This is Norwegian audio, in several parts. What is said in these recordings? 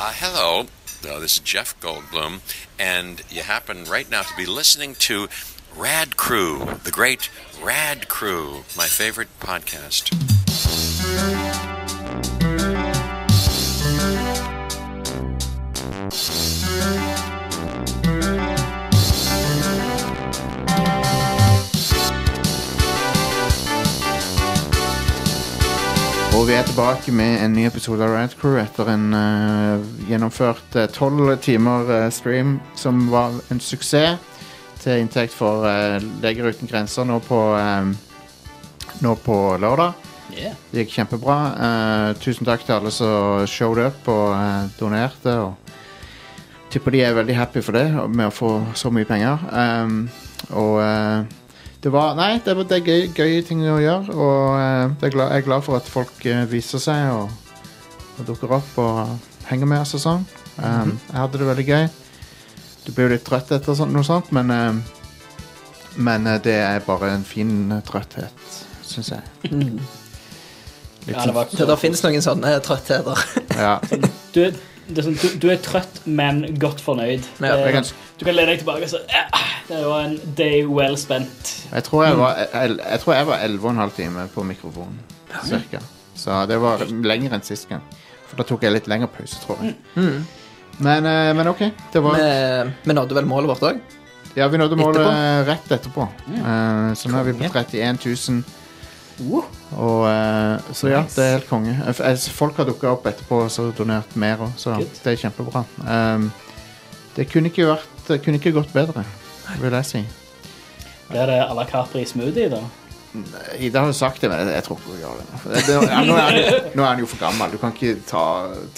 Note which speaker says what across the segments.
Speaker 1: Uh, hello, uh, this is Jeff Goldblum, and you happen right now to be listening to Rad Crew, the great Rad Crew, my favorite podcast.
Speaker 2: Og vi er tilbake med en ny episode av Rad Crew etter en eh, gjennomført tolv timer eh, stream som var en suksess til inntekt for eh, Leger uten grenser nå på, eh, nå på lørdag.
Speaker 3: Yeah.
Speaker 2: Det gikk kjempebra. Eh, tusen takk til alle som showed up og eh, donerte. Og tipper de er veldig happy for det, og- med å få så mye penger. Ehm, og eh, det var Nei, det, var, det er gøy, gøye ting å gjøre. Og eh, det er glad, jeg er glad for at folk eh, viser seg og, og dukker opp og henger med oss og sånn. Ehm, Jeg hadde det veldig gøy. Du blir jo litt trøtt etter sånt, noe sånt, men ehm, Men eh, det er bare en fin eh, trøtthet, syns jeg. Litt
Speaker 3: Ja, det var
Speaker 4: Så det finnes noen sånne trøttheter.
Speaker 2: Ja,
Speaker 3: du, er- det er sånn, du, du er trøtt, men godt fornøyd.
Speaker 4: Ja,
Speaker 3: Det-
Speaker 2: jeg kan-
Speaker 3: Du kan lene deg tilbake og si «Ah, Det var en day well spent.
Speaker 2: jeg tror jeg var, jeg, jeg tror jeg var 11,5 timer på mikrofonen, cirka. Så det var lenger enn sist gang. For da tok jeg litt lengre pause, tror jeg. Men, eh, men ok, det var
Speaker 4: Vi- Vi nådde vel målet vårt òg.
Speaker 2: Ja, vi nådde målet
Speaker 4: Etterpå?
Speaker 2: rett etterpå. Eh, så nå er vi på 31 000. Og, eh, så ja, det er helt konge. Eh, f- eh, Folk har dukka opp etterpå og så donert mer òg, så
Speaker 3: Good.
Speaker 2: det er kjempebra. Um, det kunne ikke, vært, det kunne ikke gått bedre, vil jeg si.
Speaker 3: Blir det à la Capri smoothie, da?
Speaker 2: Ida har jo sagt det, men jeg, jeg tror ikke hun gjør det. nå. det, det ja, nå, er han, jo- nå er han jo for gammel. Du kan ikke ta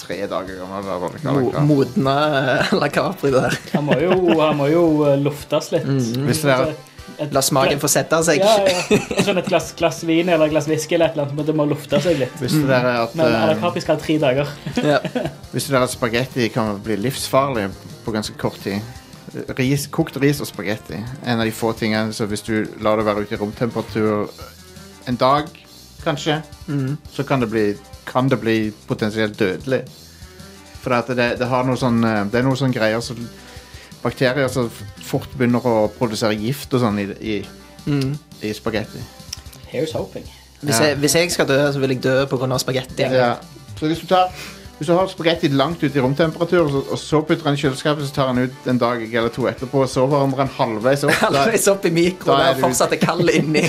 Speaker 2: tre dager gammel hver vanlig
Speaker 4: Mo-
Speaker 2: karakter.
Speaker 4: Modna eh, La Capri der.
Speaker 3: Han må jo, han må jo eh, luftes litt.
Speaker 2: Hvis det er-
Speaker 3: Et-
Speaker 4: La smaken få sette seg.
Speaker 3: ja, ja. Sånn et glass, glass vin eller et glass whisky eller et eller annet, men det må lufte seg litt.
Speaker 2: Visste dere at,
Speaker 3: Men à la
Speaker 2: eh,
Speaker 3: Capri skal ha tre dager.
Speaker 4: Ja.
Speaker 2: visste dere at spagetti kan bli livsfarlig på ganske kort tid? Ris, kokt ris og spagetti. En av de få tingene så hvis du lar det være ute i romtemperatur en dag, kanskje,
Speaker 4: Mm,
Speaker 2: så kan det bli, kan det bli potensielt dødelig. For at det, det, har noe sånn, eh, det er noen sånne greier som bakterier som f- fort begynner å produsere gift og sånn i, i, i spagetti.
Speaker 3: Here's hoping.
Speaker 4: mm. Hvis,
Speaker 2: Ja.
Speaker 4: jeg, hvis jeg skal dø, så vil jeg dø pga. spagetti.
Speaker 2: Ja. Så hvis du, tar, hvis du har spagetti langt ute i romtemperatur, og så, og så putter han i kjøleskapet, så tar han ut en dag eller to etterpå, og så varmer han halvveis opp. Da,
Speaker 4: Halvveis opp i mikro,
Speaker 2: Da er
Speaker 4: der
Speaker 2: du-
Speaker 4: fortsatt er kald inni.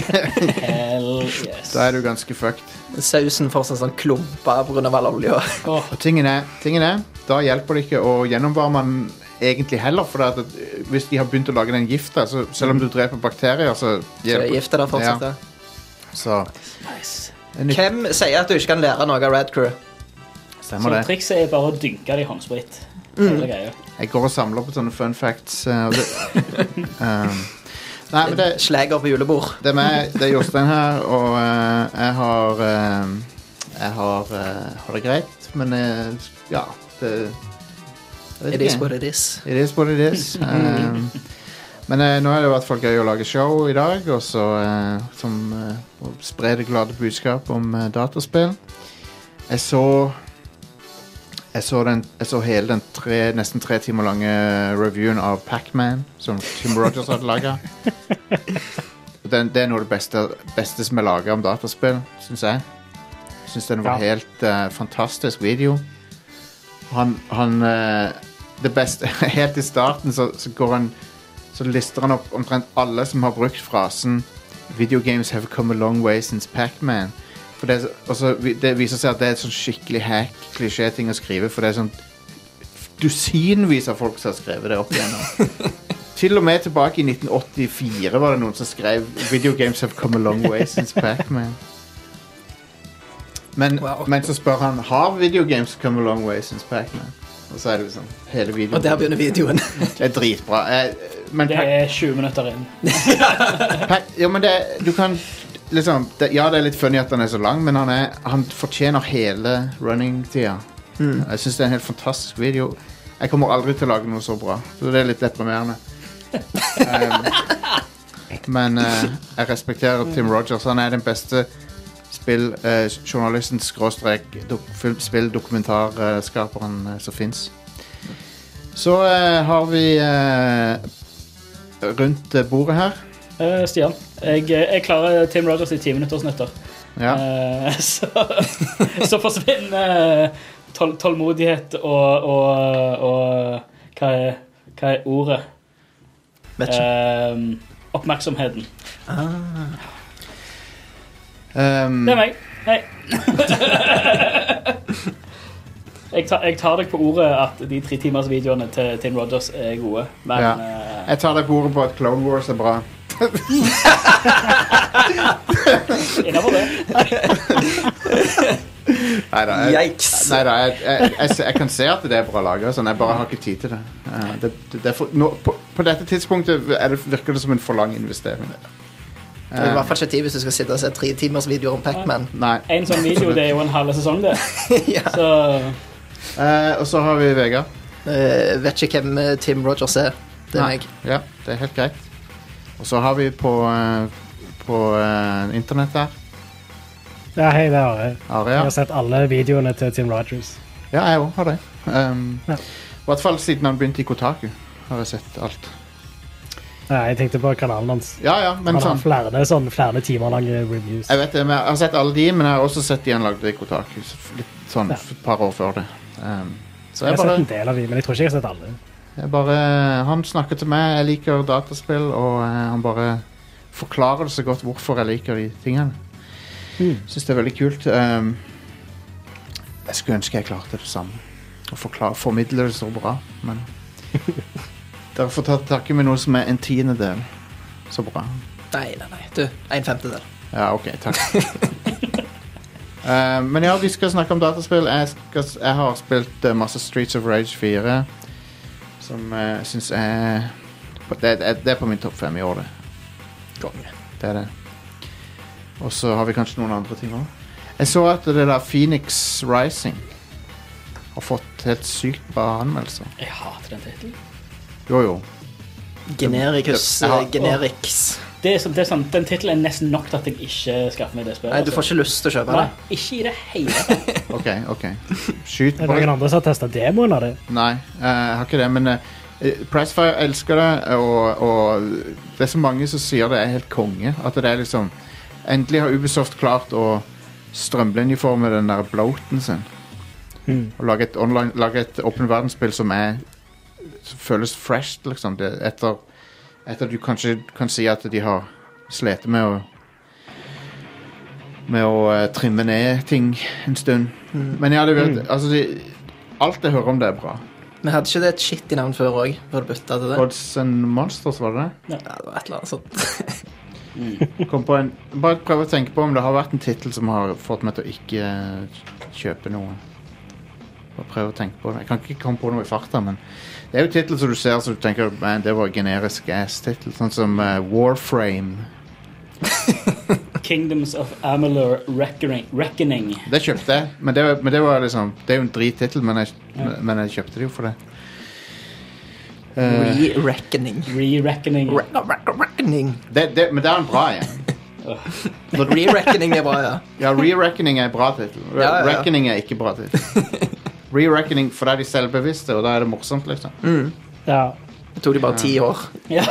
Speaker 3: Hell yes.
Speaker 2: da er du ganske fucked.
Speaker 4: Sausen fortsatt sånn klumper pga. all olja.
Speaker 3: Åh,
Speaker 2: Og tingen er, tingen er da hjelper det ikke å gjennomvarme den egentlig heller, for at, at hvis de har begynt å lage den gifta, så selv om du dreper bakterier, så
Speaker 4: Så er gifta der fortsatt.
Speaker 2: Ja,
Speaker 4: ja.
Speaker 2: så
Speaker 3: nice.
Speaker 2: det er nytt-
Speaker 4: Hvem sier at du ikke kan lære noe av Rad Crew?
Speaker 2: stemmer
Speaker 3: Så
Speaker 2: det.
Speaker 3: trikset er bare å dynke det i håndsprit. Hele greia.
Speaker 2: Jeg går og samler på sånne fun facts. eh, og det, um, nei, men det,
Speaker 4: Slager på julebord.
Speaker 2: det er meg, det er Jostein her, og eh, jeg har eh, Jeg har, eh, har det greit, men eh, ja det, jeg vet
Speaker 4: It is
Speaker 2: ikke.
Speaker 4: what it is.
Speaker 2: It is what it is. Um, men eh, nå er det i hvert fall gøy å lage show i dag, og så eh, som eh, å spre det glade budskap om eh, dataspill. Jeg så jeg så, den, jeg så hele den tre, nesten tre timer lange reviewen av Pacman som Tim Rogers hadde laga. Det er noe av det beste, beste som er laga om dataspill, syns jeg. Syns den var
Speaker 3: Ja.
Speaker 2: helt eh, fantastisk video. Han, han eh, Det beste Helt i starten så, så går han Så lister han opp omtrent alle som har brukt frasen Video games have come a long way since Pac-Man. For det, er så- og så vi- det viser seg at det er et sånn skikkelig hack klisjéting å skrive, for det er sånn dusinvis av folk som har skrevet det opp igjennom. Til og med tilbake i 1984 var det noen som skrev Video games have come a long way since Pac-Man. Men,
Speaker 4: Wow.
Speaker 2: men så spør han Har video games come a long way since Pac-Man. Og så er det liksom hele videoen.
Speaker 4: Og der begynner videoen.
Speaker 2: Det er dritbra. Eh, Men
Speaker 3: Det
Speaker 2: Pac-
Speaker 3: er 20 minutter inn.
Speaker 2: Pac- Jo, men det Du kan liksom det, Ja, det er litt funny at han er så lang, men han, er, han fortjener hele running-tida. Jeg syns det er en helt fantastisk video. Jeg kommer aldri til å lage noe så bra, så det er litt deprimerende. Um, men eh, jeg respekterer Tim Rogers. Han er den beste spill, eh, journalisten skråstrek dok, film, spill, dokumentarskaperen eh, som fins. Så eh, har vi eh, rundt eh, bordet her.
Speaker 3: Eh, Stian, jeg, jeg klarer Tim Rogers i ti minuttersnutter.
Speaker 2: Ja.
Speaker 3: Eh, så, så forsvinner eh, tål, tålmodighet og, og, og hva, er, hva er ordet?
Speaker 4: Vet ikke.
Speaker 3: Eh, oppmerksomheten.
Speaker 4: Ah.
Speaker 2: Ehm,
Speaker 3: Det er meg. Hei. jeg, tar, jeg tar deg på ordet at de tre timers videoene til Tim Rogers er gode, men
Speaker 2: Ja.
Speaker 3: eh,
Speaker 2: jeg tar deg på ordet på at Clone Wars er bra.
Speaker 3: innenfor eh, det.
Speaker 2: Nei da, jeg,
Speaker 4: Yikes.
Speaker 2: Nei da, jeg, jeg, jeg, se- jeg kan se at det er bra laga, sånn, jeg bare har ikke tid til det. Eh, det, det, det er for, nå, på, på dette tidspunktet er det, virker det som en for lang investering.
Speaker 4: Det er i hvert fall ikke tid hvis du skal sitte og se tre timers videoer om Pac-Man.
Speaker 2: Eh, Nei.
Speaker 3: En sånn video det er jo en halv sesong, det.
Speaker 4: ja.
Speaker 3: Så
Speaker 2: Eh, og så har vi Vegard.
Speaker 4: Eh, vet ikke hvem eh, Tim Rogers er. Det er
Speaker 2: Nei.
Speaker 4: meg.
Speaker 2: Ja, det er helt greit. Og så har vi på, eh, på eh, internett her
Speaker 5: Ja, hei, det er Are. Jeg
Speaker 2: Aria.
Speaker 5: har sett alle videoene til Tim Rogers.
Speaker 2: Ja, jeg òg har det. Um,
Speaker 5: Ja.
Speaker 2: I hvert fall siden han begynte i Kotaku. Har jeg sett alt.
Speaker 5: Nei, jeg tenkte på kanalen hans.
Speaker 2: Ja, ja, men
Speaker 5: Han har
Speaker 2: sånn
Speaker 5: flere, sånn, flere timer lange reviews.
Speaker 2: Jeg vet det, men jeg har sett alle de, men jeg har også sett de han lagde i Kotaku. så f- Litt sånn
Speaker 5: Ja.
Speaker 2: f- et par år før det. Um, så
Speaker 5: Jeg
Speaker 2: jeg
Speaker 5: har sett en
Speaker 2: bare,
Speaker 5: del av dem, men jeg tror ikke jeg har sett alle.
Speaker 2: jeg bare Han snakker til meg, jeg liker dataspill, og eh, han bare forklarer det så godt hvorfor jeg liker de tingene.
Speaker 5: Mm.
Speaker 2: Syns det er veldig kult. Um, jeg skulle ønske jeg klarte det samme. Å forklare, formidle det så bra, men Dere får ta takke med noe som er en tiendedel så bra.
Speaker 4: Nei, nei, nei. Du, en femtedel.
Speaker 2: Ja, ok, takk. Eh, men ja, vi skal snakke om dataspill. Jeg, skal, jeg har spilt eh, masse Streets of Rage 4, som eh, jeg syns er det, det, det er på min topp fem i år, det.
Speaker 4: Konge.
Speaker 2: det, er det. Og så har vi kanskje noen andre ting òg. Jeg så at det der Phoenix Rising har fått helt sykt bra anmeldelser.
Speaker 3: Jeg hater den tittelen.
Speaker 2: Jo, jo.
Speaker 4: Genericus.
Speaker 2: Jeg har-
Speaker 4: eh, Generics.
Speaker 3: Det er, sånn- det er sånn, den tittelen er nesten nok til at jeg ikke skaffer meg det spillet. Altså,
Speaker 4: Nei, du får ikke lyst til å kjøpe det.
Speaker 3: Nei, ikke i det hele tatt.
Speaker 2: OK, OK. Skyt
Speaker 5: Er det noen andre som har testa demoen av det?
Speaker 2: Nei, eh, jeg har ikke det, men uh, Pricefire elsker det, og, og det er så mange som sier det er helt konge. At det er liksom Endelig har Ubisoft klart å strømlinjeforme den der bloaten sin.
Speaker 5: Mm.
Speaker 2: Og lage et, online, lage et åpen verdensspill som er som føles fresh, liksom. Det, etter, etter du kanskje kan si at de har slitt med å med å eh, trimme ned ting en stund. Men ja, det vet, altså, de, alt jeg hører om det, er bra.
Speaker 4: Vi hadde ikke det et shitty navn før òg, før du bytta til det.
Speaker 2: Odds and Monsters, var det det?
Speaker 4: Ja, det var et eller annet sånt.
Speaker 2: Kom på en, bare prøv å tenke på om det har vært en tittel som har fått meg til å ikke eh, kjøpe noe. Bare prøv å tenke på det. Jeg kan ikke komme på noe i farta, men det er jo tittel som du ser som du tenker Man, det var en generisk ass-tittel. Sånn som eh, Warframe.
Speaker 3: Kingdoms of Amalur Reckoning. Reckoning.
Speaker 2: Det kjøpte jeg, men det, men det var liksom Det er jo en drittittel, men, jeg-
Speaker 3: Ja.
Speaker 2: men jeg kjøpte det jo for det. Eh,
Speaker 4: Re-reckoning.
Speaker 3: Re-reckoning.
Speaker 4: Re-reckoning.
Speaker 2: det, det men det er en bra en.
Speaker 4: Re-reckoning er bra, ja.
Speaker 2: Ja, Re-Reckoning er bra tittel. Re
Speaker 4: Ja, ja, ja.
Speaker 2: Reckoning er ikke bra tittel. Re-Reckoning, for da er de selvbevisste, og da er det morsomt, liksom.
Speaker 4: Mm.
Speaker 5: Ja.
Speaker 4: Det tok de bare ti år.
Speaker 3: Ja.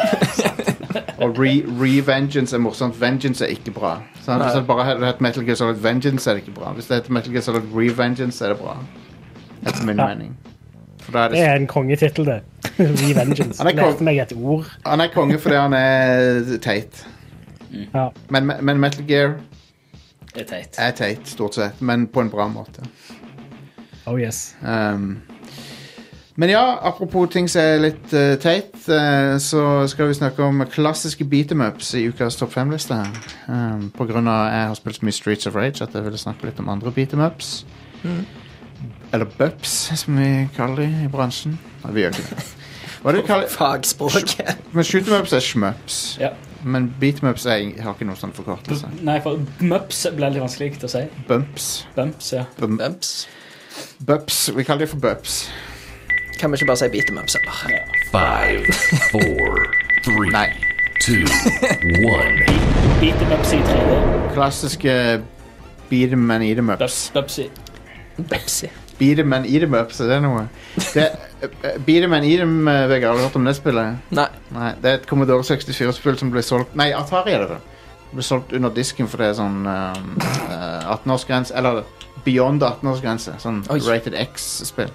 Speaker 2: Og re- Re-Vengeance er morsomt. Vengeance er ikke bra. Så hvis
Speaker 4: Nei.
Speaker 2: det bare hadde hett Metal Gear Solid Vengeance, er det ikke bra. Hvis det heter Metal Gear Solid Re-Vengeance, er det bra. Etter min
Speaker 5: Ja.
Speaker 2: mening. For da er
Speaker 5: Det
Speaker 2: det
Speaker 5: er en kongetittel, det. Revengeance.
Speaker 2: Han er kong-
Speaker 5: Lærte meg et ord.
Speaker 2: Han er konge fordi han er teit.
Speaker 5: Ja.
Speaker 2: Men, men Metal Gear
Speaker 3: Det er teit.
Speaker 2: er teit, stort sett. Men på en bra måte.
Speaker 5: Oh yes.
Speaker 2: Um, men ja, apropos ting som er litt eh, teit, eh, så skal vi snakke om klassiske beat em ups i ukas topp fem-liste. her. Um, på grunn av jeg har spilt så mye Streets of Rage at jeg ville snakke litt om andre beat em ups. Eller bups, som vi kaller de i bransjen. Nei, vi gjør ikke det. Hva er det vi kaller
Speaker 4: Fagspråket.
Speaker 2: Men shoot em ups er schmups.
Speaker 3: Ja.
Speaker 2: Men beat em ups er, har ikke noen sånn forkortelse.
Speaker 3: Nei, for mups ble litt vanskelig å si.
Speaker 2: Bumps.
Speaker 3: Bumps, ja.
Speaker 2: Bum,
Speaker 4: Bumps.
Speaker 2: bups. Vi kaller det for bups.
Speaker 4: Kan vi ikke bare si beat them ups, eller?
Speaker 6: Five, four, three,
Speaker 2: Nei.
Speaker 6: two, one.
Speaker 3: Beat them ups i 3D.
Speaker 2: klassiske Beat 'em and eat 'em ups.
Speaker 3: Bubs- Bubsy.
Speaker 4: Pepsi.
Speaker 2: Beat 'em and eat 'em ups, er det noe? Det, eh, beat 'em and eat 'em, eh, Vegard, har du hørt om det spillet?
Speaker 4: Nei.
Speaker 2: Nei, det er et Commodore 64-spill som ble solgt Nei, Atari er det vel. Ble solgt under disken for det er sånn um, eh, 18-årsgrense Eller beyond 18-årsgrense. Sånn
Speaker 4: Oi.
Speaker 2: Rated X-spill.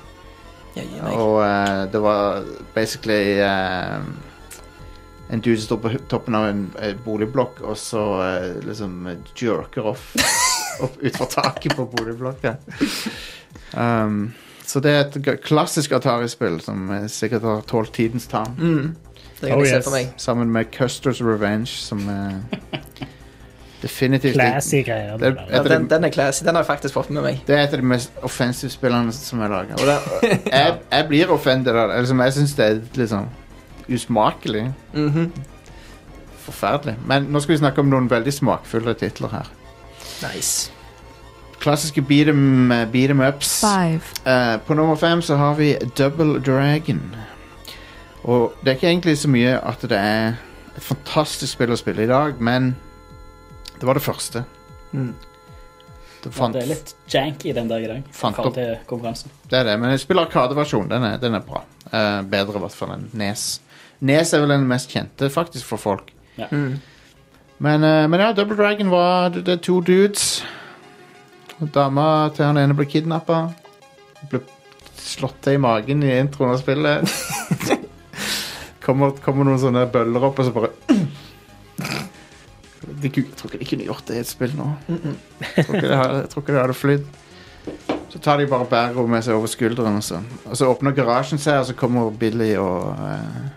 Speaker 4: Ja, gi meg.
Speaker 2: Og eh, det var basically eh, en dude som står på hu- toppen av en eh, boligblokk, og så eh, liksom eh, jerker off opp utfor taket på boligblokka. Um, så det er et g- klassisk Atari-spill som eh, sikkert har tålt tidens tann.
Speaker 4: Mm. Det kan
Speaker 5: Oh,
Speaker 4: jeg se
Speaker 5: yes.
Speaker 4: for meg.
Speaker 2: Sammen med Custer's Revenge, som er definitivt
Speaker 5: Classy greier.
Speaker 2: Det
Speaker 5: Det,
Speaker 2: er-
Speaker 5: der.
Speaker 4: Ja,
Speaker 2: Heter
Speaker 4: den,
Speaker 2: det-
Speaker 4: den er classy. Den har jeg faktisk fått med meg.
Speaker 2: Det er et av de mest offensive spillene som er laga. Jeg, jeg blir offended av det. Liksom, jeg syns det er liksom usmakelig.
Speaker 4: Mhm.
Speaker 2: Forferdelig. Men nå skal vi snakke om noen veldig smakfulle titler her.
Speaker 4: Nice.
Speaker 2: Klassiske beat 'em eh, beat 'em ups.
Speaker 7: five,
Speaker 2: Eh, på nummer fem så har vi Double Dragon. Og det er ikke egentlig så mye at det er et fantastisk spill å spille i dag, men det var det første.
Speaker 4: Mm.
Speaker 2: Det
Speaker 3: Ja,
Speaker 2: fant,
Speaker 3: det er litt janky den dag i dag.
Speaker 2: Fant
Speaker 3: Fant
Speaker 2: opp.
Speaker 3: til konkurransen.
Speaker 2: Det er det, men jeg spiller Arkadeversjonen. Den, er- den er bra. Eh, bedre i hvert fall enn Nes. Nes er vel den mest kjente faktisk for folk.
Speaker 4: Mm.
Speaker 2: Men, eh, men ja, Double Dragon var det, det er to dudes. Og Dama til han ene ble kidnappa. Ble slått til i magen i introen av spillet. kommer, kommer noen sånne bøller opp, og så bare de, ku- Jeg tror ikke de kunne gjort det i et spill nå. Jeg tror ikke det hadde, jeg tror ikke det hadde flydd. Så tar de bare bæret med seg over skulderen. Og så, og så åpner garasjen seg, og så kommer Billy og eh,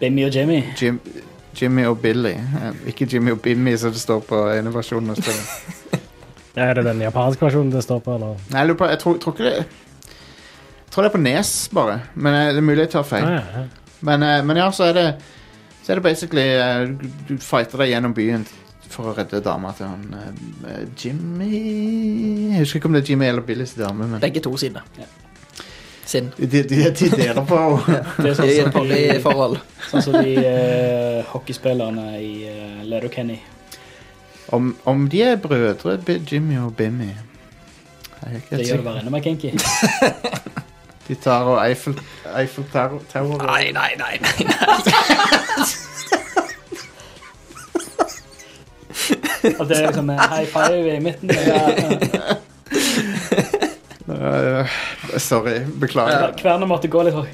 Speaker 3: Bimmy og Jimmy.
Speaker 2: Jim, Jimmy og Billy. Eh, ikke Jimmy og Bimmy, som det står på ene versjonen. av spillet.
Speaker 5: Er det den japanske versjonen det står på, eller?
Speaker 2: Nei, jeg, lurer på, jeg tror, tror ikke det Jeg tror det er på Nes, bare. Men eh, det er mulig jeg tar feil.
Speaker 5: Ah, ja, ja.
Speaker 2: Men, eh, men ja, så er det Så er det basically eh, Du du fighter deg gjennom byen for å redde dama til han eh, Jimmy Jeg husker ikke om det er Jimmy eller Billys dame, men de,
Speaker 4: Begge to sine.
Speaker 3: Ja.
Speaker 4: Sinn.
Speaker 2: de, de, de deler på
Speaker 3: Det er
Speaker 4: I et
Speaker 3: sånn som de,
Speaker 4: voldelig forhold.
Speaker 3: sånn som de eh, hockeyspillerne i uh, Letterkenny.
Speaker 2: om, om de er brødre, Bi- Jimmy og Bimmy. Jeg er ikke helt
Speaker 3: Det gjør det
Speaker 2: sikker.
Speaker 3: bare enda mer kinky.
Speaker 2: De tar og Eiffel, Eiffel Tower Tower-
Speaker 4: Nei, nei, nei, nei.
Speaker 3: At det er liksom en high five i midten. Ja,
Speaker 2: Eh, Sorry, beklager.
Speaker 3: Kverna måtte gå litt for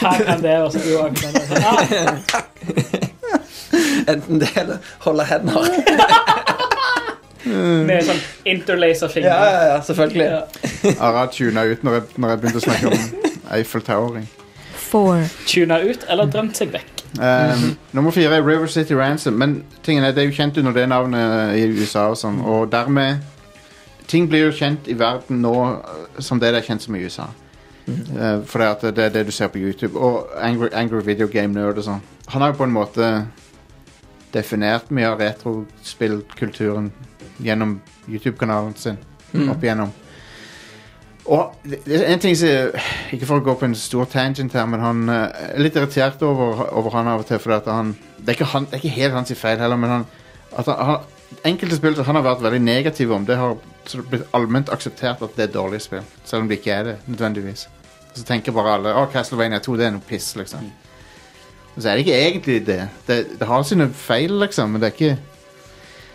Speaker 3: Hva kan det være? Og så jo, akkurat sånn, ah,
Speaker 4: Enten det eller holde hender.
Speaker 3: Med sånn interlace av
Speaker 4: Mm. Ja,
Speaker 3: fingre.
Speaker 4: ja, ja, selvfølgelig.
Speaker 3: Ja.
Speaker 2: Ara tuna ut når jeg, når jeg begynte å snakke om Eiffel Towering.
Speaker 7: four,
Speaker 3: Tuna ut eller drømt seg vekk.
Speaker 2: Um, nummer fire er River City Ransom, men tingen er, det er jo kjent under det navnet i USA og sånn, og dermed Ting blir jo kjent i verden nå eh, som det det er kjent som i USA. Eh, for det, at det er det du ser på YouTube. Og Angry, angry Video Game Nerd og sånn. Han har jo på en måte definert mye av retrospillkulturen gjennom YouTube-kanalen sin. Opp igjennom. Og det- det er en ting som Ikke for å gå på en stor tangent her, men han eh, er litt irritert over, over han av og til. Fordi at han det, er ikke han det er ikke helt hans feil heller, men han, at han, han Enkelte spill som han har vært veldig negativ om, det har så det har blitt allment akseptert at det er dårlige spill. Selv om det ikke er det, nødvendigvis. Så tenker bare alle å Castlevania 2 det er noe piss, liksom. Og så er det ikke egentlig det. Det, det har sine feil, liksom, men det er ikke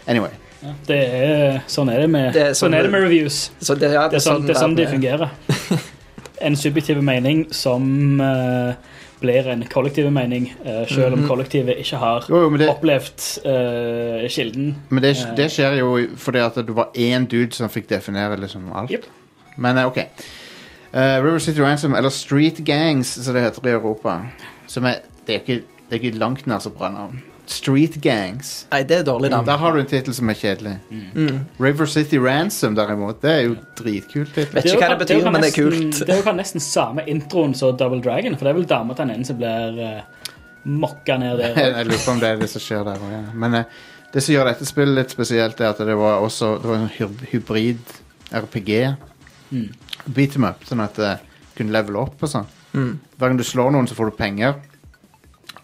Speaker 2: Anyway.
Speaker 3: Ja, det er, sånn er det med,
Speaker 4: Det er sånn
Speaker 3: sånn er det med reviews.
Speaker 4: Så det, ja,
Speaker 3: Det er sånn, det er sånn de
Speaker 4: verden er.
Speaker 3: fungerer. En subjektiv mening som eh, blir en kollektiv mening, eh, selv
Speaker 4: Mhm.
Speaker 3: om kollektivet ikke har
Speaker 2: Jo, jo, men det,
Speaker 3: opplevd eh, kilden.
Speaker 2: men det, det skjer jo fordi at det var én dude som fikk definere liksom alt.
Speaker 3: Yep.
Speaker 2: Men eh, OK. Eh, River City Ransom, eller Street Gangs, som det heter i Europa. Som er Det er ikke, det er ikke langt nær så bra navn. Street Gangs.
Speaker 4: Nei, det er dårlig navn.
Speaker 3: Mm.
Speaker 2: Der har du en tittel som er kjedelig.
Speaker 4: Mm.
Speaker 2: River City Ransom, derimot, det er jo dritkult. tittel.
Speaker 4: Vet ikke hva det
Speaker 3: er jo
Speaker 4: betyr, men det er
Speaker 3: nesten-
Speaker 4: kult.
Speaker 3: Det er jo nesten samme introen som Double Dragon, for det er vel dama til den ene som blir eh, mokka ned der.
Speaker 2: Jeg lurer på om det er det som skjer der også, ja. Men eh, det som gjør dette spillet litt spesielt, er at det var også det var en hy- hybrid RPG. Beat them up, sånn at eh, du kunne level opp og sånn. Hver gang du slår noen, så får du penger.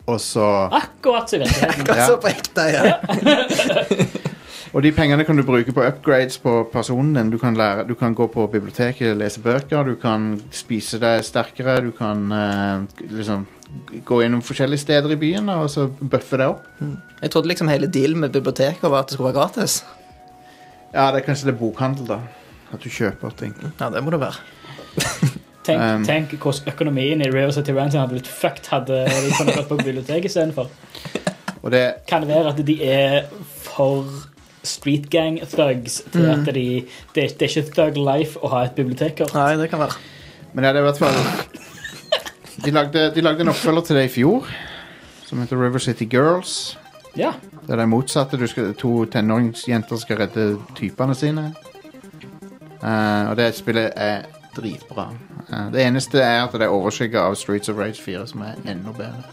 Speaker 2: Og så
Speaker 3: Akkurat som i virkeligheten.
Speaker 4: Akkurat så på ekte, ja.
Speaker 2: Og de pengene kan du bruke på upgrades på personen din. Du kan, lære, du kan gå på biblioteket og lese bøker, du kan spise deg sterkere, du kan eh, liksom gå innom forskjellige steder i byen og så bøffe deg opp.
Speaker 4: Jeg trodde liksom hele dealen med biblioteket var at det skulle være gratis.
Speaker 2: Ja, det er kanskje det er bokhandel, da. At du kjøper ting.
Speaker 4: Ja, det må det være.
Speaker 3: Tenk,
Speaker 2: Um.
Speaker 3: tenk hvordan økonomien i Rare City Ransom hadde blitt fucked hadde de kunnet gått på biblioteket istedenfor.
Speaker 2: Og det,
Speaker 3: Kan det være at de er for street gang thugs til at de, det, det er ikke thug life å ha et bibliotekkort?
Speaker 4: Nei, det kan være.
Speaker 2: men ja, det er i hvert fall de lagde, de lagde en oppfølger til det i fjor, som heter River City Girls.
Speaker 3: Ja.
Speaker 2: Det er det motsatte. Du skal, to tenåringsjenter skal redde typene sine. Eh, og det spillet er dritbra. Eh, det eneste er at det er overskygget av Streets of Rage 4, som er enda bedre.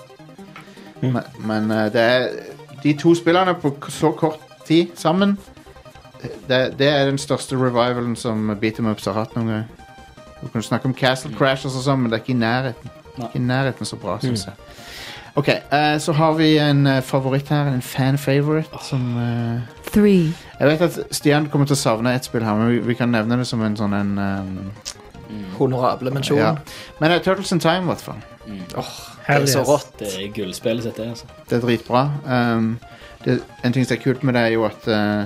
Speaker 2: Men, men eh, det er de to spillene på k- så kort tid sammen eh, det, det er den største revivalen som Beat 'em Ups har hatt noen gang. Du kan snakke om Castle Crashers og sånn, men det er ikke i nærheten.
Speaker 3: Nei.
Speaker 2: Ikke i nærheten så bra, synes jeg. Ok, eh, så har vi en eh, favoritt her, en fan favorite, som eh,
Speaker 7: three,
Speaker 2: Jeg vet at Stian kommer til å savne et spill her, men vi, vi kan nevne det som en sånn en um,
Speaker 4: Honorable mensjon.
Speaker 2: ja. Men eh, Turtles in Time, i hvert fall.
Speaker 4: Det er så rått.
Speaker 3: Det er gullspillet sitt, det. altså.
Speaker 2: Det er dritbra. Um, det, en ting som er kult med det, er jo at eh,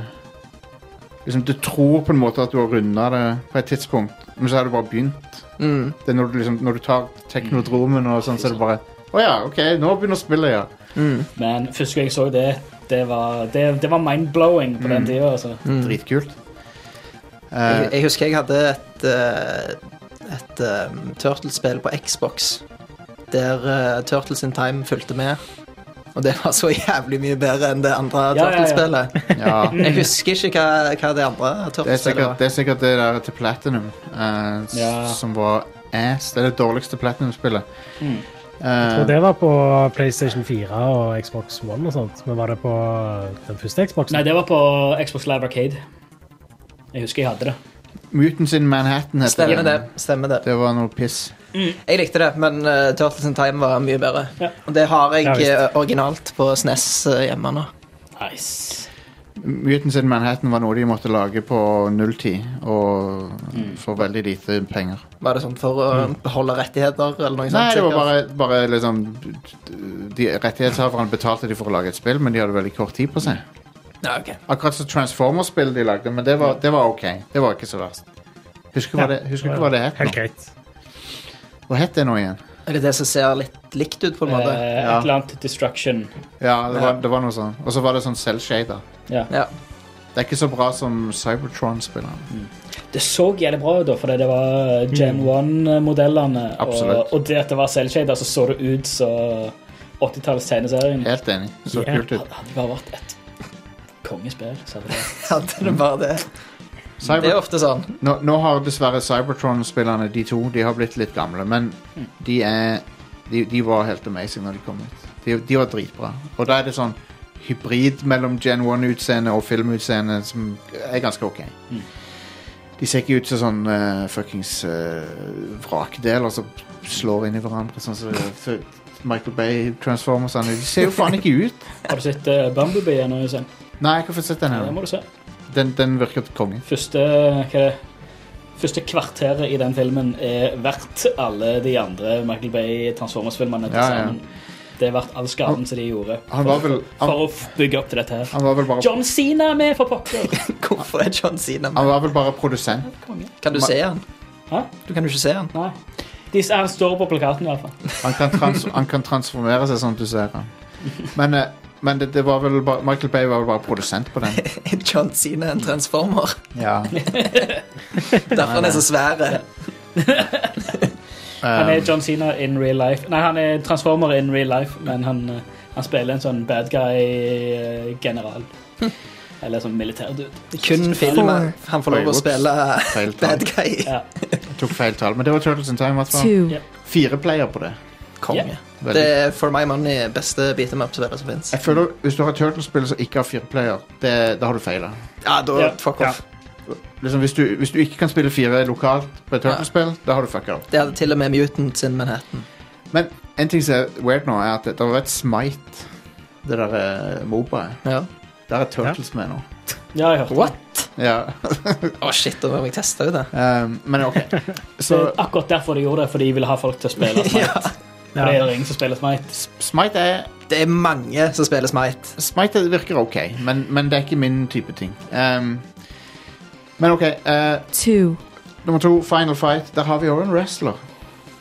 Speaker 2: liksom, Du tror på en måte at du har runda det på et tidspunkt, men så har du bare begynt.
Speaker 4: Mm.
Speaker 2: Det er når du, liksom, når du tar teknodromen og sånn, så er det bare Å ja, OK, nå begynner spillet, ja.
Speaker 3: Men første gang jeg så det, det var, det, det var mind-blowing på den tida. Altså.
Speaker 4: Mm.
Speaker 2: Dritkult.
Speaker 4: Jeg,
Speaker 2: Eh,
Speaker 4: jeg husker jeg hadde et, eh, et eh, Turtles-spill på Xbox der eh, Turtles in Time fulgte med. Og det var så jævlig mye bedre enn det andre
Speaker 3: Ja, ja, ja.
Speaker 4: Turtles-spillet.
Speaker 2: ja.
Speaker 4: Jeg husker ikke hva, hva det andre
Speaker 2: Det er
Speaker 4: Turtles-spillet
Speaker 2: sikkert
Speaker 4: var.
Speaker 2: det, er sikkert det der til Platinum, eh, s-
Speaker 3: Ja.
Speaker 2: som var ass. Det er det dårligste Platinum-spillet. Eh,
Speaker 3: Mm.
Speaker 5: Jeg tror det var på PlayStation 4 og Xbox One og sånt. Men var det på eh, den første Xboxen?
Speaker 3: Nei, det var på Xbox Live Arcade. Jeg husker jeg hadde det.
Speaker 2: Mutants in Manhattan heter
Speaker 4: Stemmer det.
Speaker 2: det.
Speaker 4: stemmer det.
Speaker 2: Det var noe piss.
Speaker 4: Jeg likte det, men eh, Turtles in Time var mye bedre.
Speaker 3: Ja.
Speaker 4: Og det har jeg
Speaker 5: Ja, visst.
Speaker 4: eh, originalt på SNES eh, hjemme nå.
Speaker 3: Nice.
Speaker 2: Mutants in Manhattan var noe de måtte lage på nulltid, og for veldig lite penger.
Speaker 4: Var det sånn for å beholde rettigheter eller noe
Speaker 2: Mm.
Speaker 4: sånt?
Speaker 2: Nei, det var
Speaker 4: sikkert?
Speaker 2: bare, bare liksom de Rettighetshaverne betalte de for å lage et spill, men de hadde veldig kort tid på seg.
Speaker 4: Ja, ok.
Speaker 2: Akkurat som Transformers-spillet de lagde, men det var, det var ok. Det var ikke så verst. Husker hva det, husker ikke hva det het
Speaker 5: Helt
Speaker 2: nå.
Speaker 5: greit.
Speaker 2: Hva het det nå igjen?
Speaker 4: Er det det som ser litt likt ut, på en
Speaker 3: Eh,
Speaker 4: måte?
Speaker 2: Ja.
Speaker 3: Et eller annet Destruction.
Speaker 2: Ja, det var,
Speaker 4: Ja.
Speaker 2: det var noe sånn. Og så var det sånn selvshader.
Speaker 3: Ja.
Speaker 4: Ja.
Speaker 2: Det er ikke så bra som Cybertron-spilleren.
Speaker 3: Det så jævlig bra ut, da, fordi det var eh, Gen 1-modellene.
Speaker 2: Mm. Absolutt.
Speaker 3: Og, og det at det var selvshader, så så det ut som 80-tallets tegneserien.
Speaker 2: Helt enig. Så
Speaker 5: Yeah.
Speaker 2: kult ut.
Speaker 3: Hadde det bare vært et kongespill, så hadde det vært
Speaker 4: Hadde det bare det. Det er
Speaker 2: Cyber...
Speaker 4: ofte sånn.
Speaker 2: Nå, nå har dessverre Cybertron-spillerne, de to, de har blitt litt gamle, men
Speaker 3: Mm.
Speaker 2: de er De, de var helt amazing når de kom ut. De, de var dritbra. Og da er det sånn hybrid mellom Gen 1-utseende og filmutseende som er ganske ok.
Speaker 3: Mm.
Speaker 2: De ser ikke ut som sånn eh, fuckings eh, vrakdeler som slår inn i hverandre, sånn som så Michael Bay-transformersene. De ser jo faen ikke ut!
Speaker 3: Har du sett uh, Bumblebee ennå? Jostein?
Speaker 2: Nei, jeg har fått sett den
Speaker 3: Det
Speaker 2: her.
Speaker 3: må du se.
Speaker 2: Den, den virker konge.
Speaker 3: Første, hva er det? Første kvarteret i den filmen er verdt alle de andre Michael Bay Transformers-filmene til
Speaker 2: Ja, ja.
Speaker 3: sammen. Det er verdt all skaden som de gjorde
Speaker 2: Han var vel- han-
Speaker 3: for å f- bygge opp til dette her.
Speaker 2: Han var vel bare,
Speaker 3: John Cena er med, for pokker!
Speaker 4: Hvorfor er John Cena med?
Speaker 2: han var vel bare produsent.
Speaker 3: Konge.
Speaker 4: Kan du se han?
Speaker 3: Hæ?
Speaker 4: Du kan jo ikke se han.
Speaker 3: Nei. De, han står på plakaten, i hvert fall.
Speaker 2: Han kan, trans han kan transformere seg sånn at du ser han. Men, eh, men det, det var vel bare, Michael Bay var vel bare produsent på den.
Speaker 4: Er John Cena en transformer?
Speaker 2: Ja.
Speaker 4: Derfor han er så svære.
Speaker 3: Han
Speaker 2: Um, eh,
Speaker 3: er John Cena in real life. Nei, han er transformer in real life, men han, eh, han spiller en sånn bad guy-general. Eller sånn militærdude.
Speaker 4: Kun filmen han får lov
Speaker 2: Oi,
Speaker 4: å spille
Speaker 2: Feil tall.
Speaker 4: bad guy. i.
Speaker 3: Ja.
Speaker 2: Jeg tok feil tall. Men det var Turtles in Time. i hvert fall.
Speaker 7: two,
Speaker 3: Yeah.
Speaker 2: Fire player på det.
Speaker 4: Konge.
Speaker 2: Veldig.
Speaker 4: Det er for my money beste beat em up-spillet som fins.
Speaker 2: Jeg føler Hvis du har Turtles-spill som ikke har fire player, det, da har du feila.
Speaker 4: Ja, da
Speaker 3: Ja.
Speaker 4: fuck off.
Speaker 2: Liksom, hvis, du- hvis du ikke kan spille fire lokalt på et Turtles-spill, da har du fucka opp.
Speaker 4: Det hadde til og med Mutant sin Manhattan.
Speaker 2: Men en ting som er weird nå, er at det, det var et Smite, det der eh, Moba.
Speaker 4: Ja.
Speaker 2: Der er Turtles med nå.
Speaker 3: Ja, jeg hørte det.
Speaker 4: What?
Speaker 2: Ja.
Speaker 4: Å, shit, da må jeg teste ut det.
Speaker 2: Um, men OK.
Speaker 3: Det
Speaker 2: Så
Speaker 3: er akkurat derfor de gjorde det, fordi de ville ha folk til å spille Smite.
Speaker 4: Ja.
Speaker 3: For det er det ingen som spiller Smite.
Speaker 2: Smite, er,
Speaker 4: Det er mange som spiller Smite.
Speaker 2: Smite virker OK, men, men det er ikke min type ting. Um, men OK. eh,
Speaker 7: Two.
Speaker 2: nummer to, Final Fight. Der har vi òg en wrestler.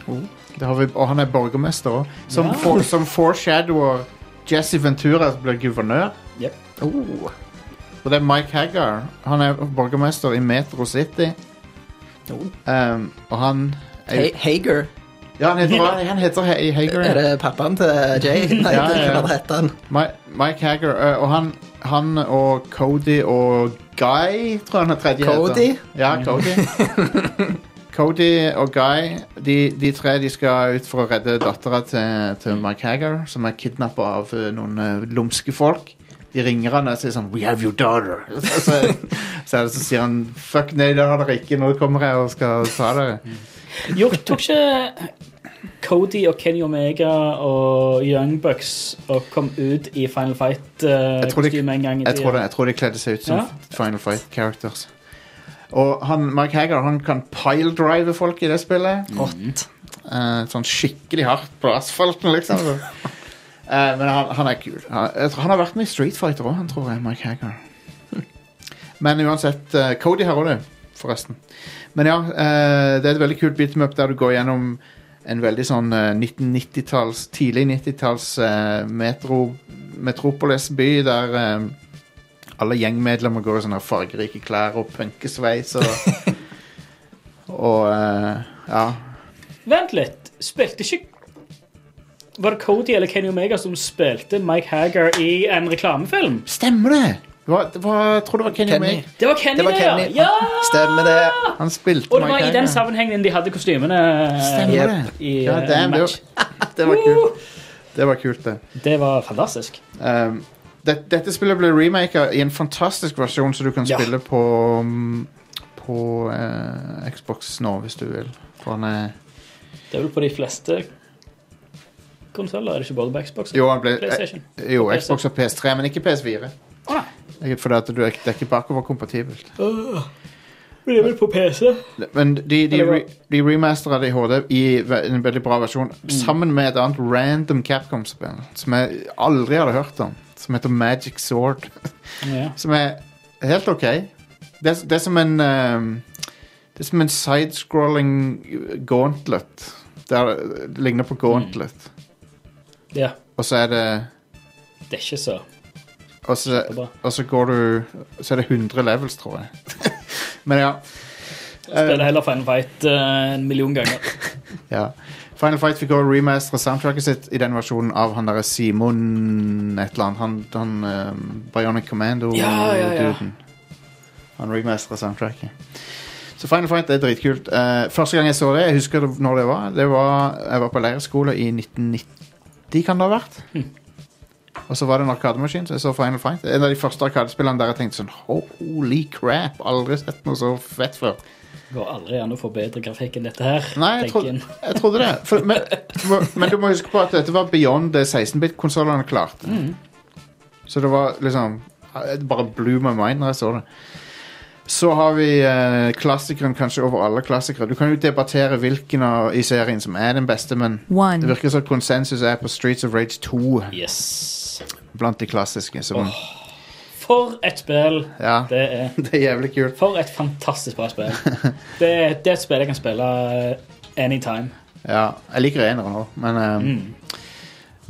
Speaker 4: Oh.
Speaker 2: Det har vi, og han er borgermester òg. Som, for, som foreshadower Jesse Ventura blir guvernør.
Speaker 3: Yep.
Speaker 4: Oh.
Speaker 2: Og det er Mike Haggar. Han er borgermester i Metro City.
Speaker 4: Oh.
Speaker 2: Um, og han er,
Speaker 4: Ha- Hager.
Speaker 2: Ja, han heter, hva? han heter He- Hagar.
Speaker 4: Er det pappaen til Jay? Nei,
Speaker 2: Ja,
Speaker 4: ja,
Speaker 2: ja, ja.
Speaker 4: hva heter han?
Speaker 2: Mi- Mike Hagar. eh, og han, han og Cody og Guy, tror jeg han er tredje
Speaker 4: Cody?
Speaker 2: heter. Ja, Cody. Cody og Guy, de, de tre de skal ut for å redde dattera til, til Mike Hagar, som er kidnappa av eh, noen eh, lumske folk. De ringer han og sier sånn 'We have your daughter'. Så, så, så, er det- så sier han 'fuck nei, det har dere ikke, nå kommer jeg og skal ta dere'.
Speaker 3: Gjort tok ikke Cody og Kenny Omega og Young Bucks og kom ut i Final
Speaker 2: Jeg tror de-
Speaker 3: Fight-kostyme en gang i
Speaker 2: Jeg tror, det,
Speaker 3: tida.
Speaker 2: jeg tror de kledde seg ut som
Speaker 3: Ja.
Speaker 2: Final Fight characters. Og han, Mike Hagar han kan piledrive folk i det spillet.
Speaker 4: Rått.
Speaker 2: Eh, sånn skikkelig hardt på asfalten, liksom. Så. Eh, men han, han er kul. Han, jeg tror, han har vært med i Street Fighter òg, tror jeg. Mike Hagar. Men uansett eh, Cody har òg det, forresten. Men ja, eh, det er et veldig kult beat'em up der du går gjennom en veldig sånn eh, 1990-talls, tidlig 90-talls eh, metro, metropolis-by der eh, alle gjengmedlemmer går i sånne fargerike klær og punkesveis og Og eh, ja.
Speaker 3: Vent litt. Spilte ikke Var det Cody eller Kenny Omega som spilte Mike Hagar i en reklamefilm?
Speaker 2: Stemmer det! Det var, det var, jeg tror det var Kenny,
Speaker 4: Kenny.
Speaker 2: Omega.
Speaker 3: Det var Kenny,
Speaker 4: Det
Speaker 3: det,
Speaker 4: var Kenny.
Speaker 3: ja!
Speaker 4: Stemmer det.
Speaker 2: Han spilte
Speaker 3: Og det var
Speaker 2: Mike
Speaker 3: i den
Speaker 2: Hagar.
Speaker 3: sammenhengen de hadde kostymene.
Speaker 2: Stemmer
Speaker 4: Yep.
Speaker 2: det.
Speaker 3: Eh, i
Speaker 2: Ja,
Speaker 3: eh,
Speaker 2: damn, det,
Speaker 3: match. Uh!
Speaker 2: var, det var kult. Det var kult, det.
Speaker 3: Det var fantastisk.
Speaker 2: Um, det dette spillet ble remaka i en fantastisk versjon som du kan
Speaker 3: Ja.
Speaker 2: spille på um, På eh, Xbox nå, hvis du vil. For han er
Speaker 3: Det er vel på de fleste konsoller, er det ikke både på Xbox og
Speaker 2: Jo, han ble,
Speaker 3: PlayStation?
Speaker 2: eh, jo
Speaker 3: Og PC.
Speaker 2: Xbox og PS3, men ikke PS4.
Speaker 3: Å, nei.
Speaker 2: Det er Fordi at du er, det er ikke bakoverkompatibelt.
Speaker 3: Men det er vel på PC?
Speaker 2: Men de, de,
Speaker 3: Eller hva?
Speaker 2: re, de remastera det i HD i ve- en veldig bra versjon, sammen med et annet random Capcom-spill som jeg aldri hadde hørt om, som heter Magic Sword.
Speaker 3: Ja.
Speaker 2: Som er helt OK. Det, er- det er som en um, Det er som en sidescrolling gauntlet. Der, det ligner på gauntlet.
Speaker 3: ja.
Speaker 2: Og så er det
Speaker 3: Det er ikke så
Speaker 2: og så,
Speaker 3: Kjempebra.
Speaker 2: og så går du Så er det 100 levels, tror jeg. Men ja.
Speaker 3: Spiller heller Final Fight eh, en million ganger.
Speaker 2: Ja. Final Fight fikk også remaster soundtracket sitt i den versjonen av han derre Simon et eller annet. Han, han eh, Bionic Commando-duden.
Speaker 3: Ja, ja, ja.
Speaker 2: Han remastera soundtracket. Så Final Fight er dritkult. Eh, første gang jeg så det, jeg husker det- når det var. Det var jeg var på leirskole i 1990, kan det ha vært.
Speaker 3: Hm.
Speaker 2: Og så var det en arkademaskin, så jeg så Final Fight. En av de første arkadespillene der jeg tenkte sånn Holy crap! Aldri sett noe så fett før.
Speaker 3: Går aldri an å få bedre grafikk enn dette her.
Speaker 2: Nei, jeg,
Speaker 3: tenker
Speaker 2: trodde-
Speaker 3: en.
Speaker 2: jeg trodde det. For, men, men du må huske på at dette var beyond det 16-bit-konsollene klarte. Så det var liksom Det bare blew my mind når jeg så det. Så har vi eh, klassikeren kanskje over alle klassikere. Du kan jo debattere hvilken av, i serien som er den beste, men det
Speaker 7: One.
Speaker 2: virker som konsensus er på Streets of Rage 2
Speaker 3: Yes.
Speaker 2: blant de klassiske. Så
Speaker 3: For et spill
Speaker 2: ja,
Speaker 3: det er.
Speaker 2: det er jævlig kult.
Speaker 3: For et fantastisk bra spill. Det, er- det er et spill jeg kan spille eh, anytime.
Speaker 2: Ja, jeg liker eneren òg, men eh,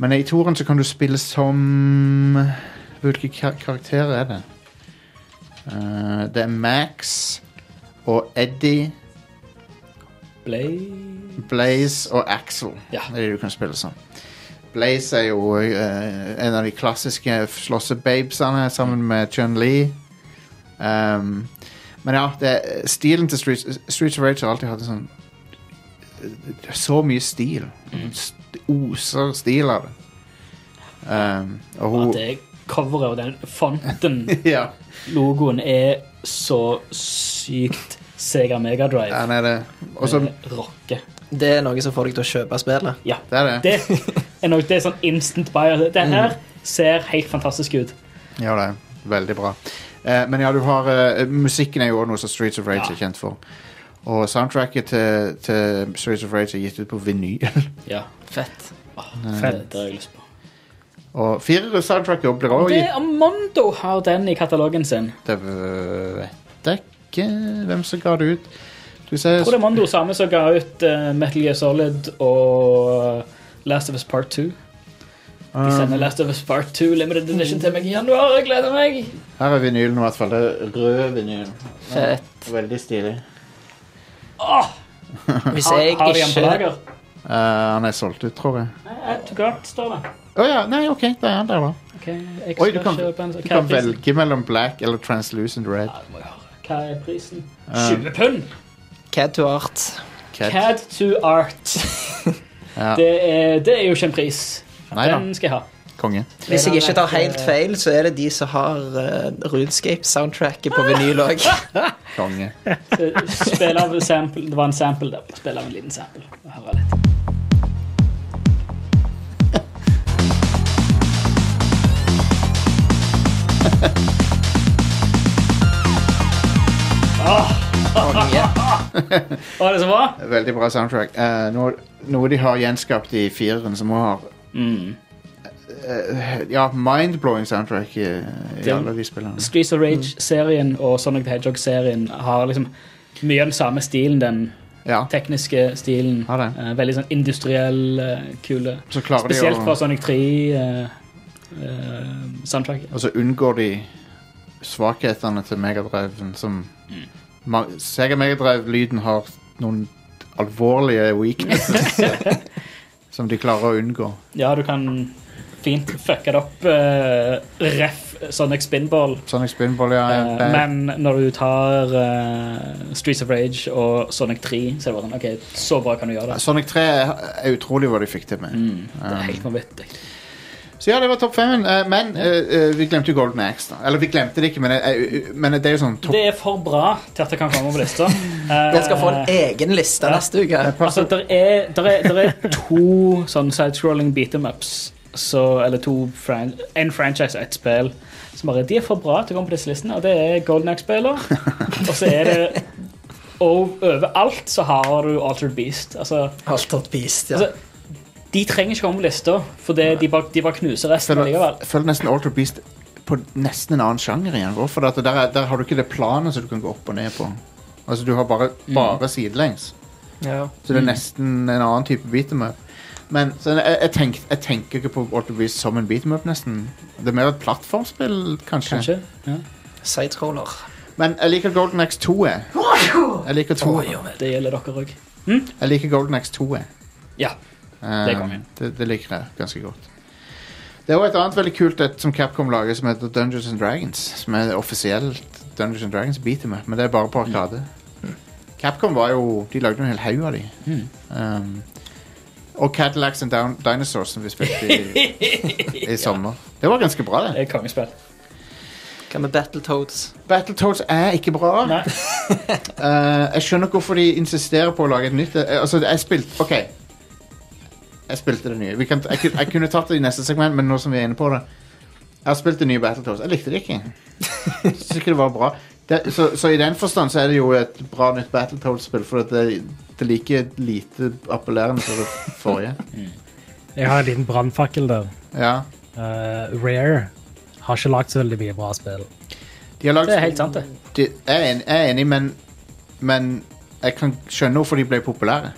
Speaker 2: Men i toren så kan du spille som Hvilke kar karakterer er det? Eh, det er Max og Eddie,
Speaker 3: Blade
Speaker 2: Blaze og Axel.
Speaker 3: Ja.
Speaker 2: Det er de du kan spille som. Blaze er jo eh, en av de klassiske slåssebabesene sammen med Chun-Li. Um, men ja, det er, stilen til Streets, Streets of Rage har alltid hatt en sånn det er Så mye stil.
Speaker 3: Mm.
Speaker 2: Det oser stil av det. Um, og hun
Speaker 3: At det coveret og den fonten
Speaker 2: Ja,
Speaker 3: Logoen er så sykt Sega Mega Drive.
Speaker 2: den er det. Og så
Speaker 3: Det rocker.
Speaker 4: Det er noe som får deg til å kjøpe spillet.
Speaker 3: Ja.
Speaker 2: Det er det.
Speaker 3: Det er, nok, det er
Speaker 2: Mm.
Speaker 3: sånn instant buyer. Det her ser helt fantastisk ut.
Speaker 2: Ja, det er veldig bra. Eh, men ja, du har eh, musikken er jo også noe som Streets of Rage er kjent for. Og soundtracket til, til Streets of Rage er gitt ut på vinyl.
Speaker 3: Ja.
Speaker 4: Fett.
Speaker 3: Fett. Det har jeg lyst på.
Speaker 2: Og firere soundtracket også blir også
Speaker 3: Det,
Speaker 2: gitt
Speaker 3: Armando har den i katalogen sin.
Speaker 2: Det vet jeg ikke hvem som ga det ut. Skal vi se
Speaker 3: Jeg tror det er Armando samme som ga ut eh, Metal Gear Solid og Last of Us Part 2.
Speaker 2: Ah.
Speaker 3: De sender Last of Us Part 2 Limited Edition til meg i januar. Jeg gleder meg!
Speaker 2: Her er vinylen i hvert fall. Det er rød vinyl.
Speaker 4: Fett.
Speaker 2: Veldig stilig.
Speaker 4: Hvis
Speaker 3: Har,
Speaker 4: jeg
Speaker 3: har de den på
Speaker 4: ikke
Speaker 3: lager?
Speaker 2: Eh, han er solgt ut, tror jeg.
Speaker 3: Nei, to guard står det.
Speaker 2: Å ja. Nei, OK. Der er han der, da.
Speaker 3: Ok,
Speaker 2: Oi,
Speaker 3: jeg skal
Speaker 2: du kan,
Speaker 3: kjøpe en-
Speaker 2: du
Speaker 3: Hva er
Speaker 2: kan
Speaker 3: prisen?
Speaker 2: velge mellom black eller translucent red.
Speaker 3: Ja, det må jeg ha. Hva er prisen?
Speaker 2: Ah.
Speaker 3: 20 pund!
Speaker 4: Cad to Art
Speaker 2: Cat.
Speaker 3: Cad to art.
Speaker 2: Ja.
Speaker 3: Det, er, det er jo ikke en pris.
Speaker 2: Nei da.
Speaker 3: Den skal jeg ha.
Speaker 2: Konge.
Speaker 4: Hvis jeg ikke tar helt feil, så er det de som har eh, Runescape-soundtracket
Speaker 5: Ah!
Speaker 4: på vinyl òg.
Speaker 2: Konge.
Speaker 3: Spill av sample. Det var en sample der. Spill av en liten sample. og Høre litt. Var det så bra?
Speaker 2: Veldig bra soundtrack. Eh, noe, noe de har gjenskapt i fireren, som har
Speaker 3: Mm.
Speaker 2: eh, Ja, mind-blowing soundtrack i, i
Speaker 3: Den-
Speaker 2: alle de spillene.
Speaker 3: Streets of Rage-serien og Sonic the Hedgehog-serien har liksom mye av den samme stilen. Den
Speaker 2: Ja,
Speaker 3: tekniske stilen.
Speaker 2: Har det.
Speaker 3: Eh, veldig sånn industriell, eh, kule.
Speaker 2: så klarer de
Speaker 3: Spesielt fra
Speaker 2: å
Speaker 3: Sonic 3. eh, eh, soundtracket.
Speaker 2: Og så unngår de svakhetene til Megadriven som
Speaker 3: Mm.
Speaker 2: Ma- Sega Megadrive-lyden har noen alvorlige weaknesses som de klarer å unngå.
Speaker 3: Ja, du kan fint fucke det opp eh, ref Sonic Spinball.
Speaker 2: Sonic Spinball, ja.
Speaker 3: eh,
Speaker 2: ja.
Speaker 3: men når du tar eh, Streets of Rage og Sonic 3, så er det bare sånn OK, så bra kan du gjøre det.
Speaker 2: Sonic 3 er utrolig hva de fikk til med.
Speaker 3: Det er helt vanvittig.
Speaker 2: Så ja, det var topp fem. eh, Men eh, eh, vi glemte jo Golden Axe. da. Eller vi glemte det ikke, men, eh, eh, men det er jo sånn topp
Speaker 3: Det er for bra til at det kan komme på lista. Eh,
Speaker 4: Den skal få
Speaker 5: Eh.
Speaker 4: en egen liste neste uke.
Speaker 3: Altså, der er, der er, der er to sånn sidescrolling beat em ups. Så, eller to fran en franchise og ett spill. Som bare, de er for bra til å komme på disse listene, og det er Golden Axe-spiller. Og så er det og overalt så har du Altered Beast. Altså,
Speaker 4: Alt tatt beast, ja.
Speaker 3: altså de trenger ikke komme på lista, for det, de, bare, de bare knuser resten
Speaker 2: føler,
Speaker 3: likevel.
Speaker 2: føler nesten Alter Beast på nesten en annen sjanger igjen. Hvorfor? det? At Der, er- der har du ikke det planet som du kan gå opp og ned på. Altså, du har bare, bare sidelengs.
Speaker 4: ja.
Speaker 2: Så det er nesten en annen type beat em up. Men så jeg, jeg, tenk, jeg tenker ikke på Alter Beast som en beat em up, nesten. Det er mer et plattformspill, kanskje.
Speaker 3: Kanskje? Ja.
Speaker 4: Sidetroller.
Speaker 2: Men jeg liker Golden Axe 2. Jeg, jeg, liker, to,
Speaker 4: Oi, oi, oi.
Speaker 3: Det gjelder dere òg.
Speaker 2: jeg liker Golden Axe 2. Jeg.
Speaker 3: Ja.
Speaker 2: Eh,
Speaker 3: kongen.
Speaker 2: det, det liker jeg ganske godt. Det er også et annet veldig kult et som Capcom lager, som heter Dungeons and Dragons. Som er offisielt Dungeons and Dragons beat em up, men det er bare på arkade. Capcom var jo De lagde jo en hel haug av de.
Speaker 3: Mm.
Speaker 2: Um, og Cadillacs and Down Dinosaurs, som vi spilte i, i sommer. Det var ganske bra, det.
Speaker 3: Det er kongespill.
Speaker 4: Hva med Battletoads?
Speaker 2: Battletoads er ikke bra.
Speaker 3: Nei.
Speaker 2: Eh, jeg skjønner ikke hvorfor de insisterer på å lage et nytt eh, Altså, jeg spilte OK. Jeg spilte det nye. Vi kan, jeg, kunne- jeg kunne tatt det i neste segment, men nå som vi er inne på det Jeg har spilt det nye Battletoads. Jeg likte det ikke. Jeg synes ikke det var bra. Det, så, så i den forstand så er det jo et bra nytt Battletoads-spill, for at det, det er like lite appellerende som det forrige.
Speaker 5: Jeg har en liten brannfakkel der.
Speaker 2: Ja.
Speaker 5: Eh, Rare har ikke lagd så veldig mye bra spill.
Speaker 2: De har lagd
Speaker 3: Det er helt sant, det.
Speaker 2: de, jeg, er enig, jeg er enig, men, men jeg kan skjønne hvorfor de ble populære.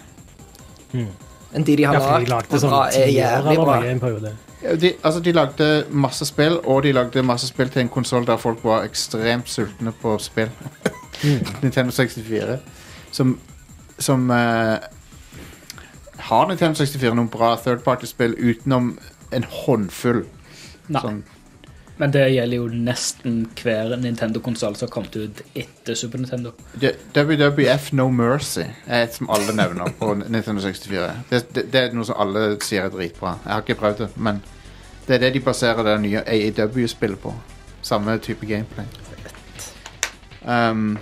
Speaker 4: Enn de de har
Speaker 5: Ja, for de
Speaker 4: lagd
Speaker 5: lagde
Speaker 4: bra,
Speaker 5: sånn
Speaker 4: er
Speaker 5: ti år
Speaker 4: jævlig
Speaker 5: eller
Speaker 4: bra.
Speaker 5: noe i en periode.
Speaker 2: Ja, De, altså, de lagde masse spill, og de lagde masse spill til en konsoll der folk var ekstremt sultne på spill. Nintendo 64. Som, som eh, Har Nintendo 64 noen bra third party-spill utenom en håndfull?
Speaker 3: Nei.
Speaker 2: Sånn,
Speaker 3: Men det gjelder jo nesten hver Nintendo-konsoll som kom ut etter Super Nintendo.
Speaker 2: det- WWF No Mercy er et som alle nevner på Nintendo 64. Det, det, det er noe som alle sier er dritbra. Jeg har ikke prøvd det, men det er det de baserer det nye AEW-spillet på. Samme type gameplay. Um,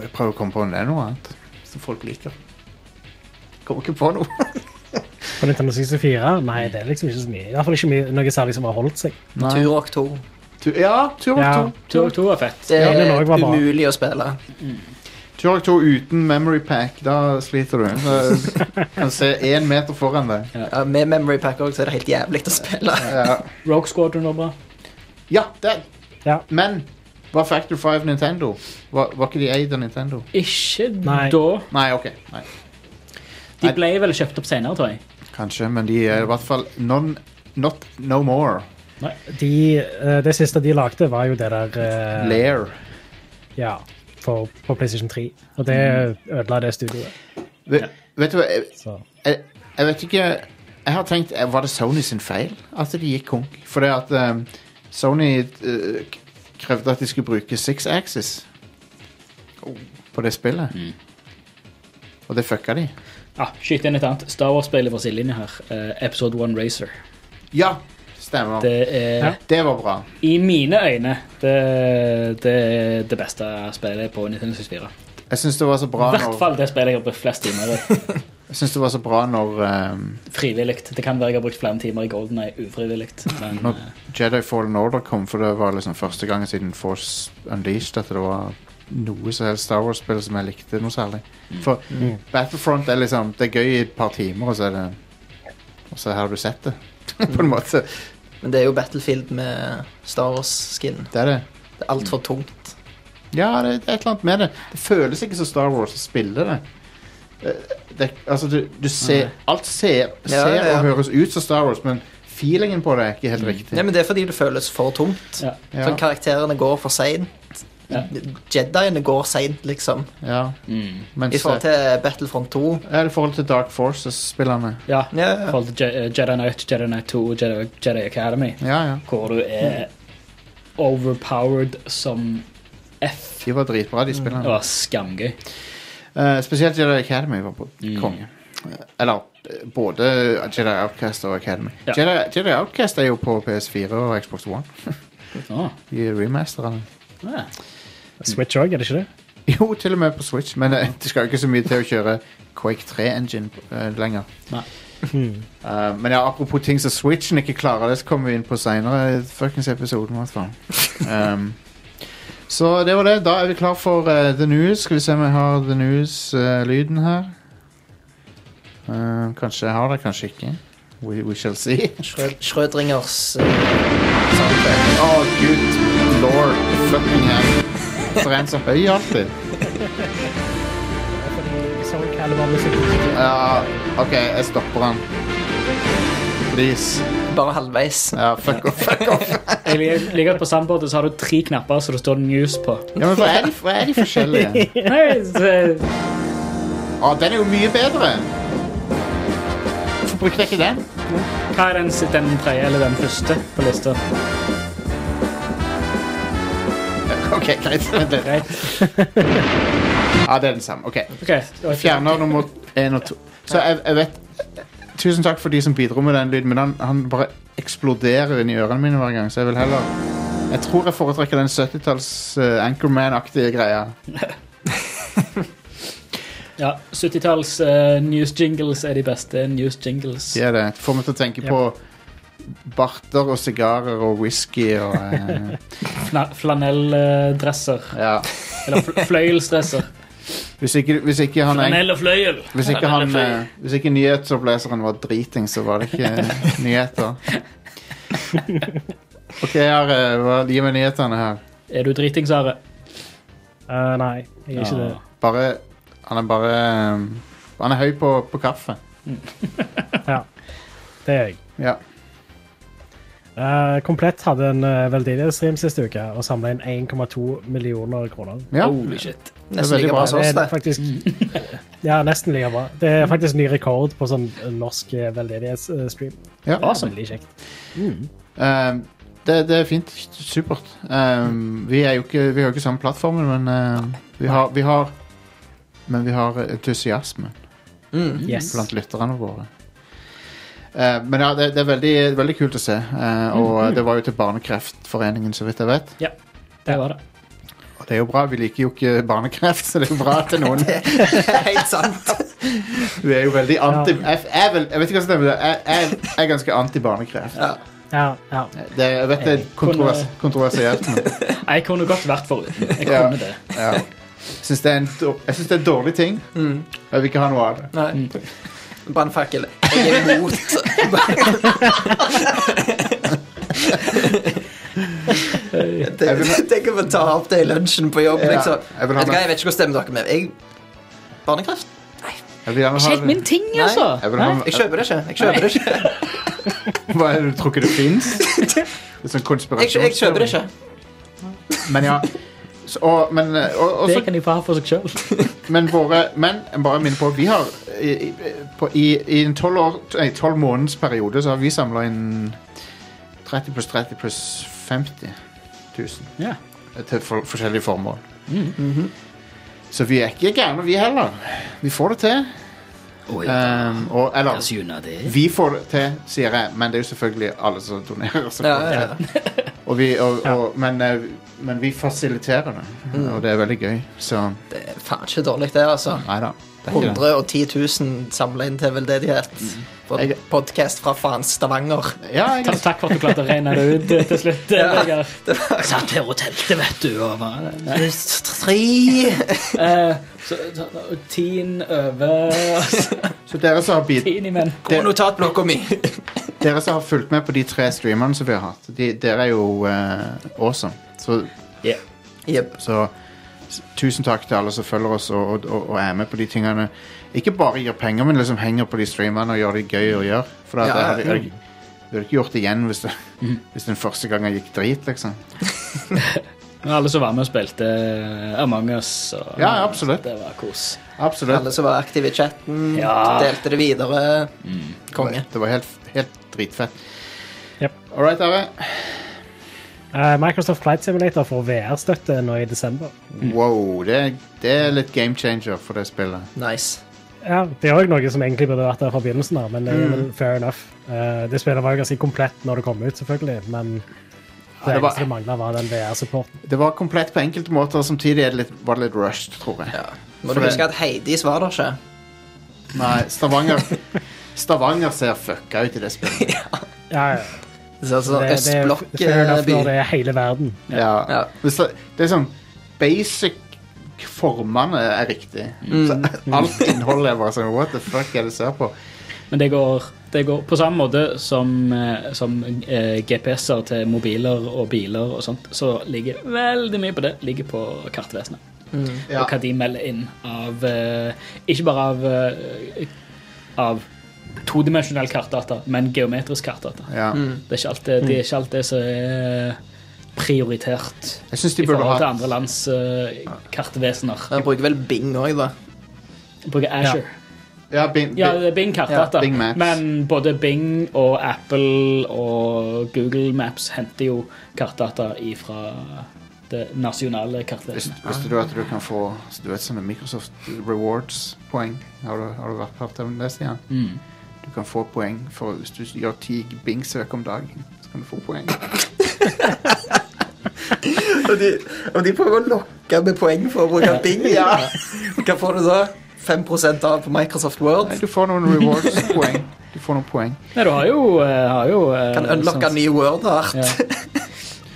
Speaker 2: jeg prøver å komme på om det er noe annet som folk liker. Kommer ikke på noe.
Speaker 5: På Nintendo 64? Nei, det er liksom ikke så mye. I hvert fall ikke mye, noe særlig som har holdt seg.
Speaker 2: Nei.
Speaker 4: Turok 2.
Speaker 2: Tu ja, Turok
Speaker 5: Ja.
Speaker 2: 2.
Speaker 3: Turok 2 var fett.
Speaker 4: Det
Speaker 5: Ja,
Speaker 4: er
Speaker 5: den også var bra.
Speaker 4: umulig å spille.
Speaker 2: Turok 2 uten memory pack, da sliter du. Så eh, kan se én meter foran deg.
Speaker 4: Ja, med Memory Pack også, så er det helt jævlig å spille.
Speaker 2: Ja,
Speaker 3: Rogue Squadron var bra.
Speaker 2: ja det.
Speaker 5: Ja.
Speaker 2: Men var Factor 5 Nintendo? Var, var ikke de eid av Nintendo?
Speaker 3: Ikke
Speaker 5: Nei.
Speaker 3: da.
Speaker 2: Nei, OK. Nei.
Speaker 3: De ble vel kjøpt opp senere, tror jeg.
Speaker 2: Kanskje, men de er i hvert fall non, not no more.
Speaker 5: De, eh, det siste de lagde, var jo det der eh,
Speaker 2: Lair.
Speaker 5: Ja, for, på PlayStation 3. Og det ødela det studioet.
Speaker 2: Ve- Vet du hva, jeg,
Speaker 5: Så.
Speaker 2: jeg, jeg vet ikke Jeg har tenkt, eh, var det Sony sin feil at de gikk konk? Fordi at eh, Sony eh, k- krevde at de skulle bruke six axis på det spillet. Og det fucka de.
Speaker 3: Ah, skyt inn et annet. Star Wars-spillet på sidelinja her. eh, episode 1 Racer.
Speaker 2: Ja, stemmer. Det,
Speaker 3: Det er
Speaker 5: Ja.
Speaker 2: var bra.
Speaker 3: i mine øyne det, det er det beste spillet på Nintendo 64.
Speaker 2: Jeg syns det var så bra
Speaker 3: I hvert
Speaker 2: når,
Speaker 3: fall det spillet jeg har brukt flest timer i.
Speaker 2: jeg synes det var så bra når eh,
Speaker 3: Frivillig. Det kan være jeg har brukt flere timer i Golden Eye ufrivillig. Men eh,
Speaker 2: Nå- Jedi Fallen Order kom, for det var liksom første gangen siden Force Unleashed at det var noe som helst Star Wars-spill som jeg likte noe særlig.
Speaker 4: Mm.
Speaker 2: For Battlefront er liksom Det er gøy i et par timer, og så er det Og så har du sett det, på en måte.
Speaker 4: Men det er jo Battlefield med Star Wars-skin.
Speaker 2: Det er det.
Speaker 4: Det er altfor tungt.
Speaker 2: Ja, det det er et eller annet med det. Det føles ikke som Star Wars å spille det. Eh, det altså, du, du ser Alt ser,
Speaker 4: Ja,
Speaker 2: ser
Speaker 4: ja, ja. Mm.
Speaker 2: og høres ut som Star Wars, men feelingen på det er ikke helt riktig.
Speaker 4: Nei, men Det er fordi det føles for tungt.
Speaker 3: ja.
Speaker 2: Ja,
Speaker 4: Sånn karakterene går for seint.
Speaker 3: Ja.
Speaker 4: Jediene går seint, liksom.
Speaker 2: ja.
Speaker 3: Mm.
Speaker 2: Mens,
Speaker 4: I forhold til Battlefront 2.
Speaker 2: ja, I forhold til Dark Forces-spillerne.
Speaker 3: ja.
Speaker 4: Ja,
Speaker 3: I
Speaker 4: ja.
Speaker 3: forhold til Je- eh, Jedi Knight, Jedi Knight 2 og Jedi, Jedi Academy,
Speaker 2: Ja, ja.
Speaker 3: hvor du er overpowered som F.
Speaker 2: De var dritbra, de spillene.
Speaker 3: Det var skamgøy.
Speaker 2: Eh, spesielt Jedi Academy var på konge. Eh, Eller eh, både Jedi Outcast og Academy.
Speaker 3: Ja.
Speaker 2: Jedi, Jedi Outcast er jo på PS4 og Xbox One.
Speaker 3: Ah,
Speaker 2: De remasterne.
Speaker 3: ja.
Speaker 5: Switch òg, er det ikke det?
Speaker 2: Jo, til og med på Switch, men eh, det skal jo ikke så mye til å kjøre Quake 3-engine lenger.
Speaker 3: Nei.
Speaker 2: Eh, men ja, apropos ting som Switchen ikke klarer, det så kommer vi inn på seinere i fuckings episoden. i hvert fall. Um, så det var det. Da er vi klar for eh, The News. Skal vi se om jeg har The News-lyden her. Eh, kanskje jeg har det, kanskje ikke. We, we shall see.
Speaker 4: Schrød Schrødringers eh, soundtrack.
Speaker 2: Å, gud lord fucking hell. For en så høy alltid. Ja, OK, jeg stopper han. Please.
Speaker 4: Bare halvveis.
Speaker 2: Ja, fuck off. Fuck off.
Speaker 3: Jeg lik- liker at på soundboardet så har du tre knapper så det står news på.
Speaker 2: Ja, men hva er de, hva er de forskjellige?
Speaker 3: Nei, så-
Speaker 2: Å, den er jo mye bedre. Hvorfor brukte jeg ikke den?
Speaker 3: Hva er den, s- den tredje eller den første på lista?
Speaker 2: OK, greit. Vent litt.
Speaker 3: Greit.
Speaker 2: Ja, det er den samme. OK.
Speaker 3: Ok, det var ikke-
Speaker 2: Fjerner nummer én og to. Så jeg, jeg vet Tusen takk for de som bidro med den lyden, men han, han bare eksploderer inn i ørene mine hver gang, så jeg vil heller Jeg tror jeg foretrekker den 70-talls eh, Anchorman-aktige greia.
Speaker 3: Ja, 70-talls eh, news jingles er de beste news jingles.
Speaker 2: Det er det. Får meg til å tenke på barter og sigarer og whisky og eh,
Speaker 3: Fla- Flanelldresser.
Speaker 2: Ja.
Speaker 3: Eller fl fløyelsdresser.
Speaker 2: Hvis ikke, hvis ikke han er
Speaker 3: Flanell og fløyel.
Speaker 2: Hvis ikke, han, eh, hvis ikke nyhetsoppleseren var driting, så var det ikke nyheter. OK, her, eh, hva- gi meg nyhetene her.
Speaker 3: Er du driting, Are?
Speaker 5: Eh, nei, jeg er ikke det.
Speaker 2: Bare Han er bare um, Han er høy på, på kaffe.
Speaker 5: Ja, det er jeg.
Speaker 2: Ja.
Speaker 5: Eh, Komplett hadde en eh, veldedighetsstream siste uke og samla inn 1,2 millioner kroner.
Speaker 2: ja.
Speaker 3: Holy shit.
Speaker 4: Nesten
Speaker 2: veldig
Speaker 4: like
Speaker 2: bra.
Speaker 4: bra som
Speaker 5: Det
Speaker 4: oss,
Speaker 5: er
Speaker 4: det.
Speaker 5: faktisk Ja, nesten like bra. Det er faktisk ny rekord på sånn norsk eh, veldedighetsstream.
Speaker 2: ja.
Speaker 5: Awesome. Veldig kjekt.
Speaker 2: Um, det, det er fint. Supert. Um, vi er jo ikke Vi har jo ikke samme plattformen, men um, vi, har, vi har Men vi har entusiasme
Speaker 4: Mm.
Speaker 5: Yes.
Speaker 2: blant lytterne våre. Eh, men ja, det, det er veldig, veldig kult å se. eh, og det var jo til Barnekreftforeningen, så vidt jeg vet.
Speaker 3: Det var det.
Speaker 2: Og det er jo bra. Vi liker jo ikke barnekreft, så det er jo bra til noen.
Speaker 4: Helt sant.
Speaker 2: Du er jo veldig anti... Jeg, jeg, er vel, jeg vet ikke hva som stemmer. Jeg, jeg, jeg er ganske anti barnekreft.
Speaker 4: Ja.
Speaker 5: Ja, ja.
Speaker 2: Det, jeg vet det er kontrovers, kontroversielt, men
Speaker 3: Jeg kunne godt vært foruten. Jeg
Speaker 2: Ja.
Speaker 3: kunne det.
Speaker 2: ja. Jeg syns det, er en dår- jeg synes det er en dårlig ting. Jeg vil ikke ha noe av det.
Speaker 4: Nei. Brannfakkel. Jeg er imot.
Speaker 2: Jeg vil-
Speaker 4: Tenk om å ta opp det i lunsjen på jobb.
Speaker 2: Ja,
Speaker 4: Liksom.
Speaker 2: jeg vil ha meg-
Speaker 4: Vet du hva, jeg vet ikke hvordan stemmer dere med. Jeg... Barnekraft?
Speaker 2: Jeg vil gjerne
Speaker 3: Ikke
Speaker 2: ha
Speaker 3: helt min
Speaker 2: det.
Speaker 3: ting,
Speaker 4: Nei,
Speaker 3: altså.
Speaker 2: Jeg vil ha,
Speaker 4: Jeg kjøper det ikke. Jeg kjøper det ikke.
Speaker 2: hva er det du tror ikke det fins? Sånn
Speaker 4: Jeg, jeg kjøper det
Speaker 2: konspirasjon.
Speaker 4: ikke.
Speaker 2: Men ja. Så, og, men, eh, og, og,
Speaker 3: Det
Speaker 2: så,
Speaker 3: kan de få ha for seg sjøl.
Speaker 2: men våre Men jeg bare minne på at vi har i, i, på, i, i en tolv måneders periode så har vi samla inn 30 pluss 30 pluss 50 000
Speaker 3: Ja.
Speaker 2: til for, forskjellige formål. Så vi er ikke gærne, vi heller. Vi får det til. Um, og, eller Vi får det til, sier jeg, men det er jo selvfølgelig alle som donerer. Som
Speaker 4: Ja,
Speaker 2: får det
Speaker 4: ja,
Speaker 2: til.
Speaker 4: ja.
Speaker 2: Og vi, og, og, men, eh, men vi fasiliterer det,
Speaker 4: Mm.
Speaker 2: og det er veldig gøy. Så
Speaker 4: Det er faen ikke dårlig, det, altså.
Speaker 2: nei da. Det er ikke det.
Speaker 4: 110 000 samla inn til veldedighet.
Speaker 2: Mm.
Speaker 4: På en
Speaker 2: Jeg-
Speaker 4: podkast fra faen Stavanger.
Speaker 2: Ja, jeg,
Speaker 3: Takk for at du klarte å regne det ut eh, til slutt. eh,
Speaker 4: Ja.
Speaker 3: Vegard.
Speaker 7: Satt her og telte, vet du. Og var
Speaker 4: Tre
Speaker 3: Eh, så- så- Tien over
Speaker 2: så dere som, har bid,
Speaker 3: Tien i menn.
Speaker 4: På notatblokka mi.
Speaker 2: dere som har fulgt med på de tre streamerne som vi har hatt, de, dere er jo eh, awesome. Så,
Speaker 4: Jepp.
Speaker 2: så s- tusen takk til alle som følger oss og, og, og er med på de tingene. Ikke bare gir penger, men liksom henger på de streamerne og gjør det gøy å gjøre. For at
Speaker 4: Ja, mm.
Speaker 2: jeg
Speaker 4: ja.
Speaker 2: hadde, jeg, jeg hadde ikke gjort det igjen hvis, det, hvis den første gangen gikk drit, liksom.
Speaker 3: Men alle som var med og spilte eh, Among us. Og,
Speaker 2: Ja, absolutt.
Speaker 3: Det var kos.
Speaker 2: Absolutt.
Speaker 4: Alle som var aktive i chatten,
Speaker 3: Ja.
Speaker 4: delte det videre. Konge.
Speaker 2: Det var helt, helt dritfett.
Speaker 5: Yep.
Speaker 2: All right, Are.
Speaker 5: Eh, Microsoft Flight Simulator får VR-støtte nå i desember.
Speaker 2: Wow, det, er- det er litt game changer for det spillet.
Speaker 4: Nice.
Speaker 5: Ja, Det er òg noe som egentlig burde vært der fra begynnelsen av, men, eh, men fair enough. Eh, det spillet var jo ganske komplett når det kom ut, selvfølgelig, men det
Speaker 2: det var-
Speaker 5: eneste det mangla, var den VR-supporten.
Speaker 2: Det var komplett på enkelte måter, og samtidig er det litt, var det litt rushed, tror jeg.
Speaker 4: Ja. Må
Speaker 2: For
Speaker 4: du
Speaker 2: det-
Speaker 4: huske at Heidis var der ikke.
Speaker 2: Nei, Stavanger Stavanger ser fucka ut i det spillet.
Speaker 5: Ja, ja.
Speaker 4: Så altså, eh,
Speaker 5: Det, eh, det er fair enough når
Speaker 4: Østblokkby.
Speaker 5: det er hele verden.
Speaker 2: Ja.
Speaker 4: Ja.
Speaker 2: Men så- Det er sånn basic formene er riktig. Så alt innholdet er bare sånn What the fuck er det jeg ser på?
Speaker 3: Men det går, det går på samme måte som, eh, som eh, GPS-er til mobiler og biler og sånt, så ligger veldig mye på det ligger på kartvesenet.
Speaker 2: Mm. Ja.
Speaker 3: Og hva de melder inn av eh, Ikke bare av, eh, av todimensjonell kartdata, men geometrisk kartdata.
Speaker 2: Ja.
Speaker 3: Det er ikke alt det,
Speaker 2: Mm.
Speaker 3: det er ikke alt det som er prioritert
Speaker 2: Jeg syns de
Speaker 3: i
Speaker 2: burde
Speaker 3: forhold til
Speaker 2: ha
Speaker 3: andre lands eh, kartvesener.
Speaker 4: Han bruker vel Bing òg, da.
Speaker 3: Bruker Azure.
Speaker 2: Ja, Bing,
Speaker 3: Ja, det er Bing kartdata.
Speaker 2: Ja, Bing Maps.
Speaker 3: men både Bing og Apple og Google Maps henter jo kartdata ifra det nasjonale kartvesenet.
Speaker 2: Visste, visste du at du kan få du vet, sånne Microsoft Rewards-poeng? Har, du- har du vært part av det, Stian? Du kan få poeng for hvis du gjør ti Bing-søk om dagen. Så kan du få poeng.
Speaker 4: Og de, og de prøver å lokke med poeng for å bruke Bing. Ja. Hva får du da? 5 av på Microsoft Word?
Speaker 2: Nei, du får noen rewards-poeng. Du får noen poeng.
Speaker 3: Nei, du har jo, eh, har jo eh,
Speaker 4: Kan unlocke
Speaker 3: sånn-
Speaker 4: ny Word-art.
Speaker 3: Ja.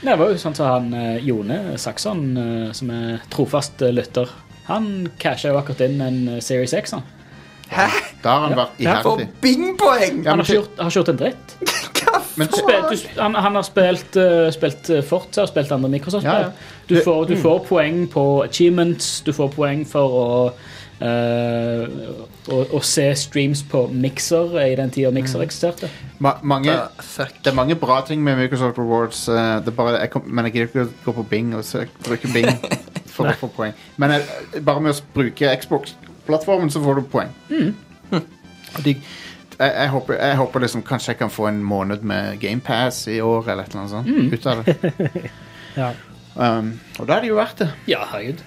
Speaker 3: Nei, Det var jo sånn som han eh, Jone Saksson, eh, som er trofast eh, lytter, han casha jo akkurat inn en eh, Series X. Han,
Speaker 4: Hæ?
Speaker 2: Da har han vært
Speaker 4: For
Speaker 2: iherdig.
Speaker 4: Bing-poeng!
Speaker 2: Ja,
Speaker 3: han
Speaker 2: men,
Speaker 3: har, ikke
Speaker 2: til,
Speaker 3: gjort, har ikke gjort en dritt.
Speaker 4: Hva
Speaker 2: men,
Speaker 3: Du
Speaker 2: til,
Speaker 3: spil- du, sp- han, han har spilt, uh, spilt eh, Forza og spilt andre
Speaker 2: Ja, mm.
Speaker 3: Microsoft-spill.
Speaker 2: ja.
Speaker 3: Du, får, du får poeng på achievements, du får poeng for å eh, å, å se streams på Mixer eh, i den tida Mixer
Speaker 2: Mm.
Speaker 3: eksisterte.
Speaker 2: ma, mange,
Speaker 4: f- Fuck.
Speaker 2: det er mange bra ting med Microsoft Rewards, eh, det er bare, jeg kom, men jeg gidder ikke å gå på Bing og søke, bruke Bing for å få poeng. Men jeg, bare med å bruke Xbox-plattformen, så får du poeng.
Speaker 5: Mm.
Speaker 2: Hm. Og de, jeg, jeg, håper, jeg håper liksom kanskje jeg kan få en måned med GamePass i år, eller et eller annet sånt. Ut av det.
Speaker 5: Mm. Ja.
Speaker 2: Um, og da er det jo verdt det.
Speaker 3: Ja, herregud.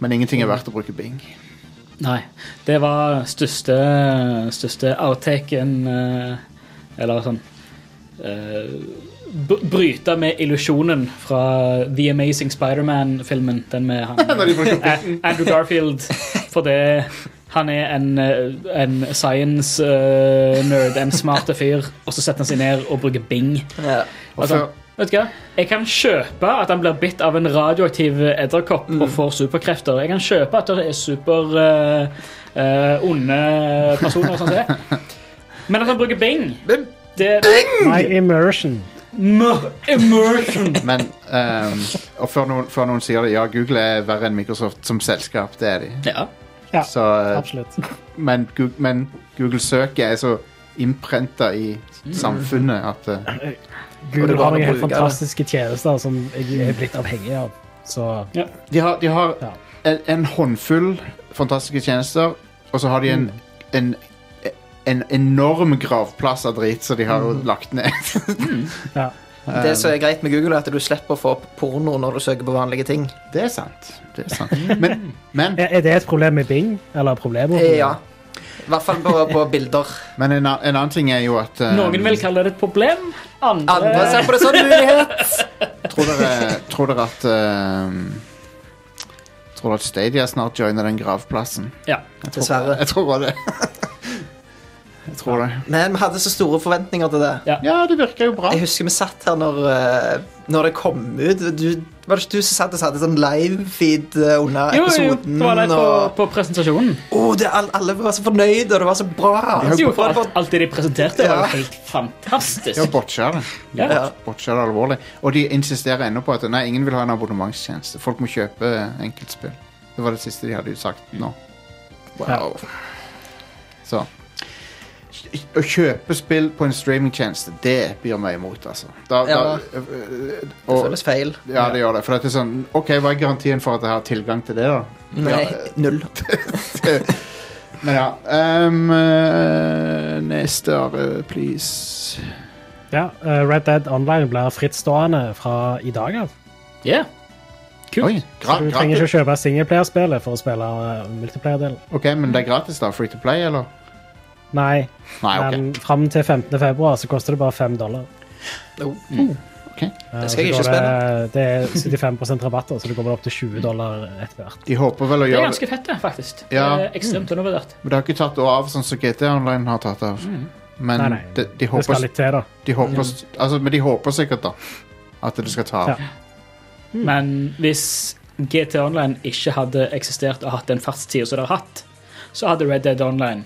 Speaker 2: Men ingenting er verdt å bruke Bing.
Speaker 3: Nei. Det var største, største outtaken eh, Eller sånn eh, b- Bryte med illusjonen fra The Amazing Spiderman-filmen. Den med han
Speaker 2: Når de bruker
Speaker 3: Eh, Andrew Garfield. For det Han er en, eh, en science-nerd, en smarte fyr, og så setter han seg ned og bruker Bing.
Speaker 4: Ja.
Speaker 2: Og
Speaker 3: Altså,
Speaker 2: før,
Speaker 3: vet du hva? Jeg kan kjøpe at han blir bitt av en radioaktiv eh, edderkopp og får superkrefter. Jeg kan kjøpe at det er super eh, eh, onde personer og sånn som det. Men at han bruker Bing
Speaker 4: Men
Speaker 3: det,
Speaker 5: My immersion.
Speaker 3: Mer- Immersion!
Speaker 2: men ehm, Og før noen, før noen sier det, ja, Google er verre enn Microsoft som selskap. Det er de.
Speaker 3: Ja.
Speaker 5: Ja,
Speaker 2: Så, eh,
Speaker 5: absolutt.
Speaker 2: men, Google, men Google søket er så innprenta i samfunnet at eh,
Speaker 5: Google
Speaker 4: det går
Speaker 5: har
Speaker 4: an å
Speaker 5: noen
Speaker 4: bruke
Speaker 5: helt
Speaker 4: det. Mm.
Speaker 5: fantastiske tjenester som jeg er blitt avhengig av. Så
Speaker 2: De har, de har
Speaker 5: Ja.
Speaker 2: en, en håndfull fantastiske tjenester, og så har de en,
Speaker 3: Mm.
Speaker 2: en, en enorm gravplass av drit som de har
Speaker 3: Mm.
Speaker 2: lagt ned.
Speaker 5: ja.
Speaker 3: Um,
Speaker 4: det som er greit med Google, er at du slipper å få opp porno når du søker på vanlige ting.
Speaker 2: Det er sant. Det er sant.
Speaker 3: Mm.
Speaker 2: Men, men,
Speaker 5: Er er det et problem med Bing? Eller problemer?
Speaker 4: Eh, Ja. I hvert fall på, på bilder.
Speaker 2: men en, a- en annen ting er jo at eh,
Speaker 3: Noen vil kalle det et problem. Andre,
Speaker 4: Andre ser på det som en mulighet.
Speaker 2: tror, dere, tror dere at eh, Tror dere at Stadia snart joiner den gravplassen?
Speaker 3: Ja.
Speaker 4: Dessverre.
Speaker 2: Jeg tror bare det. Jeg tror det.
Speaker 4: Men vi hadde så store forventninger til det.
Speaker 2: Ja, det virker jo bra.
Speaker 4: Jeg husker vi satt her når, eh, når det kom ut. Du, var det ikke du som satt og satte sånn live-feed eh, under
Speaker 3: Jo, jo, jo.
Speaker 4: episoden?
Speaker 3: Det var det på,
Speaker 4: og,
Speaker 3: på presentasjonen.
Speaker 4: Åh, det, alle, alle var så fornøyde, og det var så bra.
Speaker 3: Det er jo
Speaker 4: Det var-
Speaker 3: for alt, alt det de presenterte, var
Speaker 4: Ja.
Speaker 3: jo helt fantastisk.
Speaker 2: Ja, botcha det.
Speaker 3: Ja.
Speaker 4: Ja.
Speaker 2: Botcha det alvorlig. Og de insisterer ennå på at nei, ingen vil ha en abonnementstjeneste. Folk må kjøpe eh, enkeltspill. Det var det siste de hadde sagt nå. Wow. Så Å kjøpe spill på en streamingtjeneste, det byr meg imot, altså. Da,
Speaker 4: Ja.
Speaker 2: da, øh, øh,
Speaker 4: Det
Speaker 2: og,
Speaker 4: føles feil.
Speaker 2: ja, det gjør det. For det er sånn OK, hva er garantien for at jeg har tilgang til det, da?
Speaker 4: Nei, null.
Speaker 2: Men ja. ehm, øh, neste år, please.
Speaker 5: Ja, eh, Red Dead Online blir frittstående fra i dag av.
Speaker 3: Ja. Kult.
Speaker 2: Oi, gra
Speaker 5: Så du trenger
Speaker 2: gratis.
Speaker 5: ikke å kjøpe singleplayerspillet for å spille eh, multiplayer-delen.
Speaker 2: Ok, men det er gratis, da? Free to play, eller?
Speaker 5: Nei,
Speaker 2: Nei, ok.
Speaker 3: Um,
Speaker 5: men fram til 15. februar så koster det bare 5 dollar.
Speaker 2: ok.
Speaker 4: Jo.
Speaker 5: Eh,
Speaker 4: Oh, mm. Det skal jeg
Speaker 5: så
Speaker 4: ikke
Speaker 5: går Det, det er 75 rabatter, så det kommer opp til 20 dollar etter hvert.
Speaker 2: De håper vel å
Speaker 3: Det er
Speaker 2: gjøre det,
Speaker 3: ganske fett, det, faktisk.
Speaker 2: Ja.
Speaker 3: Det er ekstremt undervurdert.
Speaker 2: men det har ikke tatt av sånn som GT Online har tatt av.
Speaker 3: Mm.
Speaker 2: Men
Speaker 5: Nei, nei.
Speaker 2: De, de,
Speaker 5: Det skal
Speaker 2: håper,
Speaker 5: litt til, da.
Speaker 2: de, håper, altså, men de håper sikkert, da, at det skal ta av.
Speaker 5: Ja.
Speaker 3: Men hvis GT Online ikke hadde eksistert og hatt den fartstida som det har hatt, så hadde Red Dead Online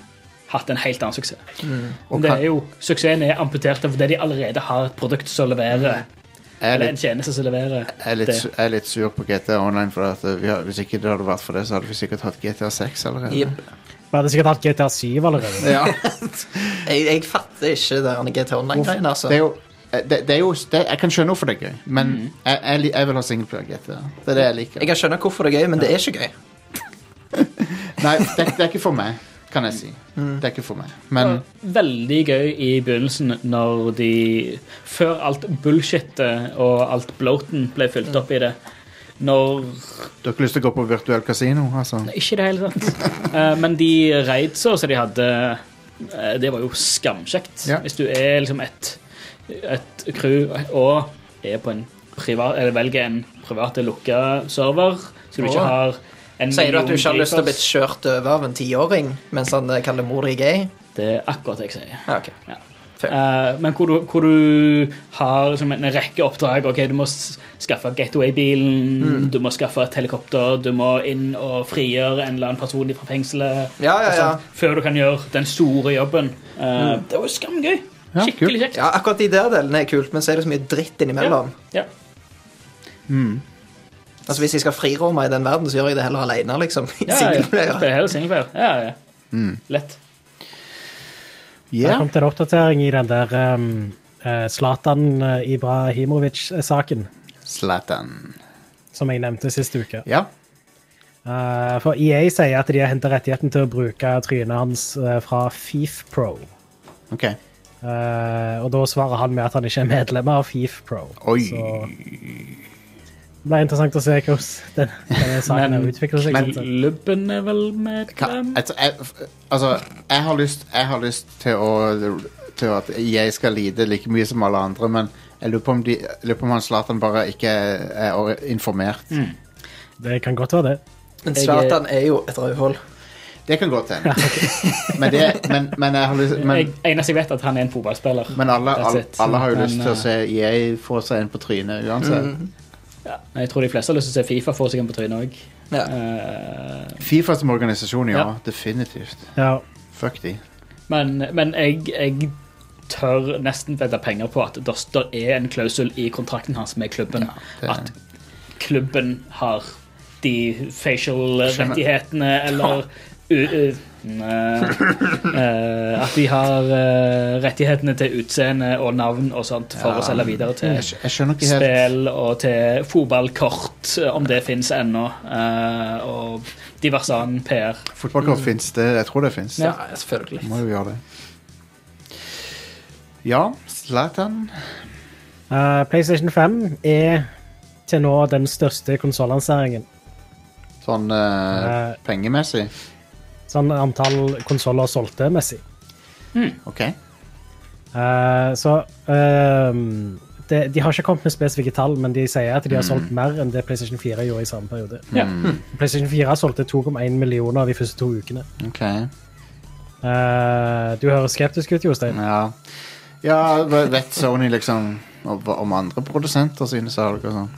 Speaker 3: hatt en helt annen suksess.
Speaker 2: Og
Speaker 3: Det
Speaker 2: kan,
Speaker 3: er jo, suksessen er amputert av fordi de allerede har et produkt som leverer,
Speaker 2: jeg, er
Speaker 3: eller en
Speaker 2: litt,
Speaker 3: tjeneste som leverer.
Speaker 2: jeg, er litt,
Speaker 3: det.
Speaker 2: su- jeg er litt sur på GT Online, for at eh, vi har, hvis ikke det hadde vært for det, så hadde vi sikkert hatt GTA 6 allerede.
Speaker 4: Jep.
Speaker 5: Vi hadde sikkert hatt GTA 7 allerede.
Speaker 2: Ja.
Speaker 4: Jeg, jeg fatter ikke det der GT Online-greien, altså.
Speaker 2: Det er jo eh, det, det er jo, det, jeg kan skjønne hvorfor det er gøy, men jeg, jeg, li- jeg vil ha singleplayer GT. Det er det jeg liker.
Speaker 4: Mm. Jeg kan skjønne hvorfor det er gøy, men det er ikke gøy.
Speaker 2: Nei, det, det er ikke for meg, kan jeg si.
Speaker 4: Mm.
Speaker 2: Det er ikke for meg. Men
Speaker 3: Veldig gøy i begynnelsen når de Før alt bullshitet og alt bloaten ble fylt opp i det. Når
Speaker 2: du har ikke lyst til å gå på virtuell kasino, altså?
Speaker 3: Ikke i det hele tatt. Eh, Men de raidsa som de hadde, eh, det var jo skamkjekt.
Speaker 2: Ja.
Speaker 3: Hvis du er liksom et, et crew og er på en privat, eller velger en privat lukka server, så du
Speaker 4: Åh.
Speaker 3: ikke har en
Speaker 4: Sier du at du ikke har
Speaker 3: million
Speaker 4: lyst til å bli
Speaker 3: creepers,
Speaker 4: kjørt over av en tiåring mens han eh, kaller mor di gay?
Speaker 3: Det er akkurat det jeg sier.
Speaker 4: Ja, ok.
Speaker 3: Eh, men hvor du, hvor du har liksom en rekke oppdrag. Ok, Du må s- skaffe getaway-bilen, du må skaffe et helikopter, du må inn og frigjøre en eller annen person fra fengselet.
Speaker 4: Ja, ja,
Speaker 3: og
Speaker 4: ja.
Speaker 3: sånt, Før du kan gjøre den store jobben. Eh, Det var jo skamgøy.
Speaker 2: Ja,
Speaker 3: Skikkelig kjekt.
Speaker 4: ja, akkurat de der delene er kult, men så er det så mye dritt innimellom.
Speaker 3: Ja.
Speaker 4: Altså Hvis jeg skal friro meg i den verden, så gjør jeg det heller alene. Liksom. I
Speaker 3: Ja, ja, ja. Det
Speaker 4: singleplayer.
Speaker 3: er hele singleplayer. Ja, ja. Lett.
Speaker 5: Det
Speaker 2: Ja.
Speaker 5: kom til en oppdatering i den der ehm, eh, Zlatan eh, Ibrahimovic-saken,
Speaker 2: Zlatan.
Speaker 5: som jeg nevnte sist uke.
Speaker 2: Ja.
Speaker 5: Eh, for EA sier at de har henta rettigheten til å bruke trynet hans eh, fra Fif Pro.
Speaker 2: OK.
Speaker 5: Eh, og da svarer han med at han ikke er medlem av Fif Pro.
Speaker 2: Oi.
Speaker 5: Det blir interessant å se hvordan den, denne saken
Speaker 3: Men-
Speaker 5: utvikler seg. sånn sett.
Speaker 3: Lubben er vel med
Speaker 2: Ka, altså, jeg, altså, jeg har lyst Jeg har lyst til å Til at jeg skal lide like mye som alle andre, men jeg lurer på om, de, jeg lurer på om han Zlatan bare ikke er
Speaker 3: Mm.
Speaker 2: or- informert.
Speaker 5: Det kan godt være det.
Speaker 4: Men Zlatan er jo et rødhål.
Speaker 2: Det kan godt hende. men, det- men, men jeg har lyst
Speaker 3: jeg,
Speaker 2: eh, men,
Speaker 3: eneste jeg vet, er at han er en fotballspiller.
Speaker 2: men alle,
Speaker 3: That's
Speaker 2: alle,
Speaker 3: it.
Speaker 2: alle har jo
Speaker 3: Men,
Speaker 2: lyst til å
Speaker 3: eh, Mm.
Speaker 2: se EA få seg en på trynet uansett.
Speaker 3: Ja, men jeg tror de fleste har lyst til å se Fifa få seg en på trynet Eh, òg.
Speaker 4: Ja.
Speaker 2: Fifa som organisasjon, ja.
Speaker 3: Ja.
Speaker 2: Definitivt.
Speaker 5: Ja.
Speaker 2: Fuck de.
Speaker 3: Men, men jeg, jeg tør nesten vedde penger på at det er en klausul i kontrakten hans med klubben.
Speaker 2: det-
Speaker 3: At klubben har de facial rettighetene eller u- u- ne, eh, At de har eh, rettighetene til utseende og navn og sånt for å selge videre til
Speaker 2: Jeg, skj- jeg skjønner ikke helt
Speaker 3: spill og til fotballkort, om det fins ennå, eh, og diverse annen PR.
Speaker 2: Fotballkort fins det. Jeg tror det fins.
Speaker 4: ja, selvfølgelig.
Speaker 2: Må jo gjøre det. Ja, Zlatan.
Speaker 5: Eh, PlayStation 5 er til nå den største konsolanseringen.
Speaker 2: Sånn eh,
Speaker 5: Eh.
Speaker 2: pengemessig.
Speaker 5: Sånn antall konsoller solgte messig.
Speaker 2: OK.
Speaker 5: Eh, så ehm, det, De har ikke kommet med spesifikke tall, men de sier at de har
Speaker 2: Mm.
Speaker 5: solgt mer enn det PlayStation 4 gjorde i samme periode.
Speaker 3: Ja.
Speaker 5: PlayStation 4 solgte 2,1 millioner de første to ukene.
Speaker 2: ok
Speaker 5: Eh, du høres skeptisk ut, Jostein.
Speaker 2: Ja. ja, vet Sony liksom om, om andre produsenter sine salg og sånn?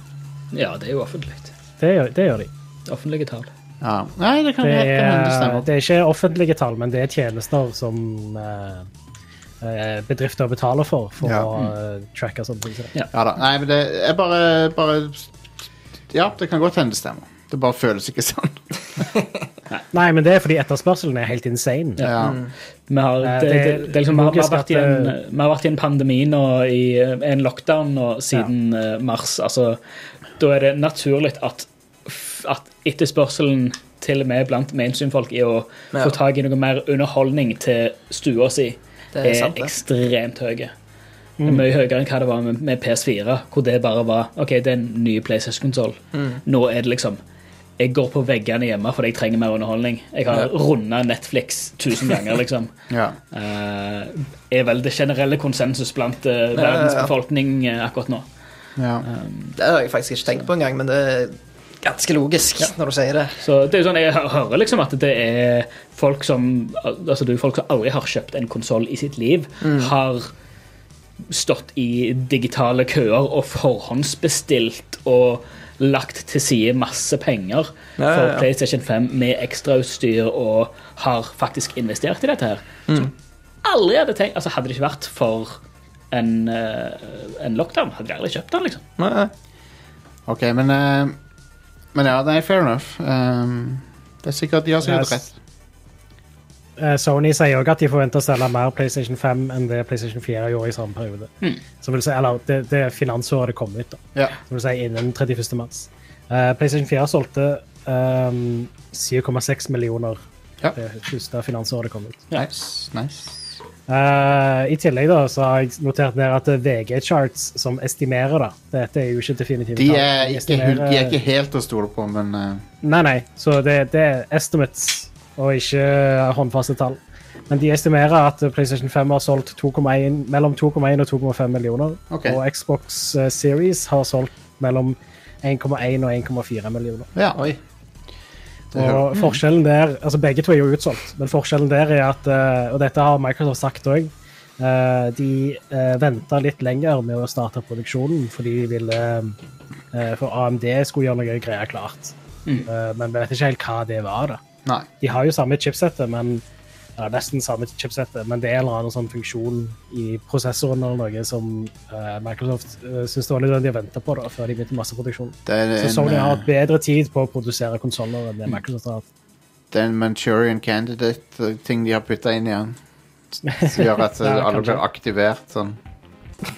Speaker 3: Ja, det er jo offentlig.
Speaker 5: Det gjør, det gjør de.
Speaker 3: Offentlige tall.
Speaker 2: Ja. Nei, det kan
Speaker 5: Det
Speaker 2: helt kan hende det
Speaker 5: er, eh,
Speaker 2: stemmer.
Speaker 5: det er ikke offentlige tall, men det er tjenester som eh, eh, bedrifter betaler for, for
Speaker 2: Ja. Mm.
Speaker 5: å eh, tracke sånne ting. som det.
Speaker 2: Ja da. Nei, men det er bare, bare Ja, det kan godt hende det stemmer. Det bare føles ikke sånn.
Speaker 5: Nei, men det er fordi etterspørselen er helt insane.
Speaker 2: Ja.
Speaker 3: Vi har, det,
Speaker 5: Eh, det-
Speaker 3: det, det, er liksom, vi har, vi har
Speaker 5: logisk
Speaker 3: vært i
Speaker 5: at,
Speaker 3: en,
Speaker 5: eh,
Speaker 3: vi har vært i en pandemi nå, i eh, en lockdown nå, siden eh, mars. Altså, da er det naturlig at, f- at etterspørselen til og med blant mainstream-folk i å
Speaker 4: Ja.
Speaker 3: få tak i noe mer underholdning til stua si,
Speaker 4: Det
Speaker 3: er,
Speaker 4: er sant, det.
Speaker 3: ekstremt høye. Det er Mye høyere enn hva det var med, med PS4, hvor det bare var OK, det er en ny PlayStation-konsoll. Nå er det liksom Jeg går på veggene hjemme fordi jeg trenger mer underholdning. Jeg har
Speaker 4: Ja.
Speaker 3: runda Netflix tusen ganger, liksom.
Speaker 2: Ja.
Speaker 3: Eh, er vel det generelle konsensus blant eh, verdens
Speaker 4: Ja, ja, ja.
Speaker 3: befolkning eh, akkurat nå.
Speaker 2: ja.
Speaker 4: Det har jeg faktisk ikke tenkt på engang, men det er ganske logisk når du sier det.
Speaker 3: Så det er jo sånn, Jeg hø- hører liksom at det er folk som al- altså det er jo folk som aldri har kjøpt en konsoll i sitt liv,
Speaker 4: Mm.
Speaker 3: har stått i digitale køer og forhåndsbestilt og lagt til side masse penger
Speaker 4: Ja, ja, ja.
Speaker 3: for PlayStation 5 med ekstrautstyr og har faktisk investert i dette her.
Speaker 4: Mm.
Speaker 3: Som aldri hadde tenkt altså Hadde det ikke vært for en, eh, en lockdown, hadde de aldri kjøpt den, liksom.
Speaker 4: Nei,
Speaker 2: Ok, men eh, Men ja, nei, fair enough. Um, det er sikkert, de har sikkert
Speaker 5: Ja,
Speaker 2: rett.
Speaker 5: s- Eh, Sony sier òg at de forventer å selge mer PlayStation 5 enn det PlayStation 4 gjorde i samme periode.
Speaker 2: Hmm.
Speaker 5: Som vil si, eller det, det er finansåret det kom ut, da.
Speaker 2: Ja.
Speaker 5: Som vil si innen 31. mars. Eh, PlayStation 4 solgte ehm, 7,6 millioner
Speaker 2: Ja.
Speaker 5: det første finansåret det kom ut.
Speaker 2: Nice. nice.
Speaker 5: Eh, I tillegg da, så har jeg notert ned at VG Charts, som estimerer da, Dette er jo ikke definitivt.
Speaker 2: De er, ikke, hul- de er ikke helt å stole på, men eh,
Speaker 5: Nei, nei. Så det, det er estimates og ikke håndfaste tall. Men de estimerer at PlayStation 5 har solgt 2,1 mellom 2,1 og 2,5 millioner.
Speaker 2: Ok.
Speaker 5: Og Xbox eh, Series har solgt mellom 1,1 og 1,4 millioner.
Speaker 2: ja.
Speaker 4: Oi.
Speaker 2: Det hører-
Speaker 5: Og forskjellen der, altså Begge to er jo utsolgt, men forskjellen der er at eh, Og dette har Microsoft sagt òg. de uh, venta litt lenger med å starte produksjonen fordi de ville eh, For AMD skulle gjøre noe greier klart. Eh, men vi vet ikke helt hva det var. da
Speaker 2: Nei.
Speaker 5: De har jo samme chipsettet, men eller nesten samme chipsettet, men det er en eller annen sånn funksjon i prosessoren eller noe som eh, Microsoft uh, syntes det var nødvendig å vente på da, før de begynte masseproduksjon.
Speaker 2: Det er
Speaker 5: Så
Speaker 2: en,
Speaker 5: Sony har
Speaker 2: eh,
Speaker 5: hatt
Speaker 2: Mm.
Speaker 5: bedre tid på å produsere konsoller enn det Microsoft har hatt.
Speaker 2: det er en Manchurian Candidate-ting de har putta inn igjen. Som gjør at eh,
Speaker 5: Ja,
Speaker 2: alle blir
Speaker 5: kanskje.
Speaker 2: aktivert sånn.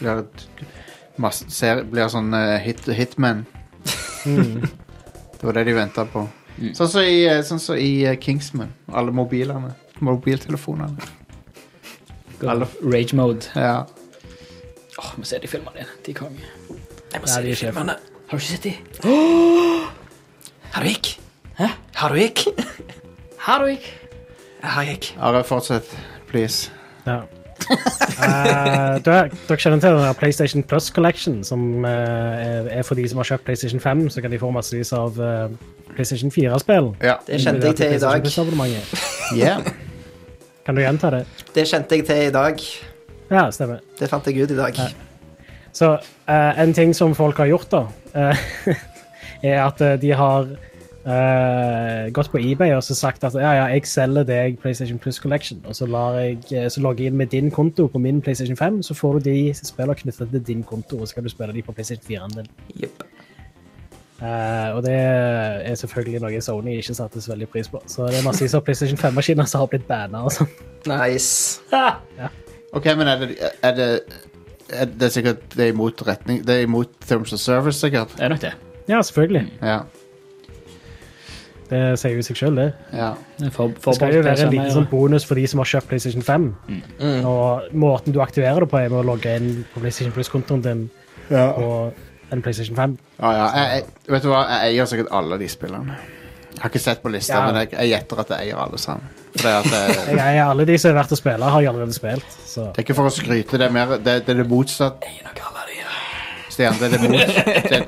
Speaker 2: Blir, et- masse, ser, blir sånn eh, hit, hitman.
Speaker 5: Mm.
Speaker 2: det var det de venta på. Sånn som i, eh, sånn som i eh, Kingsman. Alle mobilene. Mobiltelefonene. Alle-
Speaker 3: Rage mode.
Speaker 2: Ja.
Speaker 3: Åh, vi ser de filmene igjen. De konge.
Speaker 4: Jeg må
Speaker 5: Ja,
Speaker 4: se
Speaker 5: de
Speaker 4: de
Speaker 5: er sjefen.
Speaker 4: filmene.
Speaker 3: Har du ikke sett de?
Speaker 4: Har du gikk? Har du gikk?
Speaker 3: Har du ikke?
Speaker 4: Har jeg gikk.
Speaker 2: Are, fortsett, please.
Speaker 5: Ja. Eh, dere, dere kjenner til den der PlayStation Plus Collection, som eh, er- er for de som har kjøpt PlayStation 5, så kan de få massevis av eh, PlayStation 4-spill.
Speaker 2: Ja.
Speaker 4: Det kjente jeg til i dag.
Speaker 2: Yeah.
Speaker 5: Kan du gjenta det?
Speaker 4: Det kjente jeg til i dag.
Speaker 5: Ja, stemmer.
Speaker 4: Det fant jeg ut i dag.
Speaker 5: Så eh, en ting som folk har gjort, da, eh, er at eh, de har eh, gått på eBay og så sagt at ja, ja, jeg selger deg PlayStation Plus Collection, og så, lar jeg, eh, så logger jeg inn med din konto på min PlayStation 5, så får du de spillene knytta til din konto, og så kan du spille de på PlayStation 4-en din.
Speaker 4: Jepp.
Speaker 5: Eh, og det er selvfølgelig noe Sony ikke satte så veldig pris på. Så det er massevis av PlayStation 5-maskiner som har blitt banna og sånn.
Speaker 4: Nice.
Speaker 2: Ok, men er det, er det er det er sikkert det er imot retning Det er imot Terms of Service, sikkert.
Speaker 3: Det er nok det.
Speaker 5: Ja, selvfølgelig.
Speaker 2: Ja.
Speaker 5: Det sier jo seg sjøl, det.
Speaker 2: ja.
Speaker 3: For,
Speaker 5: Det skal jo være en liten sånn
Speaker 3: sånn
Speaker 5: bonus for de som har kjøpt PlayStation 5. Og måten du aktiverer det på, er med å logge inn på PlayStation Plus-kontoen din på en PlayStation 5.
Speaker 2: Ah, ja. Jeg, jeg, vet du hva, jeg eier sikkert alle de spillene. Jeg har ikke sett på lista,
Speaker 5: Ja.
Speaker 2: men jeg, jeg gjetter at jeg eier alle sammen. For det, at jeg,
Speaker 5: Jeg, jeg, alle de som er verdt å spille, har jeg allerede spilt. Så
Speaker 2: det er ikke for å skryte, det er mer Det, det er det motsatte. Stian, det er det motsatte.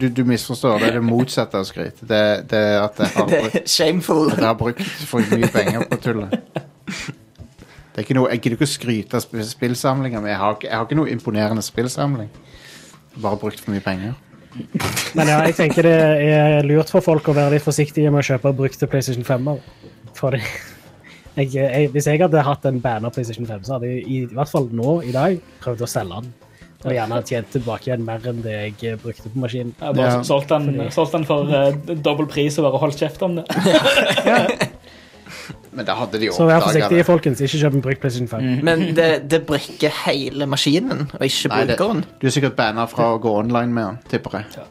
Speaker 2: Du, du misforstår. Det er det motsatte av skryt. Det, det er at jeg har
Speaker 4: Det
Speaker 2: brukt,
Speaker 4: er shameful.
Speaker 2: at jeg har brukt for mye penger på tullet. Det er ikke noe, jeg gidder ikke å skryte av sp- spillsamlinger, men jeg har, ikke- jeg har ikke noe imponerende spillsamling. Bare brukt for mye penger.
Speaker 5: Men ja, jeg tenker det er lurt for folk å være litt forsiktige med å kjøpe brukte PlayStation 5-er. For det. Jeg, jeg, hvis jeg hadde hatt en banner PlayStation 5, så hadde jeg i, i hvert fall nå i dag prøvd å selge den. Og gjerne tjent tilbake igjen mer enn det jeg eh, brukte på maskinen.
Speaker 3: Jeg bare
Speaker 2: Ja.
Speaker 3: solgte den, solgte den for eh, dobbel pris og bare holdt kjeft om det.
Speaker 2: Men da hadde de
Speaker 5: Så vær
Speaker 2: oppdaga
Speaker 5: forsiktige,
Speaker 2: det.
Speaker 5: folkens. Ikke kjøp en brukt PlayStation 5.
Speaker 4: Men det, det brikker hele maskinen, og ikke
Speaker 2: Nei, det,
Speaker 4: brukeren.
Speaker 2: du er sikkert banna fra å gå online med den, tipper jeg.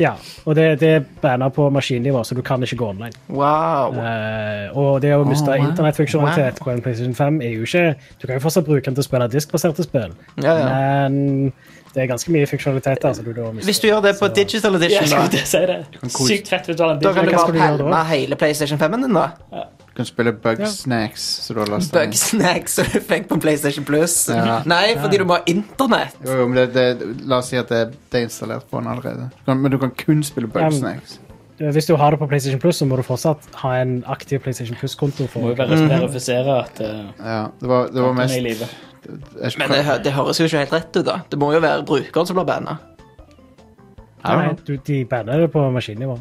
Speaker 5: Ja, og det, det er banna på maskinnivå, så du kan ikke gå online.
Speaker 4: Wow.
Speaker 5: Eh, og det å miste
Speaker 2: wow.
Speaker 5: internettfunksjonalitet på en PlayStation 5 er jo ikke Du kan jo fortsatt bruke den til å spille diskbaserte spill,
Speaker 4: Ja, ja.
Speaker 5: men det er ganske mye funksjonalitet der. Så du da mister.
Speaker 4: Hvis du gjør det på digital edition,
Speaker 3: Jeg skulle
Speaker 4: da,
Speaker 3: til å si det.
Speaker 2: kose-
Speaker 3: Sykt fett hvis du har en
Speaker 4: da
Speaker 3: digital-
Speaker 4: kan du
Speaker 5: Hva skal
Speaker 4: bare
Speaker 5: du gjøre da?
Speaker 4: pælme hele PlayStation 5-en din, da.
Speaker 2: Du kan spille Bugsnacks, så du har lasta ned.
Speaker 4: Bugsnacks og du fikk på PlayStation Plus.
Speaker 2: Ja.
Speaker 4: Nei, fordi du må ha internett.
Speaker 2: Jo, jo, men det, det, la oss si at det, det er installert på den allerede. Du kan, men du kan kun spille Bugsnacks.
Speaker 5: Eh, Hvis du har det på PlayStation Plus, så må du fortsatt ha en aktiv PlayStation Plus-konto.
Speaker 3: Må
Speaker 5: for
Speaker 3: jo bare verifisere at eh,
Speaker 2: Ja, det var, det var
Speaker 3: den
Speaker 2: mest
Speaker 3: er i live.
Speaker 2: jeg-
Speaker 4: Men det, hø- det høres jo ikke helt rett ut, da. Det må jo være brukeren som blir banna.
Speaker 5: Nei, du, de banner det på maskinnivå.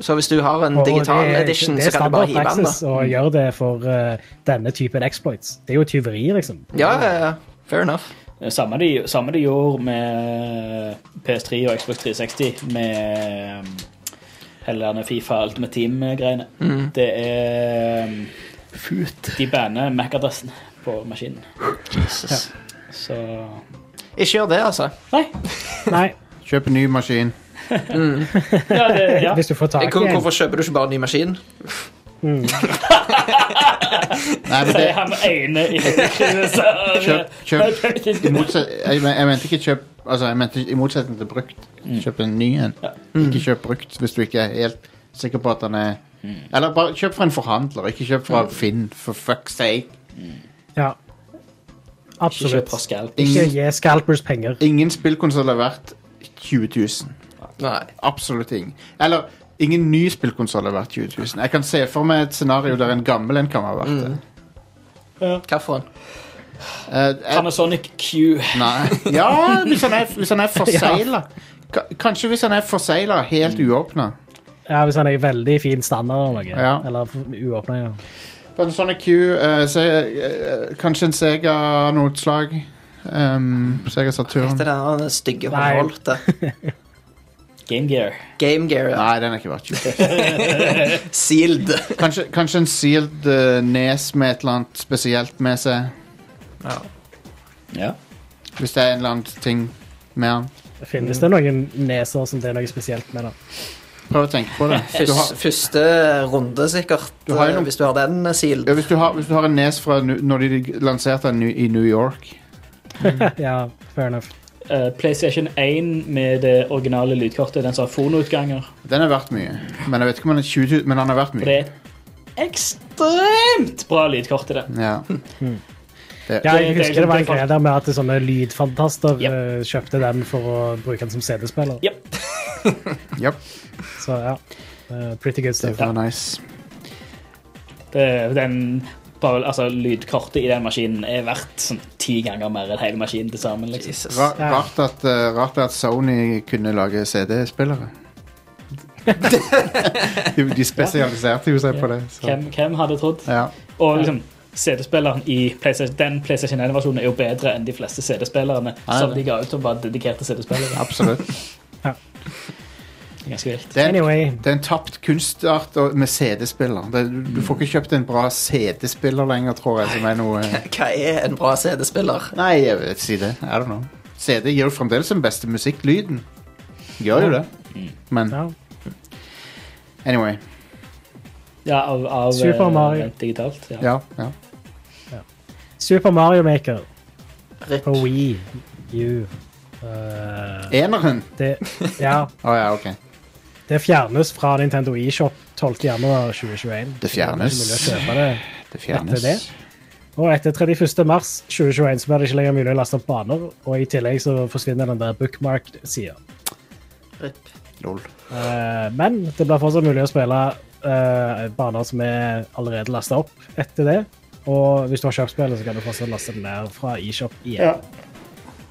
Speaker 4: Så hvis du har en
Speaker 5: Og
Speaker 4: digital
Speaker 5: det er-
Speaker 4: edition,
Speaker 5: det er
Speaker 4: så kan du bare
Speaker 5: standard
Speaker 4: hive den,
Speaker 5: praksis
Speaker 4: da. Mm.
Speaker 5: å gjøre det for eh, denne typen exploits. Det er jo tyveri, liksom.
Speaker 4: Ja, ja, ja. Fair enough.
Speaker 3: Eh, Samme de, samme de gjorde med PS3 og Xbox 360 med um, hele denne Fifa Ultimate Team-greiene. Det er um, De banner MAC-adressen på maskinen.
Speaker 4: Jesus.
Speaker 3: Så
Speaker 4: Ikke gjør det, altså.
Speaker 3: Nei.
Speaker 5: Nei,
Speaker 2: Kjøp en ny maskin.
Speaker 3: Ja, det, ja.
Speaker 5: hvis du får tak i
Speaker 4: Hvor-
Speaker 5: en.
Speaker 4: Hvorfor kjøper du ikke bare en ny maskin?
Speaker 2: Nei, men
Speaker 3: Sier
Speaker 2: det,
Speaker 3: han med øynene i Kjøp,
Speaker 2: kjøp, kjøp i motset, jeg, men- jeg mente ikke kjøp Altså, jeg mente i motsetning til brukt. Kjøp en ny en. Ikke kjøp brukt hvis du ikke er helt sikker på at den er Eller bare kjøp fra en forhandler, ikke kjøp fra Finn, for fuck's sake.
Speaker 5: Ja.
Speaker 3: Ikke kjøp
Speaker 4: altså.
Speaker 5: Absolutt.
Speaker 3: fra Scalp.
Speaker 5: Ikke
Speaker 2: Ingen,
Speaker 5: gi scalpers penger.
Speaker 2: ingen spillkonsoll er verdt 20 000.
Speaker 4: Nei.
Speaker 2: Absolutt ingen. Eller ingen ny spillkonsoll er verdt 20 000. Jeg kan se for meg et scenario der en gammel en kan være verdt det.
Speaker 4: Hva for en?
Speaker 2: Eh, jeg,
Speaker 3: Panasonic Q.
Speaker 2: nei. Ja, hvis han er, hvis han er forsegla. Kanskje hvis han er forsegla, helt uåpna.
Speaker 5: Ja, Hvis han er i veldig fin standard eller noe.
Speaker 2: Ja.
Speaker 5: Eller uåpna. Ja.
Speaker 2: På en sånn Q eh, se, eh, Kanskje en Sega av noe slag. Um, Sega Saturn.
Speaker 4: Det der den stygge
Speaker 5: Nei.
Speaker 4: håndholdte.
Speaker 3: Game Gear.
Speaker 4: Game Gear. ja.
Speaker 2: Nei, den er ikke verdt 20 000.
Speaker 4: Sealed.
Speaker 2: Kanskje, kanskje en sealed eh, nes med et eller annet spesielt med seg.
Speaker 3: Ja.
Speaker 2: Hvis det er en eller annen ting med den.
Speaker 5: Finnes det noen neser som det er noe spesielt med? da?
Speaker 2: Prøv å tenke på det. Du har,
Speaker 4: Først, første runde, sikkert.
Speaker 2: Du har jo
Speaker 4: eh,
Speaker 2: noen-
Speaker 4: Hvis du har den eh, sealed.
Speaker 2: Ja, hvis, du har, hvis du har en nes fra nu- når de lanserte den nu- i New York
Speaker 5: ja, fair enough.
Speaker 3: Eh, PlayStation 1 med det originale lydkortet. Den som har fonoutganger.
Speaker 2: Den er verdt mye. Men jeg vet ikke om den er 20 000, men den er verdt
Speaker 3: For det
Speaker 2: mye.
Speaker 3: er et ekstremt bra lydkort i det.
Speaker 2: Ja.
Speaker 5: Ja, jeg
Speaker 3: Det- det-
Speaker 5: husker det var en
Speaker 3: det-
Speaker 5: greie der med at sånne lydfantaster
Speaker 3: Yep.
Speaker 5: eh, kjøpte den for å bruke den som CD-spiller.
Speaker 3: Yep.
Speaker 2: Ja,
Speaker 5: Så ja, eh, pretty good
Speaker 2: det
Speaker 5: stuff.
Speaker 2: var nice.
Speaker 3: Det, den, bare, altså, lydkortet i den maskinen er verdt sånn ti ganger mer enn hele maskinen til sammen. Liksom.
Speaker 4: Jesus.
Speaker 2: Ra-
Speaker 5: Ja.
Speaker 2: Rart at, eh, rart at Sony kunne lage CD-spillere. de, de spesialiserte jo seg på det. Så.
Speaker 3: Hvem, hvem hadde trodd?
Speaker 2: Ja.
Speaker 3: Og liksom, CD-spilleren i PlayStation, den PlayStation 1-versjonen er jo bedre enn de fleste CD-spillerne
Speaker 2: Ja,
Speaker 3: som
Speaker 2: det-
Speaker 3: de ga ut som var dedikerte CD-spillere.
Speaker 2: Absolutt.
Speaker 3: Det er Ganske vilt.
Speaker 2: Det er, en-
Speaker 5: Anyway,
Speaker 2: det er en tapt kunstart og- med CD-spiller. Det- Du får ikke kjøpt en bra CD-spiller lenger, tror jeg. Som er noe eh,
Speaker 4: Hva er en bra CD-spiller?
Speaker 2: Nei, jeg vet si det. I don't know. CD gir jo fremdeles den beste musikklyden. Gjør jo det. Men
Speaker 5: ja.
Speaker 2: anyway.
Speaker 3: Ja, av, av
Speaker 5: Super Mario.
Speaker 3: eh, digitalt. Ja.
Speaker 2: Ja. ja.
Speaker 5: Super Mario Maker
Speaker 4: Rip.
Speaker 5: på
Speaker 2: Oh.
Speaker 5: Wii U. Eh,
Speaker 2: Eneren!
Speaker 5: det, ja,
Speaker 2: Å ja, OK.
Speaker 5: det fjernes fra Nintendo eShop 12.1.2021.
Speaker 2: Det fjernes.
Speaker 5: Det er ikke mulig å kjøpe det.
Speaker 2: Det fjernes.
Speaker 5: Etter det? Og etter 31.3.2021 så blir det ikke lenger mulig å laste opp baner, og i tillegg så forsvinner den der bookmark-sida.
Speaker 4: Rip.
Speaker 2: Lol.
Speaker 5: Eh, men det blir fortsatt mulig å spille eh, baner som er allerede lasta opp etter det. Og hvis du har kjøpt spillet, så kan du fortsatt laste det ned fra eShop igjen.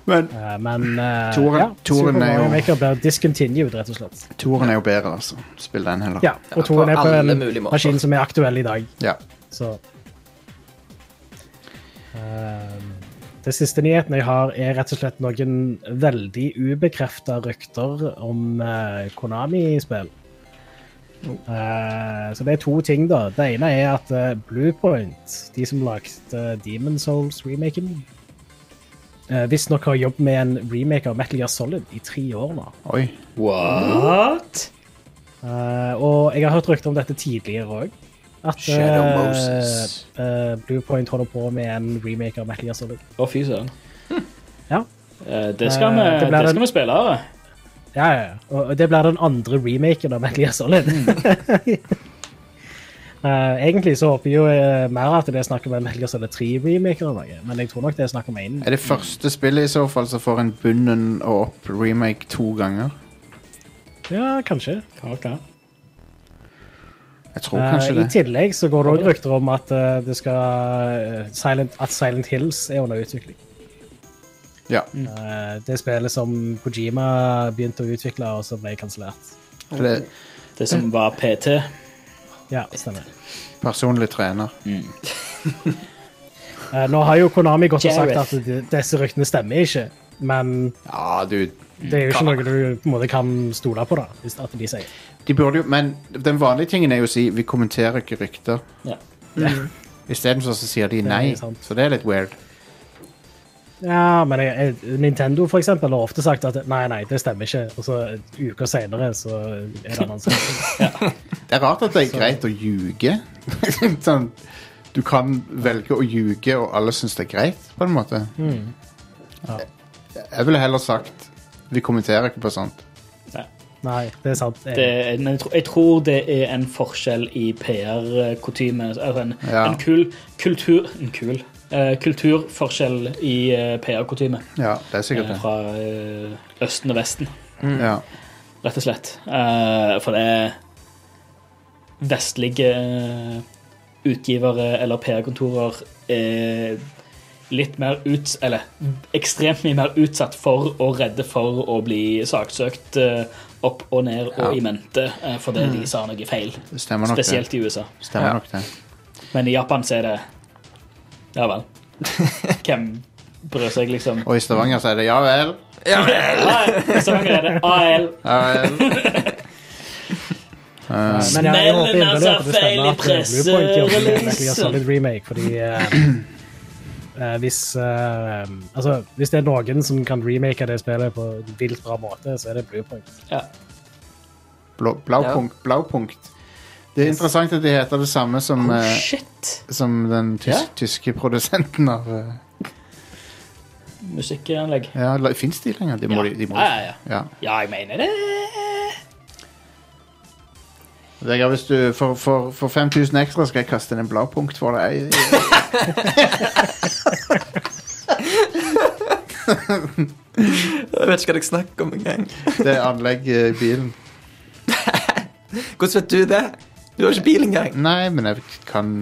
Speaker 2: Men
Speaker 5: Eh, men eh,
Speaker 2: Toren-
Speaker 5: ja,
Speaker 2: Toren
Speaker 5: Super
Speaker 2: er jo-
Speaker 5: Mario Maker blir discontinued, rett og slett.
Speaker 2: toeren er jo bedre, altså. Spill den heller.
Speaker 5: Ja,
Speaker 4: Ja,
Speaker 5: og toren
Speaker 4: på
Speaker 5: er på
Speaker 4: alle
Speaker 5: en
Speaker 4: mulige måter.
Speaker 5: maskin som er aktuell i dag.
Speaker 2: Ja.
Speaker 5: Så Ehm, Det siste nyheten jeg har, er rett og slett noen veldig ubekrefta rykter om eh, Konami-spill. Eh, så det er to ting, da. Det ene er at eh, Bluepoint, de som lagde uh, Demon Souls-remaken, uh, visstnok har jobbet med en remake av Metal Gear Solid i tre år nå.
Speaker 2: Oi.
Speaker 3: What?
Speaker 5: Eh, og jeg har hørt rykter om dette tidligere òg. At
Speaker 2: Shadow
Speaker 5: eh,
Speaker 2: Moses.
Speaker 5: eh, Bluepoint holder på med en remake av Metal Gear Solid.
Speaker 3: Å, fy søren.
Speaker 5: Ja.
Speaker 3: Eh, Det skal,
Speaker 5: Eh,
Speaker 3: vi,
Speaker 5: det
Speaker 3: det
Speaker 5: ble en-
Speaker 3: skal vi spille av.
Speaker 5: Ja, ja, ja. Og og det blir den andre remaken av Metal Gear Solid. Eh, egentlig så håper jeg jo eh, mer at det er snakk om en Metal Gear Solid 3-remake eller noe, men jeg tror nok det er snakk om én.
Speaker 2: Er det første spillet i så fall som får en bunnen og opp remake to ganger?
Speaker 5: Ja, kanskje.
Speaker 3: Okay.
Speaker 2: Jeg tror
Speaker 5: Eh,
Speaker 2: kanskje
Speaker 5: I
Speaker 2: det.
Speaker 5: tillegg så går det òg rykter om at, eh, det skal, eh, Silent, at Silent Hills er under utvikling.
Speaker 2: Ja,
Speaker 5: Eh, det spillet som Kojima begynte å utvikle, og som ble kansellert.
Speaker 2: for det er
Speaker 3: Det som var PT.
Speaker 5: Ja, stemmer.
Speaker 2: personlig trener.
Speaker 5: Mm. Eh, nå har jo Konami gått og sagt
Speaker 3: Jareth.
Speaker 5: at de, disse ryktene stemmer ikke, men
Speaker 2: Ja, du
Speaker 5: det er jo ikke noe du på en måte kan stole på, da, hvis at de sier.
Speaker 2: De burde jo Men den vanlige tingen er jo å si vi kommenterer ikke rykter.
Speaker 3: Ja.
Speaker 2: Isteden så sier de
Speaker 5: er
Speaker 2: nei.
Speaker 5: litt sant.
Speaker 2: Så det er litt weird.
Speaker 5: Ja, men jeg, jeg, Nintendo for eksempel har ofte sagt at nei, nei, det stemmer ikke, og så uker senere så er det en annen sak.
Speaker 2: Det er rart at det er greit å ljuge. sånn, du kan velge å ljuge, og alle syns det er greit, på en måte.
Speaker 5: Ja.
Speaker 2: Jeg- Jeg ville heller sagt vi kommenterer ikke på sånt.
Speaker 3: Ja.
Speaker 5: Nei, det er sant.
Speaker 3: Det,
Speaker 5: Jeg,
Speaker 3: eh, men jeg, tror, jeg tror det er en forskjell i PR-kutyme. Altså en,
Speaker 2: Ja.
Speaker 3: en kul kultur En kul eh, kulturforskjell i eh, PR-kutyme
Speaker 2: Ja, det er sikkert
Speaker 3: eh,
Speaker 2: det.
Speaker 3: fra eh, Østen og Vesten,
Speaker 2: Ja.
Speaker 3: rett og slett. Eh, for det er vestlige eh, utgivere eller PR-kontorer er litt mer ut... Eller ekstremt mye mer utsatt for og redde for å bli saksøkt eh, opp og ned og
Speaker 2: Ja. Mm.
Speaker 3: i mente eh, fordi de sa noe feil.
Speaker 2: Det stemmer nok, det.
Speaker 3: Spesielt i USA.
Speaker 2: Stemmer
Speaker 4: Ja.
Speaker 2: nok det.
Speaker 3: Men i Japan så er det Ja vel. Hvem bryr seg, liksom?
Speaker 2: Og i Stavanger så er det ja vel.
Speaker 3: Nei, så mange er det AL.
Speaker 2: Ja vel.
Speaker 5: men ja, jeg håper
Speaker 3: Smellen
Speaker 5: inderlig at
Speaker 3: altså
Speaker 5: det stemmer at
Speaker 3: feil i
Speaker 5: Bluepoint gjør en Metal Gear
Speaker 3: pressereleasen.
Speaker 5: Solid remake, fordi eh, eh, hvis, eh, altså, hvis det er noen som kan remake det spillet på en vilt bra måte, så er det Bluepoint.
Speaker 3: Ja.
Speaker 2: Blå, blaupunkt, blaupunkt. Det er interessant at de heter det samme som,
Speaker 3: Oh,
Speaker 2: eh,
Speaker 3: shit.
Speaker 2: som den tys
Speaker 3: Ja.
Speaker 2: tyske produsenten av eh,
Speaker 3: Musikkanlegg.
Speaker 2: Ja, fins de lenger? De må,
Speaker 3: Ja.
Speaker 2: de, de må.
Speaker 3: Ja, ja, ja.
Speaker 2: Ja.
Speaker 3: Ja, jeg mener det.
Speaker 2: Vegard, hvis du for, for, for 5000 ekstra skal jeg kaste inn en bladpunkt for deg. Jeg, jeg,
Speaker 4: Jeg vet ikke hva dere snakker om engang.
Speaker 2: Det er anlegg eh, i bilen.
Speaker 4: Hvordan vet du det? Du har ikke bil engang.
Speaker 2: Nei, men jeg kan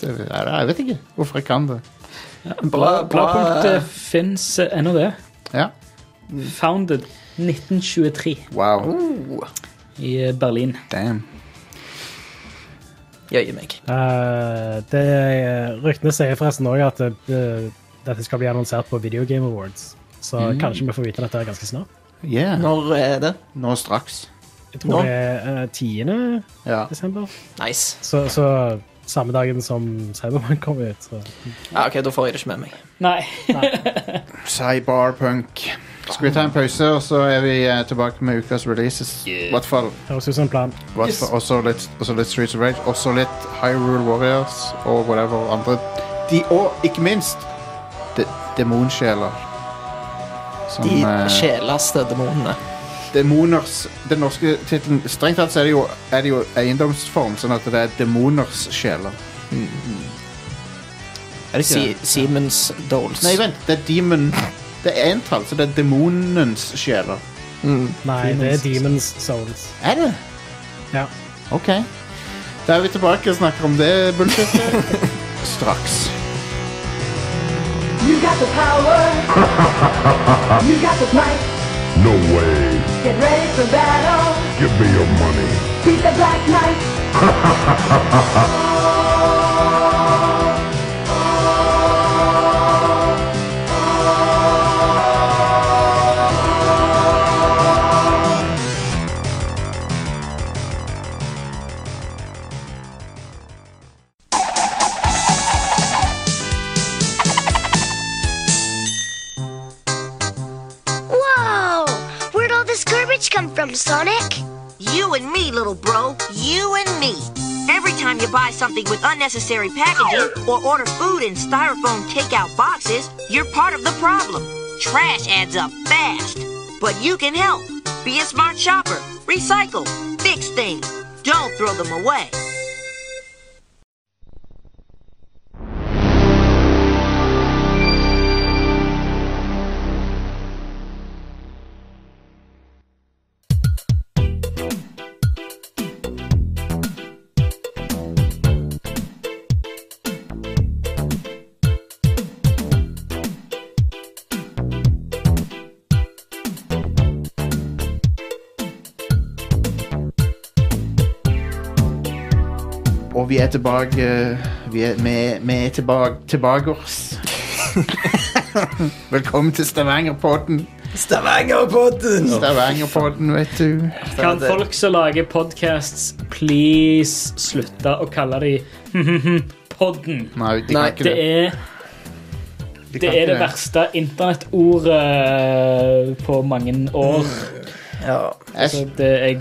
Speaker 2: det- Nei, Jeg vet ikke hvorfor jeg kan det.
Speaker 4: Bra, bra.
Speaker 2: eh.
Speaker 3: Bladpunktet fins ennå, eh, det.
Speaker 2: Ja.
Speaker 3: Founded 1923
Speaker 2: Wow.
Speaker 4: Oh,
Speaker 3: i eh, Berlin.
Speaker 2: Damn.
Speaker 4: Jøye meg.
Speaker 5: Eh, det, ryktene sier forresten òg at eh, dette skal bli annonsert på Video Game Awards. Så kanskje vi får vite dette her ganske snart.
Speaker 2: Yeah.
Speaker 4: Når er det?
Speaker 2: Nå straks.
Speaker 5: Jeg tror
Speaker 4: Nå?
Speaker 5: det er eh, 10.
Speaker 2: Ja.
Speaker 5: desember.
Speaker 4: Nice.
Speaker 5: Så, så samme dagen som Cyberman kom ut. Så.
Speaker 4: Ja, ok, Da får jeg det ikke med meg.
Speaker 3: Nei.
Speaker 2: Cyberpunk. Skal vi ta en pause, og så er vi eh, tilbake med ukas releases? I hvert fall.
Speaker 5: Høres ut som en plan.
Speaker 2: What for- Også litt, også litt Streets of Rage, også litt Hyrule Warriors og whatever andre. De, og ikke minst de, demonsjeler. Som,
Speaker 4: De
Speaker 2: eh,
Speaker 4: sjeleste demonene.
Speaker 2: Demoners Den norske tittelen Strengt tatt så er det jo, er det jo eiendomsform, sånn at det er demoners sjeler. Er det ikke
Speaker 4: Si
Speaker 2: det?
Speaker 4: Siemens Doles.
Speaker 2: Nei, vent. Det er demon Det er entall, så det er demonens sjeler.
Speaker 5: Nei, det er Demons Souls.
Speaker 2: Er det?
Speaker 5: Ja.
Speaker 2: OK. Da er vi tilbake og snakker om det bullshitet straks.
Speaker 8: You got the power. you got the might.
Speaker 9: No way.
Speaker 8: Get ready for battle.
Speaker 9: Give me your money.
Speaker 8: Beat the black knight.
Speaker 10: Whoa! Where'd all this garbage come from, Sonic?
Speaker 11: You and me, little bro. You and me. Every time you buy something with unnecessary packaging or order food in styrofoam takeout boxes, you're part of the problem. Trash adds up fast. But you can help. Be a smart shopper. Recycle. Fix things. Don't throw them away.
Speaker 2: Og vi er tilbake eh, Vi er, vi er, vi er tilbake, tilbakers. Velkommen til Stavangerpodden.
Speaker 4: Stavangerpodden!
Speaker 2: Stavangerpodden, vet du.
Speaker 3: Kan folk som lager podcasts, please slutte å kalle de podden?
Speaker 2: Nei, de kan
Speaker 4: Nei,
Speaker 2: ikke
Speaker 3: Det
Speaker 2: det.
Speaker 3: er
Speaker 2: De
Speaker 3: Det
Speaker 2: kan
Speaker 3: er
Speaker 2: ikke
Speaker 3: det verste internettordet på mange år.
Speaker 4: Ja.
Speaker 3: Altså,
Speaker 2: Mm.
Speaker 3: det er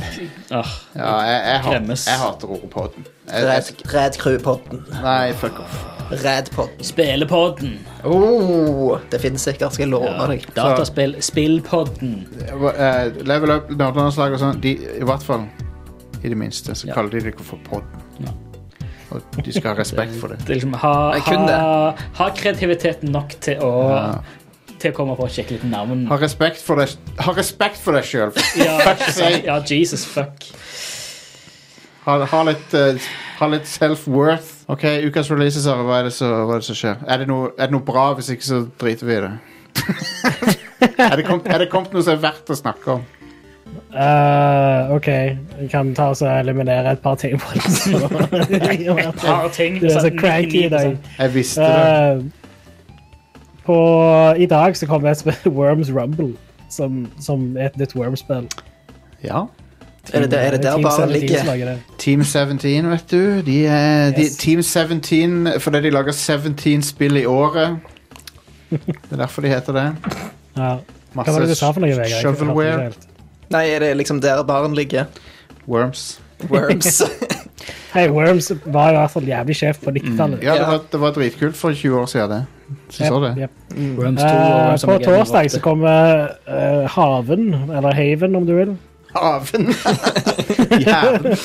Speaker 3: ah,
Speaker 2: Ja, jeg, jeg, hater,
Speaker 3: Kremmes.
Speaker 2: jeg hater ordet podden. Jeg,
Speaker 4: Red,
Speaker 2: jeg,
Speaker 4: Red Crew-podden.
Speaker 2: nei, fuck off.
Speaker 4: Red-podden.
Speaker 3: Spillepodden.
Speaker 4: Oh, det finnes sikkert, skal jeg love deg.
Speaker 3: Dataspill. Spillpodden.
Speaker 2: Eh, Level Up, Nordlandslag og sånn, de, i hvert fall i det minste, så
Speaker 3: Ja.
Speaker 2: kaller de det for podden. Og de skal ha respekt for det.
Speaker 3: Det er liksom, ha,
Speaker 4: Jeg kunne
Speaker 3: ha, ha kreativiteten nok til å, til å komme på et skikkelig navn.
Speaker 2: Ha respekt for deg, ha respekt for deg sjøl.
Speaker 3: Ja,
Speaker 2: sake.
Speaker 3: ja, Jesus fuck.
Speaker 2: Ha, ha litt, eh, ha litt self-worth. Ok, Ukas releases, Are, hva er det som hva er det som skjer? Er det, noe, er det noe bra? Hvis ikke, så driter vi i det. er, det kommet, er det kommet noe som er verdt å snakke om?
Speaker 5: Eh, OK, vi kan ta oss og eliminere et par ting. på det, så.
Speaker 3: Et par ting.
Speaker 5: Du er så
Speaker 3: sånn
Speaker 5: cranky i dag.
Speaker 3: 99%.
Speaker 2: Jeg visste det.
Speaker 5: Eh, på, I dag så kom det et spill, Worms Rumble, som, som er et nytt Worms-spill.
Speaker 2: Ja.
Speaker 4: Er det, er det der
Speaker 5: Team
Speaker 4: bare
Speaker 5: 17 som
Speaker 4: ligger?
Speaker 5: lager det.
Speaker 2: Team 17, vet du. De er, de,
Speaker 5: Yes.
Speaker 2: Team 17 fordi de lager 17 spill i året. Det er derfor de heter det.
Speaker 5: Ja. Hva var det du sa for noe, Vegard? Jeg hørte ikke
Speaker 2: shovelware.
Speaker 5: helt.
Speaker 4: Nei, er det liksom der baren ligger?
Speaker 2: Worms.
Speaker 4: Worms.
Speaker 5: Hei, Worms var i hvert fall jævlig sjef
Speaker 4: Mm.
Speaker 5: på 90-tallet.
Speaker 2: Ja, det
Speaker 4: Ja.
Speaker 2: var, det var dritkult for 20 år siden. det. Syns du det?
Speaker 5: Jep, jep.
Speaker 3: Worms 2 og
Speaker 5: Eh,
Speaker 3: Worms
Speaker 5: på
Speaker 3: Armageddon
Speaker 5: torsdag så
Speaker 3: var
Speaker 5: kommer eh, Haven, eller Haven om du vil.
Speaker 2: Haven! Jævlen.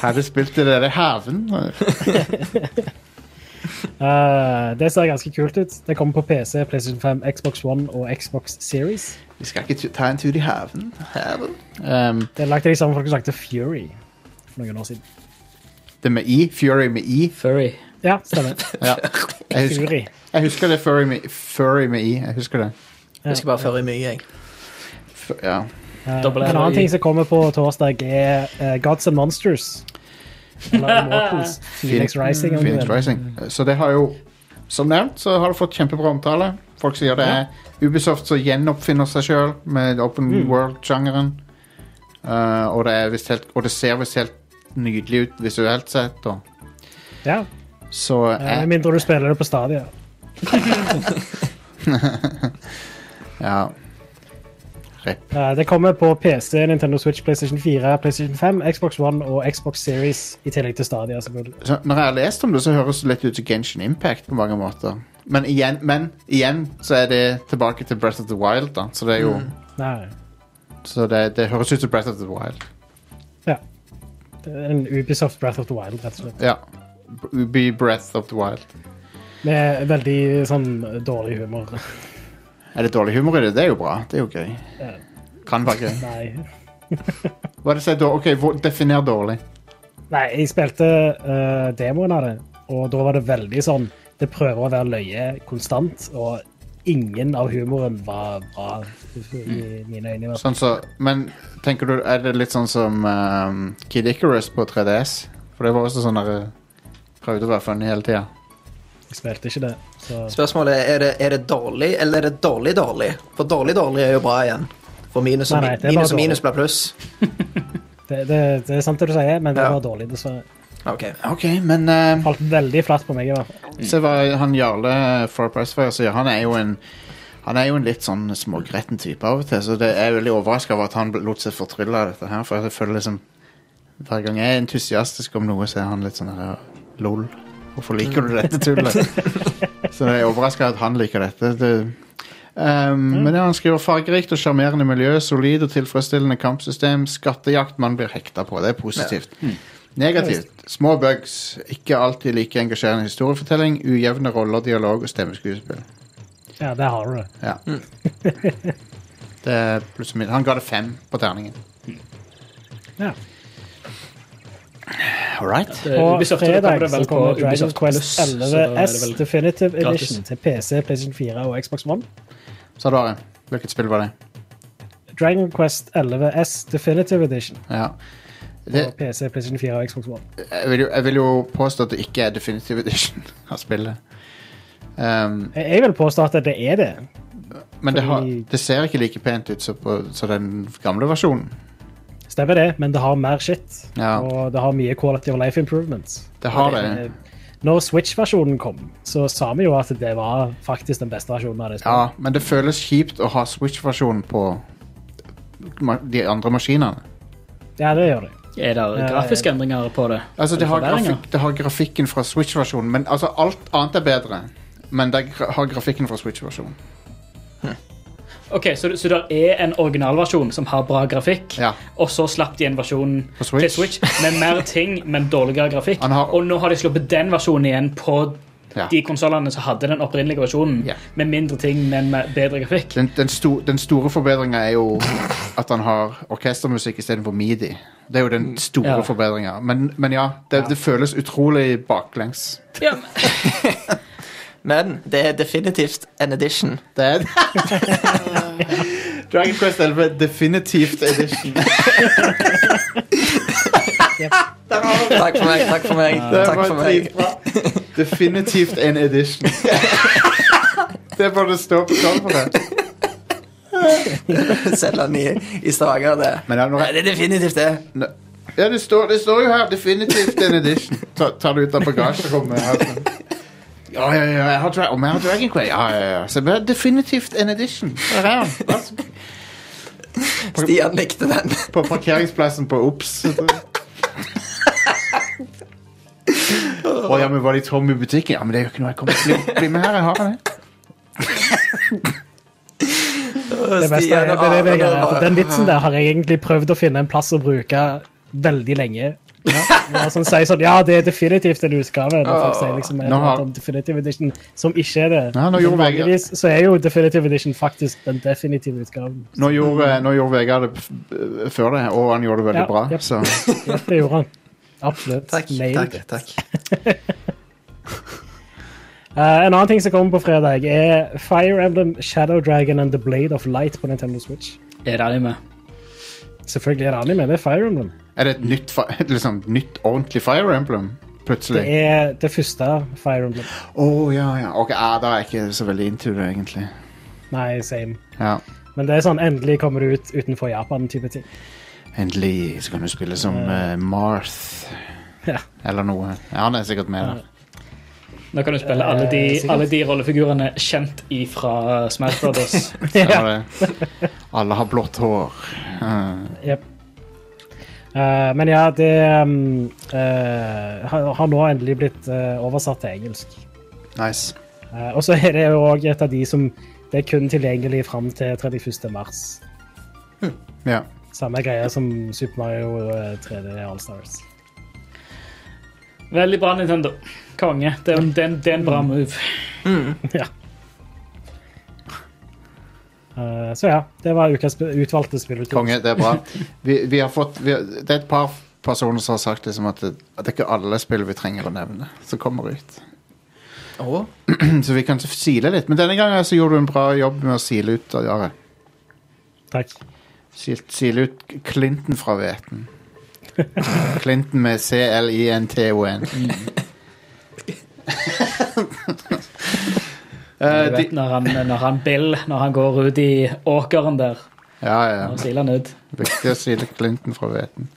Speaker 2: Hadde spilt det der i haven.
Speaker 5: Eh, det ser ganske kult ut. Det kommer på PC, PlayStation 5, Xbox One og Xbox Series.
Speaker 2: Vi skal ikke tu- ta en tur i haven. haven. Um,
Speaker 5: Det er lagt av de samme folk som lagde Fury for noen år siden.
Speaker 2: det med I. Fury med I.
Speaker 3: Furry.
Speaker 5: Ja, stemmer.
Speaker 2: Ja. Jeg, husker,
Speaker 5: Fury.
Speaker 2: jeg husker det Furry med, furry med I. Jeg husker det.
Speaker 4: Jeg skal bare føre i mye, jeg.
Speaker 2: F- Ja.
Speaker 5: Eh,
Speaker 3: Double
Speaker 5: en
Speaker 3: L-O-I.
Speaker 5: annen
Speaker 2: E.
Speaker 5: ting som kommer på torsdag, er eh, Gods and Monsters. Eller Immortals. Phoenix Rising. om du
Speaker 2: Phoenix
Speaker 5: vil.
Speaker 2: Rising. Så det har jo Som nevnt så har det fått kjempebra omtale. Folk sier det er Ubisoft som gjenoppfinner seg sjøl med open
Speaker 5: Mm.
Speaker 2: world-sjangeren. Eh, og, det er visst helt- og det ser visst helt nydelig ut visuelt sett. Og.
Speaker 5: Ja,
Speaker 2: Så
Speaker 5: eh,
Speaker 2: jeg,
Speaker 5: Med mindre du spiller det på stadion.
Speaker 2: ja.
Speaker 5: Eh, Det kommer på PC, Nintendo Switch, PlayStation 4, PlayStation 5, Xbox One og Xbox Series, i tillegg til Stadia, selvfølgelig.
Speaker 2: så når jeg har lest om det, så høres det litt ut som Genshin Impact på mange måter. Men igjen, men igjen så er det tilbake til Breath of the Wild, da. Så det er jo
Speaker 5: Nei,
Speaker 2: Så det, det høres ut som Breath of the Wild.
Speaker 5: ja. Det er en Ubisoft Breath of the Wild, rett og slett.
Speaker 2: Ja. Be Breath of the Wild.
Speaker 5: Med veldig sånn dårlig humor.
Speaker 2: Er det dårlig humor i det? Det er jo bra. Det er jo gøy.
Speaker 5: Ja.
Speaker 2: Kan være gøy.
Speaker 5: Nei.
Speaker 2: Hva er det som er dårlig? Ok, hvor- Definer dårlig.
Speaker 5: Nei, jeg spilte eh, demoen av det, og da var det veldig sånn Det prøver å være løye konstant, og ingen av humoren var bra i
Speaker 3: Mm.
Speaker 5: mine øyne. i hvert fall.
Speaker 2: Sånn så, men tenker du, er det litt sånn som ehm, Kid Icarus på 3DS? For det var også sånn der eh, Prøvde å være funny hele tida.
Speaker 5: Jeg spilte ikke det. Så
Speaker 4: Spørsmålet er, er det, er det dårlig, eller er det dårlig-dårlig? For dårlig-dårlig er jo bra igjen. For minus og,
Speaker 5: Nei, nei,
Speaker 4: min-
Speaker 5: det er bare
Speaker 4: minus, og
Speaker 5: dårlig.
Speaker 4: minus blir pluss.
Speaker 5: det, det, det er sant det du sier, men det
Speaker 4: Ja.
Speaker 5: var dårlig, dessverre.
Speaker 4: Ok.
Speaker 2: OK, men ehm,
Speaker 5: Falt veldig flatt på meg, i hvert fall.
Speaker 2: Se hva han Jarle fra Pressfire sier. Han er jo en han er jo en litt sånn smågretten type av og til, så det er jeg veldig overraska over at han ble- lot seg fortrylle av dette her. For jeg føler liksom Hver gang jeg er entusiastisk om noe, så er han litt sånn her lol. Hvorfor liker du dette tullet? så jeg er overraska at han liker dette. Det, um, Men ja, han skriver fargerikt og sjarmerende miljø, solid og tilfredsstillende kampsystem, skattejakt man blir hekta på. Det er positivt. Negativt. Små bugs. Ikke alltid like engasjerende historiefortelling. Ujevne roller, dialog og stemmeskuespill.
Speaker 5: Ja, der har du det.
Speaker 2: Ja. det er pluss og minus. Han ga det fem på terningen.
Speaker 5: Ja.
Speaker 2: All right.
Speaker 3: Det-
Speaker 5: På
Speaker 3: Eh, Ubisoft, da kommer
Speaker 5: fredag
Speaker 3: det vel
Speaker 5: så
Speaker 3: på
Speaker 5: kommer Dragon
Speaker 3: Ubisoft Plus,
Speaker 5: Quest
Speaker 3: så da er det
Speaker 5: 11S
Speaker 3: vel
Speaker 5: Definitive Edition
Speaker 3: gratis.
Speaker 5: til PC, PlayStation 4 og Xbox One.
Speaker 2: Sa du, Are? Hvilket spill var det?
Speaker 5: Dragon Quest 11S Definitive Edition
Speaker 2: Ja.
Speaker 5: på
Speaker 3: Eh.
Speaker 2: Det,
Speaker 5: PC, PlayStation 4 og Xbox One.
Speaker 2: jeg, vil jo, jeg vil jo påstå at det ikke er definitive edition av spillet. Um,
Speaker 5: Jeg- Jeg vil påstå at det er det.
Speaker 2: men det, har,
Speaker 5: Fordi-
Speaker 2: det ser ikke like pent ut som på- som den gamle versjonen.
Speaker 5: Stemmer det, men det har mer shit.
Speaker 2: Ja.
Speaker 5: Og det har mye quality of life improvements.
Speaker 2: Det har
Speaker 5: Eh,
Speaker 2: det.
Speaker 5: Når Switch-versjonen kom, så sa vi jo at det var faktisk den beste versjonen av det spillet.
Speaker 2: Ja, men det føles kjipt å ha Switch-versjonen på ma- de andre maskinene.
Speaker 5: Ja, det gjør det.
Speaker 3: Er det
Speaker 5: Eh,
Speaker 3: grafiske endringer på det?
Speaker 2: Altså, det
Speaker 3: Eller
Speaker 2: har,
Speaker 3: forbedringer?
Speaker 2: grafikk, det har grafikken fra Switch-versjonen, men altså, alt annet er bedre. Men det gra- har grafikken fra Switch-versjonen.
Speaker 3: Ok, Så, så det er en originalversjon som har bra grafikk,
Speaker 2: Ja.
Speaker 3: og så slapp de en versjon
Speaker 2: På Switch.
Speaker 3: til Switch med mer ting, men dårligere grafikk.
Speaker 2: Han har-
Speaker 3: Og nå har de sluppet den versjonen igjen på
Speaker 2: Ja.
Speaker 3: de konsollene som hadde den opprinnelige versjonen,
Speaker 2: Ja.
Speaker 3: med mindre ting, men med bedre grafikk.
Speaker 2: Den, den, sto, den store forbedringa er jo at han har orkestermusikk istedenfor midi. Det er jo den store
Speaker 3: Ja.
Speaker 2: forbedringen forbedringa. Men, men ja, det, det føles utrolig baklengs.
Speaker 3: Ja, men-
Speaker 4: Men det er definitivt en edition.
Speaker 2: Det er Dragon Quest 11 definitivt edition.
Speaker 4: Takk for meg, takk for meg.
Speaker 2: Det
Speaker 4: Takk
Speaker 2: var
Speaker 4: for meg.
Speaker 2: dritbra. Definitivt en edition. Det burde stå på coveret.
Speaker 4: Selg den i, i Stavanger, det.
Speaker 2: Men ja, når
Speaker 4: Nei,
Speaker 2: jeg-
Speaker 4: det er definitivt det.
Speaker 2: Ne- Ja, det står, det står jo her definitivt en edition. Ta, tar det ut av bagasjerommet. her, sånn. Ja, ja, ja, jeg har, dra om jeg har Dragon Quest. Ja, ja, ja. Så det er definitivt en edition. Der er han. Vær så god.
Speaker 4: Stian likte den.
Speaker 2: På parkeringsplassen på Ops. Å ja, men var de tomme i butikken? Ja, men det er jo ikke noe jeg kommer til å bli- bli med her. Jeg har det.
Speaker 5: Det beste er,
Speaker 4: Stian
Speaker 5: det,
Speaker 4: og
Speaker 5: er det,
Speaker 4: Arne
Speaker 5: Vegard,
Speaker 4: og-
Speaker 5: at den vitsen der har jeg egentlig prøvd å finne en plass å bruke veldig lenge. Ja, som sier sånn, ja, det er definitivt en utgave. Når folk sier liksom
Speaker 2: Nå har-
Speaker 5: noe om definitive edition som ikke er det.
Speaker 2: Ja, nå
Speaker 5: Men
Speaker 2: gjorde Vegard-
Speaker 5: vanligvis så er jo definitive edition faktisk den definitive utgaven.
Speaker 2: Nå gjorde, nå gjorde Vegard det f- b- før det, og han gjorde det veldig
Speaker 5: Ja,
Speaker 2: bra.
Speaker 5: jep.
Speaker 2: Så.
Speaker 5: Ja, det gjorde han. Absolutt.
Speaker 4: Takk,
Speaker 5: Nailed
Speaker 4: takk,
Speaker 5: it.
Speaker 4: takk.
Speaker 5: Eh, en annen ting som kommer på fredag, er Fire Emblem Shadow Dragon and The Blade of Light på Nintendo Switch.
Speaker 3: Er det anime?
Speaker 5: Selvfølgelig er det anime, det er Fire Emblem.
Speaker 2: Er det et nytt, fi- et liksom, nytt ordentlig Fire Emblem
Speaker 5: Det
Speaker 2: plutselig?
Speaker 5: er det første Fire Emblem.
Speaker 2: Å ja, ja. Ok, ah, da er jeg ikke så veldig into det, egentlig.
Speaker 5: Nei, same.
Speaker 2: Ja.
Speaker 5: Men det er sånn, endelig kommer det ut utenfor Japan-type ting.
Speaker 2: Endelig så kan du spille som eh, Marth
Speaker 5: Ja.
Speaker 2: eller noe. Ja, han er sikkert med der.
Speaker 3: Nå kan du spille alle de,
Speaker 5: Eh, sikkert.
Speaker 3: alle de rollefigurene kjent ifra Smash Brothers.
Speaker 2: Stemmer det. Alle har blått hår. Eh,
Speaker 5: Jep. Eh, men ja, det um, eh, har, har nå endelig blitt eh, oversatt til engelsk.
Speaker 2: nice.
Speaker 5: Eh, og så er det jo òg et av de som det er kun tilgjengelig fram til 31. mars.
Speaker 2: Ja.
Speaker 5: Samme greie som Super Mario eh, 3D All Stars.
Speaker 3: Veldig bra, Nintendo. Konge. Det er, en- det er, en- det er en
Speaker 2: Mm.
Speaker 3: bra move.
Speaker 5: ja. Eh, så ja, det var ukas sp- utvalgte spillutgivelse.
Speaker 2: Konge, det er bra. Vi, vi har fått, vi, har- det er et par personer som har sagt liksom at, det, at det er ikke alle spill vi trenger å nevne, som kommer ut.
Speaker 4: Å,
Speaker 2: Så vi kan sile litt. Men denne gangen så gjorde du en bra jobb med å sile ut Are.
Speaker 5: Takk.
Speaker 2: Sil- Sile ut Clinton fra hveten. Clinton med C-L-I-N-T-O-N. Eh,
Speaker 3: Du
Speaker 2: de,
Speaker 3: vet når han, når han Bill når han går ut i åkeren der
Speaker 2: ja, ja.
Speaker 3: og siler han ut.
Speaker 2: Viktig å sile Clinton fra hveten.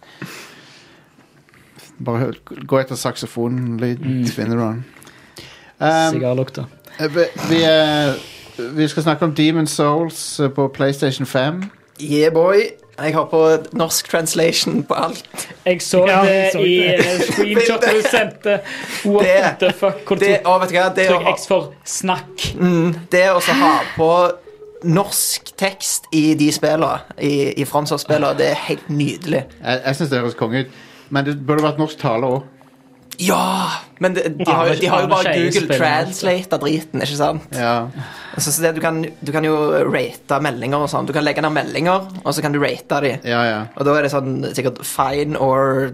Speaker 2: Bare hør- gå etter saksofonlyden, så finner du den. Um,
Speaker 3: Sigarlukta.
Speaker 2: eh, vi, vi, eh, vi skal snakke om Demon Souls eh, på PlayStation 5.
Speaker 4: Yeah, boy. Jeg har på norsk translation på alt.
Speaker 3: Jeg så
Speaker 5: Ja,
Speaker 3: det
Speaker 5: jeg så
Speaker 3: i
Speaker 5: det.
Speaker 3: eh, screenshotet du sendte. What
Speaker 4: Det-
Speaker 3: the fuck? Hvor
Speaker 4: Det,
Speaker 3: tok
Speaker 4: å, vet du hva? Det, å
Speaker 3: Trykk
Speaker 4: ha,
Speaker 3: X for snakk.
Speaker 4: det å så ha på norsk tekst i de spillene, i, i Fromsdal-spillene, det er helt nydelig.
Speaker 2: Jeg, jeg syns det høres konge ut, men det burde vært norsk tale òg.
Speaker 4: Ja! Men det, de, har, jo- de har jo bare
Speaker 3: Arne Skeie
Speaker 4: Google
Speaker 3: spiller
Speaker 4: Translate av driten, ikke sant? Altså,
Speaker 2: Ja.
Speaker 4: Så, så det, du, kan, du kan jo rate meldinger og sånn. Du kan legge ned meldinger, og så kan du rate de.
Speaker 2: ja, ja.
Speaker 4: Og da er det sånn sikkert fine or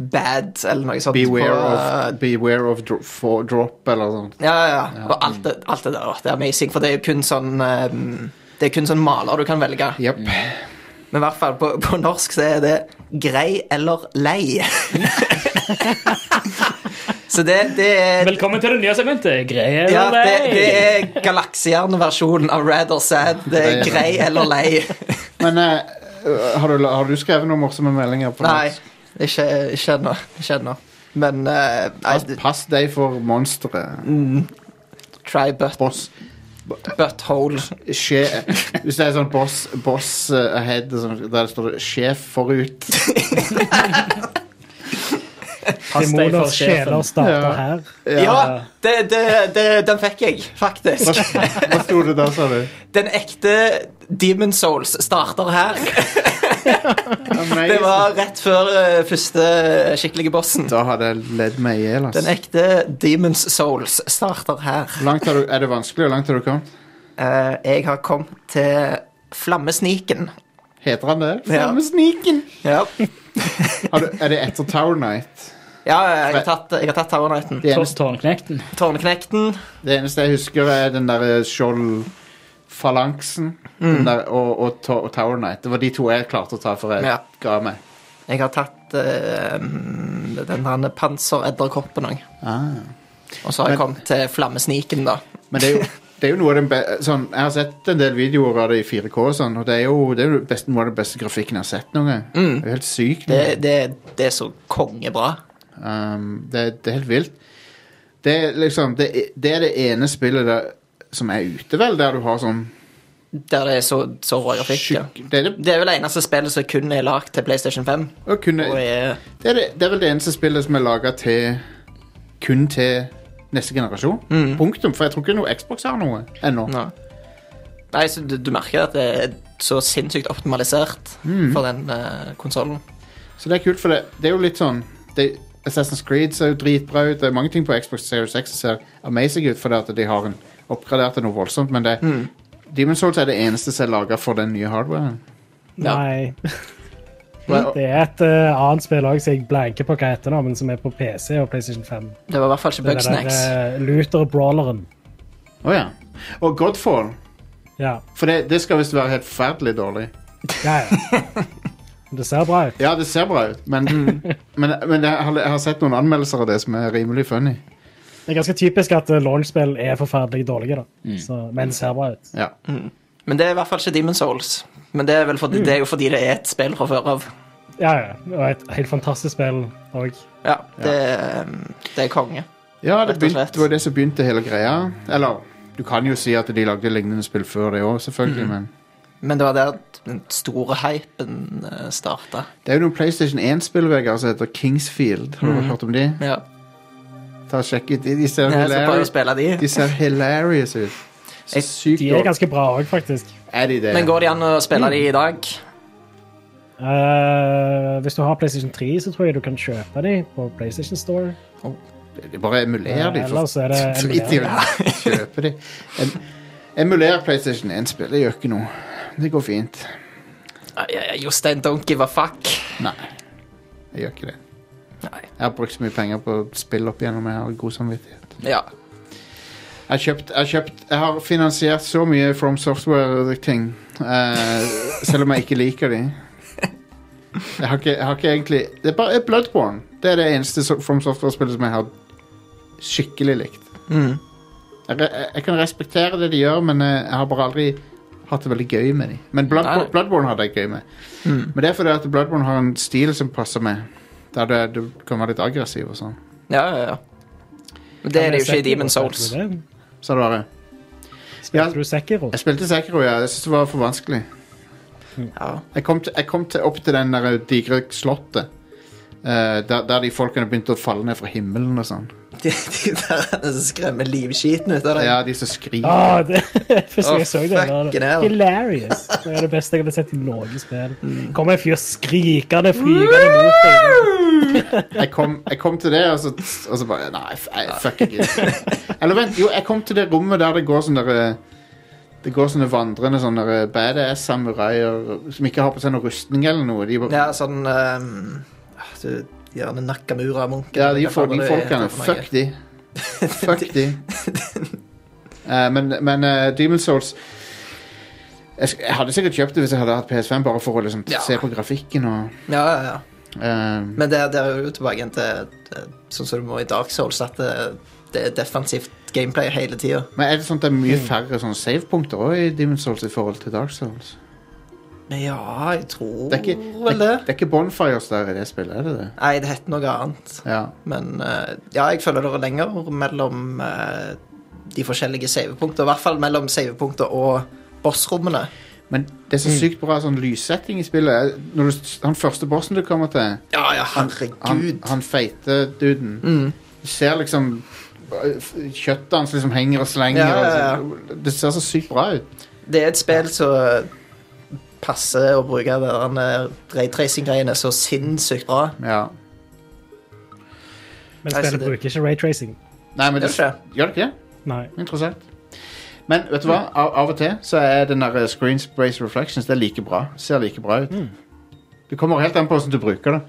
Speaker 4: bad eller noe sånt.
Speaker 2: Beware
Speaker 4: på, eh,
Speaker 2: of, beware of dro for drop eller sånt.
Speaker 4: Ja, ja, ja. Og alt det, alt det der. åh, Det er amazing, for det er jo kun sånn ehm, Det er kun sånn maler du kan velge.
Speaker 2: Jepp.
Speaker 4: Men i hvert fall på, på norsk så er det grei eller lei. så det, det er
Speaker 3: Velkommen til det nye segmentet. Greier
Speaker 4: ja,
Speaker 3: eller
Speaker 4: det, det
Speaker 3: ei?
Speaker 4: er galaksehjerneversjonen av Rad or Sad. Det er grei eller lei.
Speaker 2: Men eh, har, du, har du skrevet noen morsomme meldinger på
Speaker 4: Nei,
Speaker 2: norsk?
Speaker 4: ikke ikke ennå. Ikke ennå. Men eh, nei,
Speaker 2: Pass, pass deg for monsteret.
Speaker 4: try butt,
Speaker 2: Boss
Speaker 4: butthole.
Speaker 2: Sje, hvis det er sånn boss, boss eh, ahead, sånn, der står det 'sjef forut'.
Speaker 3: Pass deg
Speaker 5: Demoner
Speaker 3: for sjefen.
Speaker 5: sjeler starter
Speaker 2: Ja.
Speaker 5: her.
Speaker 4: Ja, det, det, det, den fikk jeg, faktisk.
Speaker 2: Hva sto det der, sa du?
Speaker 4: Den ekte Demon Souls starter her. Det
Speaker 2: Amazing.
Speaker 4: var rett før eh, første skikkelige bossen.
Speaker 2: Da hadde jeg ledd meg i hjel. ass.
Speaker 4: Den ekte Demons Souls starter her.
Speaker 2: Hvor langt har du- Er det vanskelig? Hvor langt har du kommet?
Speaker 4: Eh, jeg har kommet til Flammesniken.
Speaker 2: Heter han det?
Speaker 4: Ja.
Speaker 2: Flammesniken!
Speaker 4: Ja,
Speaker 2: Har du- Er det etter Tower Night?
Speaker 4: ja jeg, har tatt, jeg har tatt Tower Knighten.
Speaker 2: Det eneste,
Speaker 3: Tårnknekten.
Speaker 4: Tårneknekten.
Speaker 2: det eneste jeg husker, er den der skjoldfalansen
Speaker 4: Mm.
Speaker 2: den der, og, og, to- og Tower Night. Det var de to jeg klarte å ta før jeg
Speaker 4: Ja.
Speaker 2: ga meg.
Speaker 4: Jeg har tatt eh, den der panseredderkoppen òg.
Speaker 2: Ah.
Speaker 4: Og så har
Speaker 2: Men-
Speaker 4: jeg kommet til Flammesniken, da.
Speaker 2: Men det er jo, det er jo noe av den be sånn, Jeg har sett en del videoer av det i 4K, og sånn, og det er jo, det er jo best, noe av den beste grafikken jeg har sett noen gang. Det er jo helt sykt.
Speaker 4: Mm. Det, det, det er så kongebra.
Speaker 2: Um, det, det er helt vilt. Det er, liksom, det, er- det er det ene spillet der, som er ute, vel, der du har sånn
Speaker 4: Der det er så, så rå grafikk. ja.
Speaker 2: skikk- det, er det,
Speaker 4: Det er vel det eneste spillet som kun er lagd til PlayStation 5.
Speaker 2: å kunne,
Speaker 4: Og er,
Speaker 2: det, er det, det er vel det eneste spillet som er laga til kun til neste generasjon. Punktum. For jeg tror ikke noe Xbox har noe ennå.
Speaker 4: no. Nei, så du, du merker at det er så Mm. sinnssykt optimalisert for den uh, konsollen.
Speaker 2: Så det er kult, for det, det er jo litt sånn det det, Assassin's Creed ser jo dritbra ut. Det er mange ting på Xbox Series X som ser amazing ut fordi at de har en oppgradert til noe voldsomt, men det, Demon's Souls er det eneste som er laga for den nye hardwaren.
Speaker 5: Nei. Det er et eh, annet spill òg som jeg blanker på hva heter nå, men som er på PC og PlayStation 5.
Speaker 4: Det var i hvert fall ikke
Speaker 5: Det der,
Speaker 4: Bugsnacks.
Speaker 5: eh, Luther-brawleren.
Speaker 2: Å ja. Og Godfall.
Speaker 5: Ja.
Speaker 2: For det, det skal visst være helt forferdelig dårlig.
Speaker 5: ja, ja. Det ser bra ut.
Speaker 2: Ja, det ser bra ut, men, men, men jeg, har, jeg har sett noen anmeldelser av det som er rimelig funny.
Speaker 5: Det er ganske typisk at eh, launch-spill er forferdelig dårlige, da. Så, men ser bra ut.
Speaker 2: Ja.
Speaker 4: Men det er i hvert fall ikke Demon's Souls. Men det er, vel fordi, det er jo fordi det er et spill fra før av.
Speaker 5: Ja, ja. Og et helt fantastisk spill òg.
Speaker 4: Ja, det, eh, det er konge.
Speaker 2: Ja, det,
Speaker 4: Rett og
Speaker 2: begynte,
Speaker 4: slett.
Speaker 2: det var det som begynte hele greia. Eller, du kan jo si at de lagde lignende spill før det òg, selvfølgelig, men
Speaker 4: Men det var der den store hypen eh, starta.
Speaker 2: det er jo noen PlayStation 1-spill Vegard, som heter Kingsfield. Har du hørt om de?
Speaker 4: Ja.
Speaker 2: Ta og Sjekk ut. de- De ser,
Speaker 4: Jeg skal bare
Speaker 2: hilarious,
Speaker 4: spille de.
Speaker 2: de ser hilarious ut. Så sykt
Speaker 5: De er
Speaker 2: godt.
Speaker 5: ganske bra òg, faktisk.
Speaker 2: Er de det?
Speaker 4: Men går det an å spille de i dag?
Speaker 5: Eh, hvis du har PlayStation 3, så tror jeg du kan kjøpe de på PlayStation Store.
Speaker 2: Det er Bare emuler de.
Speaker 5: Eh, ellers er det
Speaker 2: Drit i å kjøpe de. Em, emuler PlayStation 1-spill. Det gjør ikke noe. Det går fint.
Speaker 4: Nei, jeg- jeg- Jostein, don't give a fuck.
Speaker 2: Nei, det gjør ikke det.
Speaker 4: Nei.
Speaker 2: Jeg har brukt så mye penger på spill opp igjennom, jeg har god samvittighet.
Speaker 4: Ja.
Speaker 2: Jeg har kjøpt, jeg har, kjøpt, jeg har finansiert så mye From Software-ting, eh, selv om jeg ikke liker de. Jeg har ikke, jeg har ikke egentlig Det er bare eh, Bloodborne. Det er det eneste so- From Software-spillet som jeg har skikkelig likt.
Speaker 4: Mm.
Speaker 2: Jeg, re- jeg, jeg kan respektere det de gjør, men eh, jeg har bare aldri hatt det veldig gøy med de. Men
Speaker 4: Nei,
Speaker 2: Bloodborne,
Speaker 4: nei. Mm.
Speaker 2: Bloodborne hadde jeg gøy med. Men det er fordi at Bloodborne har en stil som passer med. Der det- du kan være litt aggressiv og sånn.
Speaker 4: Ja, ja, ja. Men det er det jo ikke i Demon's Souls.
Speaker 5: Spilte du det?
Speaker 2: Så det bare Ja.
Speaker 5: Spilte du Sekiro?
Speaker 2: Jeg spilte Sekiro, ja. Jeg syntes det var for vanskelig.
Speaker 4: Ja.
Speaker 2: Jeg kom, til, jeg kom til, opp til den der digre slottet. eh, der, der de folkene begynte å falle ned fra himmelen og sånn.
Speaker 4: De, de der eh, som skremmer livskiten ut av deg.
Speaker 2: Ja, de som skriker.
Speaker 5: Ah, det, første
Speaker 4: Åh,
Speaker 5: gang jeg så det, var
Speaker 4: fucking
Speaker 5: det
Speaker 4: hell.
Speaker 5: hilarious. Det er det beste jeg hadde sett i noe spill.
Speaker 4: Mm.
Speaker 5: Kommer en fyr skrikende, flygende mot deg.
Speaker 2: Jeg, kom, jeg kom til det, og så, og så bare Nei, f- nei, fuck it. Eller vent, jo, jeg kom til det rommet der det går sånne der, eh, Det går sånne vandrende sånne der eh, badass samuraier som ikke har på seg noe rustning eller noe. De, bare-
Speaker 4: Ja, sånn ehm, du, Gjerne Nakamura-munken.
Speaker 2: Ja, de,
Speaker 4: Hva
Speaker 2: fol-
Speaker 4: faen
Speaker 2: de
Speaker 4: det
Speaker 2: folkene.
Speaker 4: heter for noe?
Speaker 2: Fuck de. Fuck de. Eh, men men eh, Demon's Souls jeg, sk- jeg hadde sikkert kjøpt det hvis jeg hadde hatt PS5, bare for å liksom,
Speaker 4: Ja.
Speaker 2: se på grafikken og
Speaker 4: Ja, ja, ja.
Speaker 2: eh,
Speaker 4: Men det, det er jo tilbake igjen til til- sånn som du må i Dark Souls, at det, det er defensivt gameplay hele tida.
Speaker 2: Men er det sånn at det er
Speaker 4: Mm.
Speaker 2: mye færre sånne savepunkter også i Demon's Souls i forhold til Dark Souls?
Speaker 4: Men ja, jeg tror
Speaker 2: Det er ikke, det,
Speaker 4: Oh, vel det.
Speaker 2: det er ikke bonfires der i det spillet, er det det?
Speaker 4: Nei, det heter noe annet.
Speaker 2: Ja.
Speaker 4: Men eh, ja, jeg føler det er lenger mellom eh, de forskjellige savepunktene. I hvert fall mellom savepunkter og bossrommene.
Speaker 2: Men det
Speaker 4: Mm.
Speaker 2: er så sykt bra sånn lyssetting i spillet er- når du, s- Han første bossen du kommer til,
Speaker 4: Ja, ja, herregud.
Speaker 2: han, han feite duden Du ser liksom eh, f- Kjøttet hans liksom henger og slenger.
Speaker 4: Ja, ja, ja.
Speaker 2: og så- Det ser så sykt bra ut.
Speaker 4: Det er et spill som passer å bruke de der raytracing-greiene så sinnssykt bra.
Speaker 2: Ja.
Speaker 5: Men
Speaker 4: Nei, så
Speaker 5: spillet
Speaker 4: det-
Speaker 5: bruker ikke raytracing.
Speaker 2: Nei, men
Speaker 4: Gjør
Speaker 2: det,
Speaker 4: det
Speaker 2: gjør det ikke det?
Speaker 5: Nei.
Speaker 2: Interessant. Men vet du hva? Av, av og til så er den der eh, Screen Sprace Reflections det er like bra. Ser like bra ut. Det kommer helt an på hvordan du bruker det.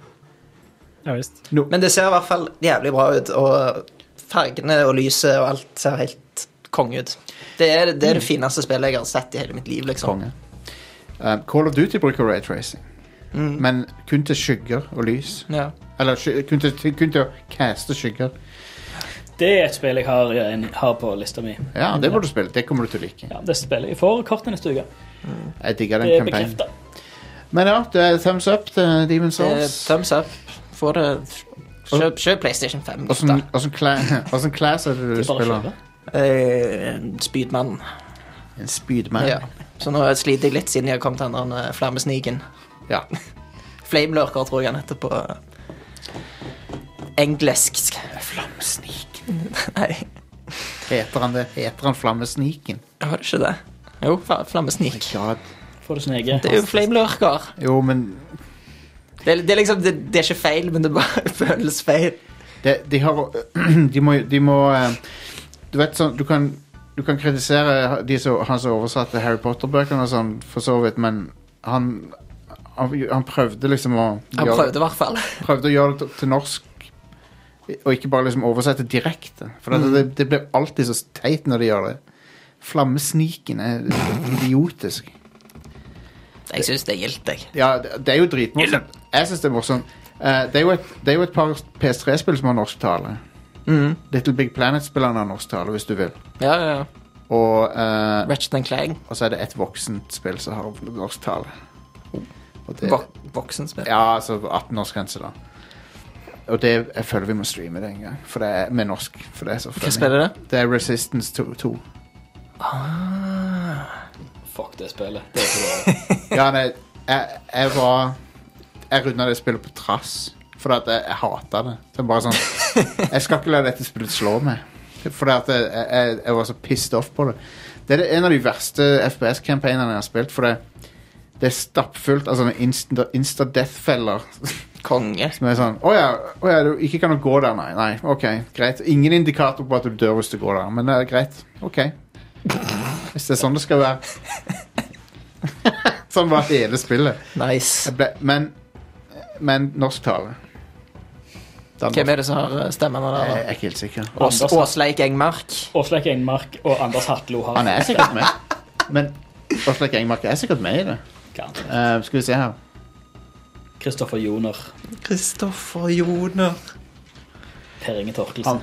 Speaker 5: Ja visst.
Speaker 4: Men det ser i hvert fall jævlig bra ut, og fargene og lyset og alt ser helt konge ut. Det er det, er det fineste spillet jeg har sett i hele mitt liv, liksom.
Speaker 2: Konge. Um, Call of Duty bruker raytracing, men kun til skygger og lys.
Speaker 4: Ja.
Speaker 2: Eller sky, kun, til, til- kun til å caste skygger.
Speaker 3: Det er et spill jeg har, eh, en- har på lista mi.
Speaker 2: Ja, det må du spille. Det kommer du til å like.
Speaker 3: Ja, det spiller jeg for kort denne uke.
Speaker 2: Jeg digger
Speaker 3: Det
Speaker 2: den
Speaker 3: er
Speaker 2: kampanjen.
Speaker 3: bekrefta.
Speaker 2: Men ja, det er thumbs up til Demon's
Speaker 4: Eh,
Speaker 2: Souls.
Speaker 4: Thumbs up. Få det Kjøp, kjøp PlayStation 5, gutta.
Speaker 2: Åssen class er det du
Speaker 3: Det er bare å
Speaker 2: spiller?
Speaker 3: kjøpe.
Speaker 4: Eh, Spydmann.
Speaker 2: En spydman.
Speaker 4: Ja. Så nå sliter jeg litt siden jeg har kommet til den der flammesniken.
Speaker 2: Ja.
Speaker 4: Flamelurker, tror jeg han heter på eh, engelsk. Flammesniken Nei,
Speaker 2: Heter han det? Heter han Flammesniken?
Speaker 4: var det ikke det? Jo, fa- flammesnik.
Speaker 2: God.
Speaker 3: Får du sin egen.
Speaker 4: Det er jo flamelurker.
Speaker 2: Jo, men
Speaker 4: Det, er- det, er liksom, det, det er ikke feil, men det bare føles feil.
Speaker 2: De, de har De må, de må eh, Du vet sånn Du kan, du kan kritisere de som, han som oversatte Harry Potter-bøkene og sånn, for så vidt, men han Han, han prøvde liksom å
Speaker 4: Han
Speaker 2: gjøre-
Speaker 4: prøvde i hvert fall.
Speaker 2: prøvde å gjøre det til- til norsk, og ikke bare liksom oversette direkte. For det, det, det blir alltid så teit når de gjør det. Flammesniken er idiotisk.
Speaker 4: Jeg syns det er gildt, jeg.
Speaker 2: Ja, det, det er jo dritmorsomt. Jeg syns det er morsomt. Eh, det, er jo et, det er jo et par PS3-spill som har norsktale.
Speaker 4: Mhm.
Speaker 2: Little Big Planet-spillerne har norsktale, hvis du vil.
Speaker 4: Ja, ja, ja.
Speaker 2: Og, eh,
Speaker 4: Ratchet and Clank.
Speaker 2: og så er det et voksent spill som har norsktale. Og det,
Speaker 4: Vok voksenspill.
Speaker 2: ja, altså 18-årsgrense, da. Og det, jeg føler vi må streame det en gang, for det er med norsk. For det er så funny.
Speaker 4: spill er det?
Speaker 2: Det er Resistance 2. 2.
Speaker 12: Ah. Fuck det spillet. Det er ikke bra.
Speaker 2: Ja, nei, jeg, jeg var Jeg runda det spillet på trass, fordi at jeg, jeg hata det. Så jeg bare sånn Jeg skal ikke la dette spillet slå meg. Fordi at jeg, jeg, jeg var så pissed off på det. Det er det- en av de verste FPS-campaignene jeg har spilt, for det, det er stappfullt av sånne insta- insta-death-feller.
Speaker 4: Konge.
Speaker 2: Som er sånn Å ja, å ja, du ikke kan du gå der, nei. Nei, OK, greit. Ingen indikator på at du dør hvis du går der, men det er greit. OK. Hvis det er sånn det skal være. sånn var hele spillet.
Speaker 4: Nice.
Speaker 2: Jeg ble, men men norsktale.
Speaker 4: Hvem er det som har eh, stemmene
Speaker 2: Jeg
Speaker 4: der?
Speaker 2: er ikke helt sikker.
Speaker 4: da? Ås Åsleik Engmark.
Speaker 3: Åsleik Engmark og Anders Hatlo har
Speaker 2: Han er sikkert med. Men Åsleik Engmark er sikkert med i det.
Speaker 3: Garantert.
Speaker 2: Eh, skal vi se her.
Speaker 12: Kristoffer Joner.
Speaker 4: Kristoffer Joner.
Speaker 12: Per Inge Torkelsen.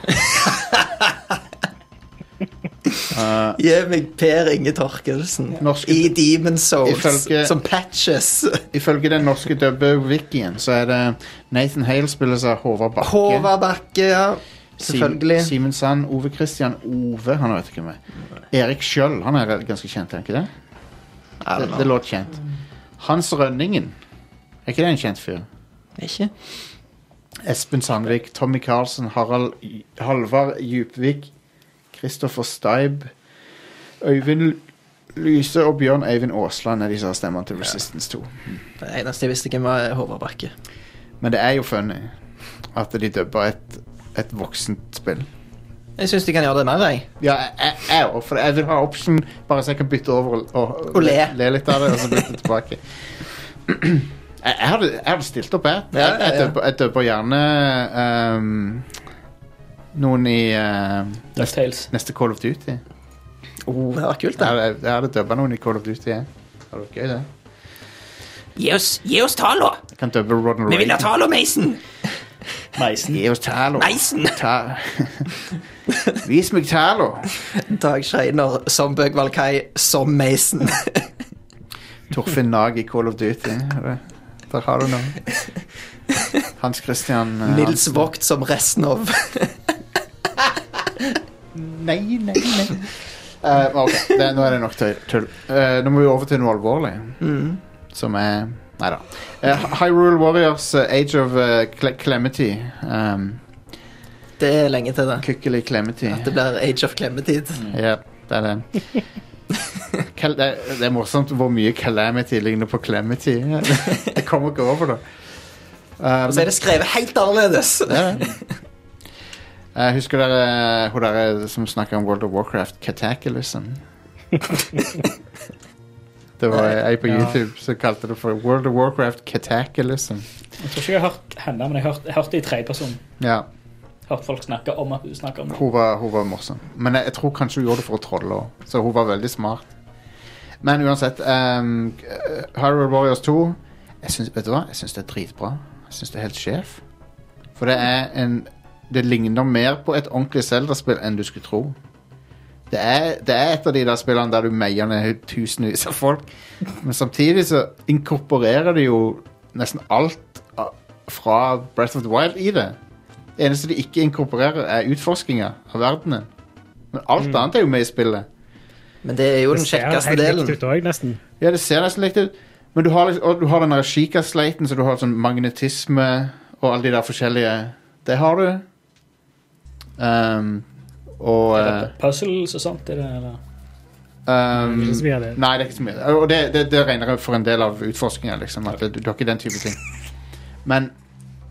Speaker 4: Gi meg Per Inge Torkelsen
Speaker 2: Norske-
Speaker 4: i Demon's Souls
Speaker 2: Ifølge-
Speaker 4: som patches.
Speaker 2: Ifølge den norske dubbe-wikien så er det Nathan Hale spilles av Håvard Bakke.
Speaker 4: Håvard Bakke, ja.
Speaker 2: Sim-
Speaker 4: Selvfølgelig.
Speaker 2: Simen Sand, Ove Christian, Ove Han vet ikke hvem er. Erik Skjøll, han er ganske kjent, er han ikke det?
Speaker 4: don't
Speaker 2: Det,
Speaker 4: know.
Speaker 2: det låt kjent. Hans Rønningen. Er ikke det en kjent fyr?
Speaker 4: Ikke?
Speaker 2: Espen Sandvik, Tommy Karlsen, Harald Y- Halvard Djupvik, Kristoffer Steib, Øyvind Lyse og Bjørn Eivind Aasland er de som har stemmene til Resistance 2.
Speaker 4: Det eneste jeg visste hvem var Håvard Bakke.
Speaker 2: Men det er jo funny at de dubber et, et voksent spill.
Speaker 4: Jeg syns de kan gjøre det mer, jeg.
Speaker 2: Ja, jeg- jeg- jeg òg, for jeg vil ha option bare så jeg kan bytte over og, og,
Speaker 4: Og le.
Speaker 2: le litt av det, og så bytte tilbake. jeg, jeg, hadde, jeg hadde stilt opp, jeg.
Speaker 4: Ja, ja,
Speaker 2: Jeg, jeg,
Speaker 4: ja.
Speaker 2: dubber, jeg dubber gjerne ehm, noen i eh, neste,
Speaker 3: DuckTales.
Speaker 2: neste Call of Duty. Jeg,
Speaker 4: Oh, det var kult, det.
Speaker 2: hadde- jeg hadde dubba noen i Call of Duty, jeg. Det hadde vært gøy, det.
Speaker 7: Gi oss, gi oss tala!
Speaker 2: Jeg kan dubbe Rodden
Speaker 7: Vi vil ha
Speaker 2: Reagan.
Speaker 7: tala, Mason!
Speaker 3: Meisen.
Speaker 2: Gi oss Talo.
Speaker 7: Meisen!
Speaker 2: Ta... Vis meg Talo.
Speaker 4: Dag Scheiner som Bøgvald Kai som Mason.
Speaker 2: Torfinn Nag i Call of Duty. Der har du noe. Hans Christian eh,
Speaker 4: Nils Vogt som resten av
Speaker 2: Nei, nei, nei. Eh, ok, det, nå er det nok tøy- tull. Eh, nå må vi over til noe alvorlig.
Speaker 4: Mm.
Speaker 2: Som er Nei da. Hyrule Warriors eh, Age of eh, Cle Clemety. Um,
Speaker 4: Det er lenge til, det. Mm.
Speaker 2: Kykkeli Clemety.
Speaker 4: At det blir Age of Klemmetid.
Speaker 2: Ja, det er det. Cal det, det er morsomt hvor mye Calamity ligner på Clemety. det kommer ikke over, da. Eh,
Speaker 4: Og så er det skrevet helt annerledes.
Speaker 2: Det er det. Jeg husker dere hun dere som snakka om World of Warcraft, Cataclysm? Det var ei på
Speaker 3: Ja.
Speaker 2: YouTube som kalte det for World of Warcraft Cataclysm.
Speaker 3: Jeg tror ikke jeg har hørt henne, men jeg har hørt, jeg har hørt det i tredjeperson.
Speaker 2: Ja,
Speaker 3: Hørt folk snakke om at hun snakker om det.
Speaker 2: hun var, hun var morsom. Men jeg, jeg tror kanskje hun gjorde det for å trolle òg, så hun var veldig smart. Men uansett um, Hyrule Warriors 2 jeg syns, Vet du hva? Jeg syns det er dritbra. Jeg syns det er helt sjef. For det er en Det ligner mer på et ordentlig Zelda-spill enn du skulle tro. Det er, det er et av de der spillene der du meier ned tusenvis av folk. Men samtidig så inkorporerer du jo nesten alt a- fra Breath of the Wild i det. Det eneste de ikke inkorporerer, er utforskinga av verdenen. Men alt annet er jo med i spillet.
Speaker 4: Men det er jo den
Speaker 5: ser
Speaker 4: kjekkeste
Speaker 5: helt
Speaker 4: delen.
Speaker 5: likt ut også, nesten.
Speaker 2: Ja, det ser nesten likt ut. Men du har, liksom- og du har den der Chica-sleiten, så du har sånn magnetisme og alle de der forskjellige Det har du. Ehm, og
Speaker 3: Er det puzzles og sånt? Er det, eller?
Speaker 4: Mm.
Speaker 2: ehm,
Speaker 5: Ikke så mye av det.
Speaker 2: Nei, det er ikke så mye. Og det, det, det regner jeg for en del av utforskninga. Liksom, at du, du har ikke den type ting. Men,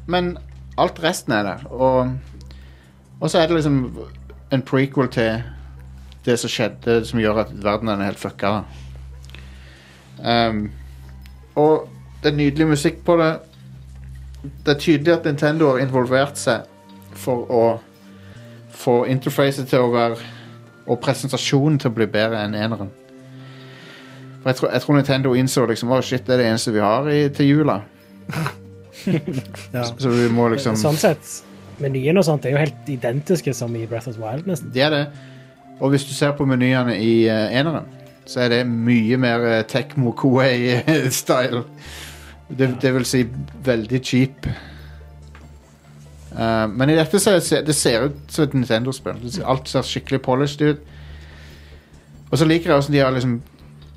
Speaker 2: men alt resten er der. Og, og så er det liksom en prequel til det som skjedde, som gjør at verden er helt fucka. da. Um, og det er nydelig musikk på det. Det er tydelig at Nintendo har involvert seg for å få interfacet til å være Og presentasjonen til å bli bedre enn eneren. For jeg tror, jeg tror Nintendo innså liksom Å, shit, det er det eneste vi har i, til jula.
Speaker 5: Ja.
Speaker 2: Så- Så vi må liksom
Speaker 5: Sånn sett, menyen og sånt er jo helt identiske som i Breath of the Wild, nesten.
Speaker 2: Det er det. Og hvis du ser på menyene i eh, eneren, så er det mye mer eh, Tecmo Koei-style. Det, det vil si veldig cheap. Eh, men i dette så ser det ser ut som et Nintendo-spill. Det ser- Alt ser skikkelig polished ut. Og så liker jeg også de har liksom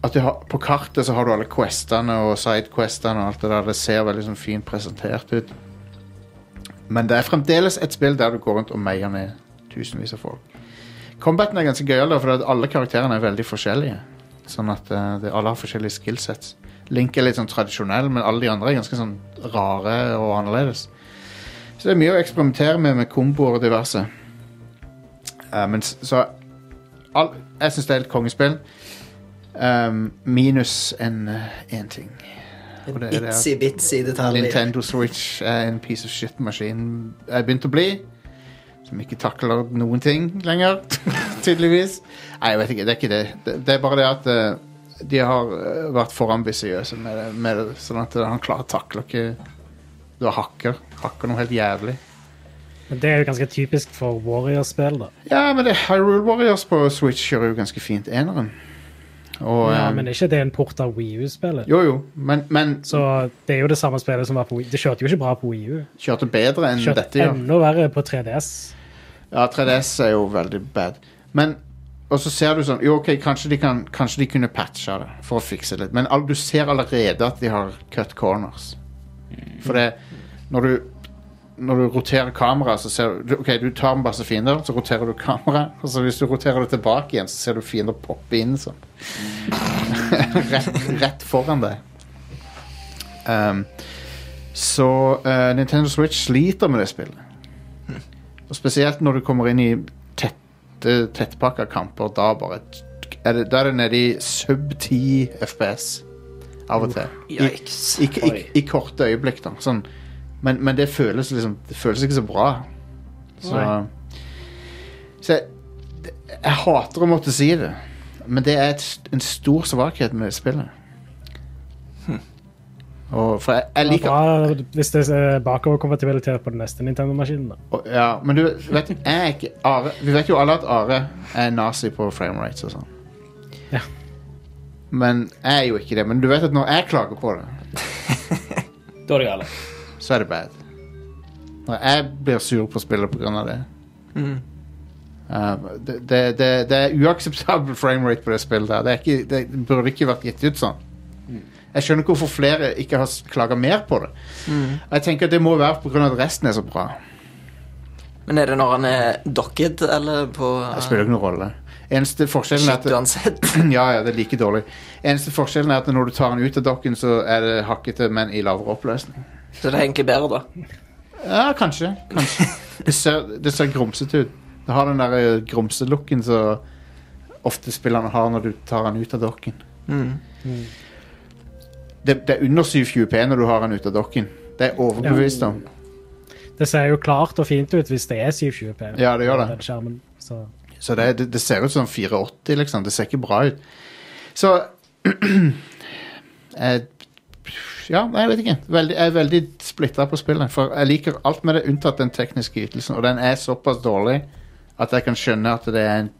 Speaker 2: at du har, På kartet så har du alle questene og sidequestene og alt det der. Det ser veldig sånn fint presentert ut. Men det er fremdeles et spill der du går rundt og meier ned tusenvis av folk. Combaten er ganske gøyal, da, for at alle karakterene er veldig forskjellige. Sånn at eh, det, alle har forskjellige skillsets. Link er litt sånn tradisjonell, men alle de andre er ganske sånn rare og annerledes. Så det er mye å eksperimentere med med komboer og diverse. Eh, men s- så all, Jeg syns det er et kongespill. Ehm, minus en, eh, en ting. Og det er det at
Speaker 4: Itsy-bitsy detalj.
Speaker 2: Nintendo Switch er en piece of shit-maskin jeg begynte å bli. Som ikke takler noen ting lenger, tydeligvis. Nei, jeg vet ikke, det er ikke det. Det, det er bare det at eh, de har eh, vært for ambisiøse med det, med det, sånn at han klarer takler ikke Du har hakker. Hakker noe helt jævlig.
Speaker 5: Men det er jo ganske typisk for Warriors-spill, da.
Speaker 2: Ja, men det Hyrule Warriors på Switch gjør jo ganske fint eneren. Og,
Speaker 5: ja,
Speaker 2: eh,
Speaker 5: men er ikke det en port av Wii U-spillet?
Speaker 2: Jo, jo, men, men
Speaker 5: Så det er jo det samme spillet som var på Wii Det kjørte jo ikke bra på Wii U.
Speaker 2: kjørte bedre enn
Speaker 5: Kjørte
Speaker 2: Mm, dette gjør.
Speaker 5: enda verre på 3DS.
Speaker 2: Ja, 3DS er jo veldig bad. Men, og så ser du sånn Jo, ok, kanskje de, kan, kanskje de kunne patcha det for å fikse det litt. Men all, du ser allerede at de har cut corners. For det Når du, når du roterer kameraet, så ser du Ok, du tar masse fiender, så roterer du kameraet. Og så hvis du roterer det tilbake igjen, så ser du fiender poppe inn sånn. rett, rett foran deg. Um, så eh, Nintendo Switch sliter med det spillet. Og spesielt når du kommer inn i tette, tettpakka kamper, da bare er det, Da er det nede i sub 10 FPS av og til. I, i, i, i korte øyeblikk, da. Sånn. Men, men det føles liksom Det føles ikke så bra. Så,
Speaker 5: Nei.
Speaker 2: så jeg, jeg hater å måtte si det, men det er et, en stor svakhet med spillet.
Speaker 5: Hm.
Speaker 2: Og, for jeg, jeg
Speaker 5: Det var
Speaker 2: liker
Speaker 5: bra hvis det er eh, bakoverkompatibilitet på den neste Nintendo-maskinen. da.
Speaker 2: Og- Ja, men du vet, jeg er ikke Are, Vi vet jo alle at Are er nazi på framerates og sånn.
Speaker 5: Ja.
Speaker 2: Men jeg er jo ikke det. Men du vet at når jeg klager på det,
Speaker 12: Da er det galt.
Speaker 2: så er det bad. Når jeg blir sur på spillet pga. det.
Speaker 4: Mm.
Speaker 2: Uh, det, det, det, det er uakseptabel framerate på det spillet der. Det, er ikke, det burde ikke vært gitt ut sånn. Jeg skjønner ikke hvorfor flere ikke har s- klaget mer på det. Jeg tenker at Det må være pga. at resten er så bra.
Speaker 4: Men er det når han er docket, eller på
Speaker 2: Det spiller ikke noen rolle. Eneste forskjellen er at
Speaker 4: Shit uansett.
Speaker 2: ja, ja, det er like dårlig. Eneste forskjellen er at når du tar den ut av dokken, så er det hakkete, men i lavere oppløsning.
Speaker 4: Så det er egentlig bedre, da.
Speaker 2: Ja, kanskje. kanskje. Det ser, det ser grumsete ut. Det har den der eh, grumselooken som ofte spillerne har når du tar den ut av dokken.
Speaker 4: Mm.
Speaker 2: Det, det er under 720P når du har den ut av dokken. Det er jeg overbevist om.
Speaker 5: Det ser jo klart og fint ut hvis det er 720P.
Speaker 2: Ja, det gjør det.
Speaker 5: på den skjermen. Så
Speaker 2: Så det, det, det ser ut som 480, liksom. Det ser ikke bra ut. Så eh, Ja, nei, jeg vet ikke. Veldig, jeg er veldig splitta på spillet. For jeg liker alt med det unntatt den tekniske ytelsen. Og den er såpass dårlig at jeg kan skjønne at det er en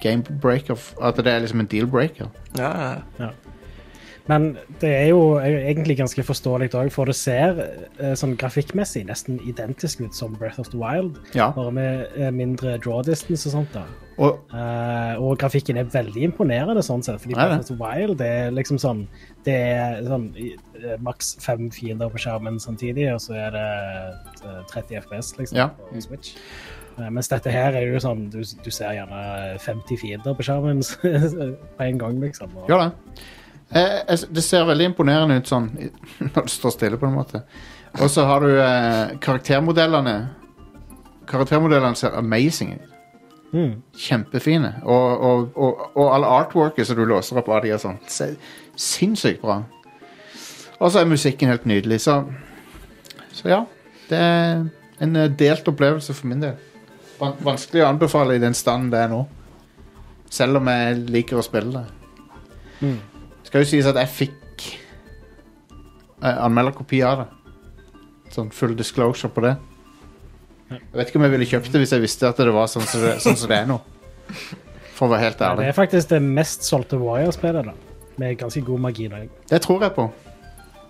Speaker 2: game breaker. At det er liksom en deal breaker.
Speaker 4: Ja, ja.
Speaker 5: Men det er jo egentlig ganske forståelig òg, for det ser eh, sånn grafikkmessig nesten identisk ut som Breath of the Wild,
Speaker 2: Ja.
Speaker 5: bare med eh, mindre draw distance og sånt. da.
Speaker 2: Og
Speaker 5: Eh, og grafikken er veldig imponerende, sånn sett, fordi
Speaker 2: Ja,
Speaker 5: Breath
Speaker 2: det.
Speaker 5: of the Wild det er liksom sånn Det er sånn eh, maks fem fiender på skjermen samtidig, og så er det eh, 30 FPS liksom,
Speaker 2: Ja.
Speaker 5: på Switch. Eh, mens dette her er jo sånn Du, du ser gjerne 50 fiender på skjermen på en gang, liksom. Og,
Speaker 2: gjør det. Eh, eh, det ser veldig imponerende ut sånn i- når det står stille, på en måte. Og så har du eh, karaktermodellene. Karaktermodellene ser amazing ut.
Speaker 5: Mm.
Speaker 2: Kjempefine. Og, og, og, og alle artworket som du låser opp av de og sånn, ser sinnssykt bra. Og så er musikken helt nydelig, så Så ja. Det er en eh, delt opplevelse for min del. Van- Vanskelig å anbefale i den standen det er nå. Selv om jeg liker å spille det.
Speaker 5: Mm.
Speaker 2: Skal jo sies at jeg fikk eh, anmelderkopi av det. Sånn full disclosure på det. Jeg vet ikke om jeg ville kjøpt det hvis jeg visste at det var sånn som det, sånn som det er nå. For å være helt
Speaker 5: Det
Speaker 2: ærlig.
Speaker 5: er faktisk det mest solgte Warriors-spillet, da. Med ganske god margin. også.
Speaker 2: Det tror jeg på.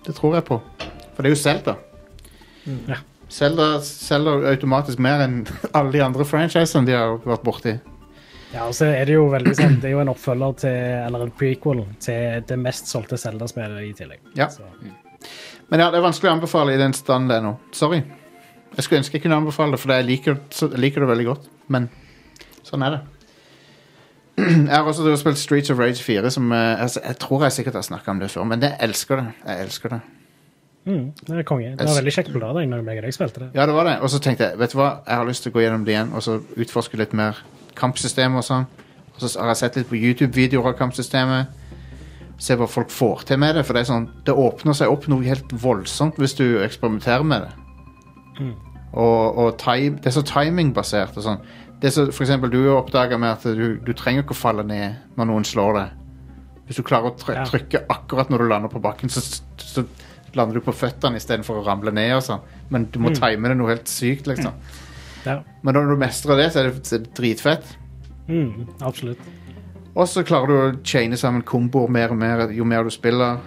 Speaker 2: Det tror jeg på. For det er jo Zelda.
Speaker 5: Ja.
Speaker 2: Zelda selger automatisk mer enn alle de andre franchisene de har vært borti.
Speaker 5: Ja, og så er det jo veldig sånn, det er jo en oppfølger til, eller en prequel til det mest solgte Zelda-spillet i tillegg.
Speaker 2: Ja. Men ja, det er vanskelig å anbefale i den stand det er nå. Sorry. Jeg skulle ønske jeg kunne anbefale det, for jeg liker, så- jeg liker det veldig godt. Men sånn er det. Jeg har også drevet og spilt Streets of Rage 4, som eh, altså, jeg tror jeg sikkert har snakka om det før, men jeg elsker det. Jeg elsker det.
Speaker 5: Mm, det er konge. Det var veldig kjekt på lørdag når jeg og deg spilte det.
Speaker 2: Ja, det var det. Og så tenkte jeg vet du hva, jeg har lyst til å gå gjennom det igjen og så utforske litt mer kampsystemet og sånn. Og så har jeg sett litt på YouTube-videoer av kampsystemet. Se hva folk får til med det. For det er sånn, det åpner seg opp noe helt voldsomt hvis du eksperimenterer med det.
Speaker 5: Mm.
Speaker 2: Og, og time, det er så timingbasert og sånn. Det som for eksempel du oppdager med at du, du trenger ikke å falle ned når noen slår deg. Hvis du klarer å try
Speaker 5: Ja.
Speaker 2: trykke akkurat når du lander på bakken, så, så lander du på føttene istedenfor å ramle ned og sånn. Men du må
Speaker 5: Mm.
Speaker 2: time det noe helt sykt, liksom.
Speaker 5: Ja.
Speaker 2: Men når du mestrer det, så er det, så er det dritfett.
Speaker 5: Mm, absolutt.
Speaker 2: Og så klarer du å chaine sammen komboer mer og mer jo mer du spiller.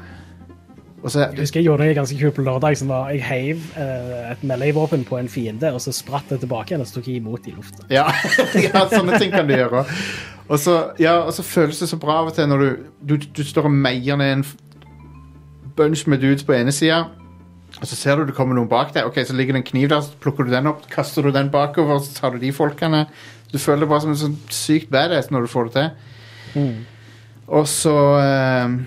Speaker 2: Og så
Speaker 5: Jeg husker jeg gjorde det ganske kult på lørdag, som var jeg heiv eh, et melee-våpen på en fiende, og så spratt det tilbake igjen, og så tok jeg imot i lufta.
Speaker 2: Ja, ja sånne ting kan du gjøre. Og så, ja, og så føles det så bra av og til når du, du, du står og meier ned en f- bunch med dudes på ene sida, og så ser du det kommer noen bak deg. Ok, Så ligger det en kniv der, så plukker du den opp, kaster du den bakover, så tar du de folkene. Du føler det bare som en sånn sykt badass når du får det til. Og så ehm,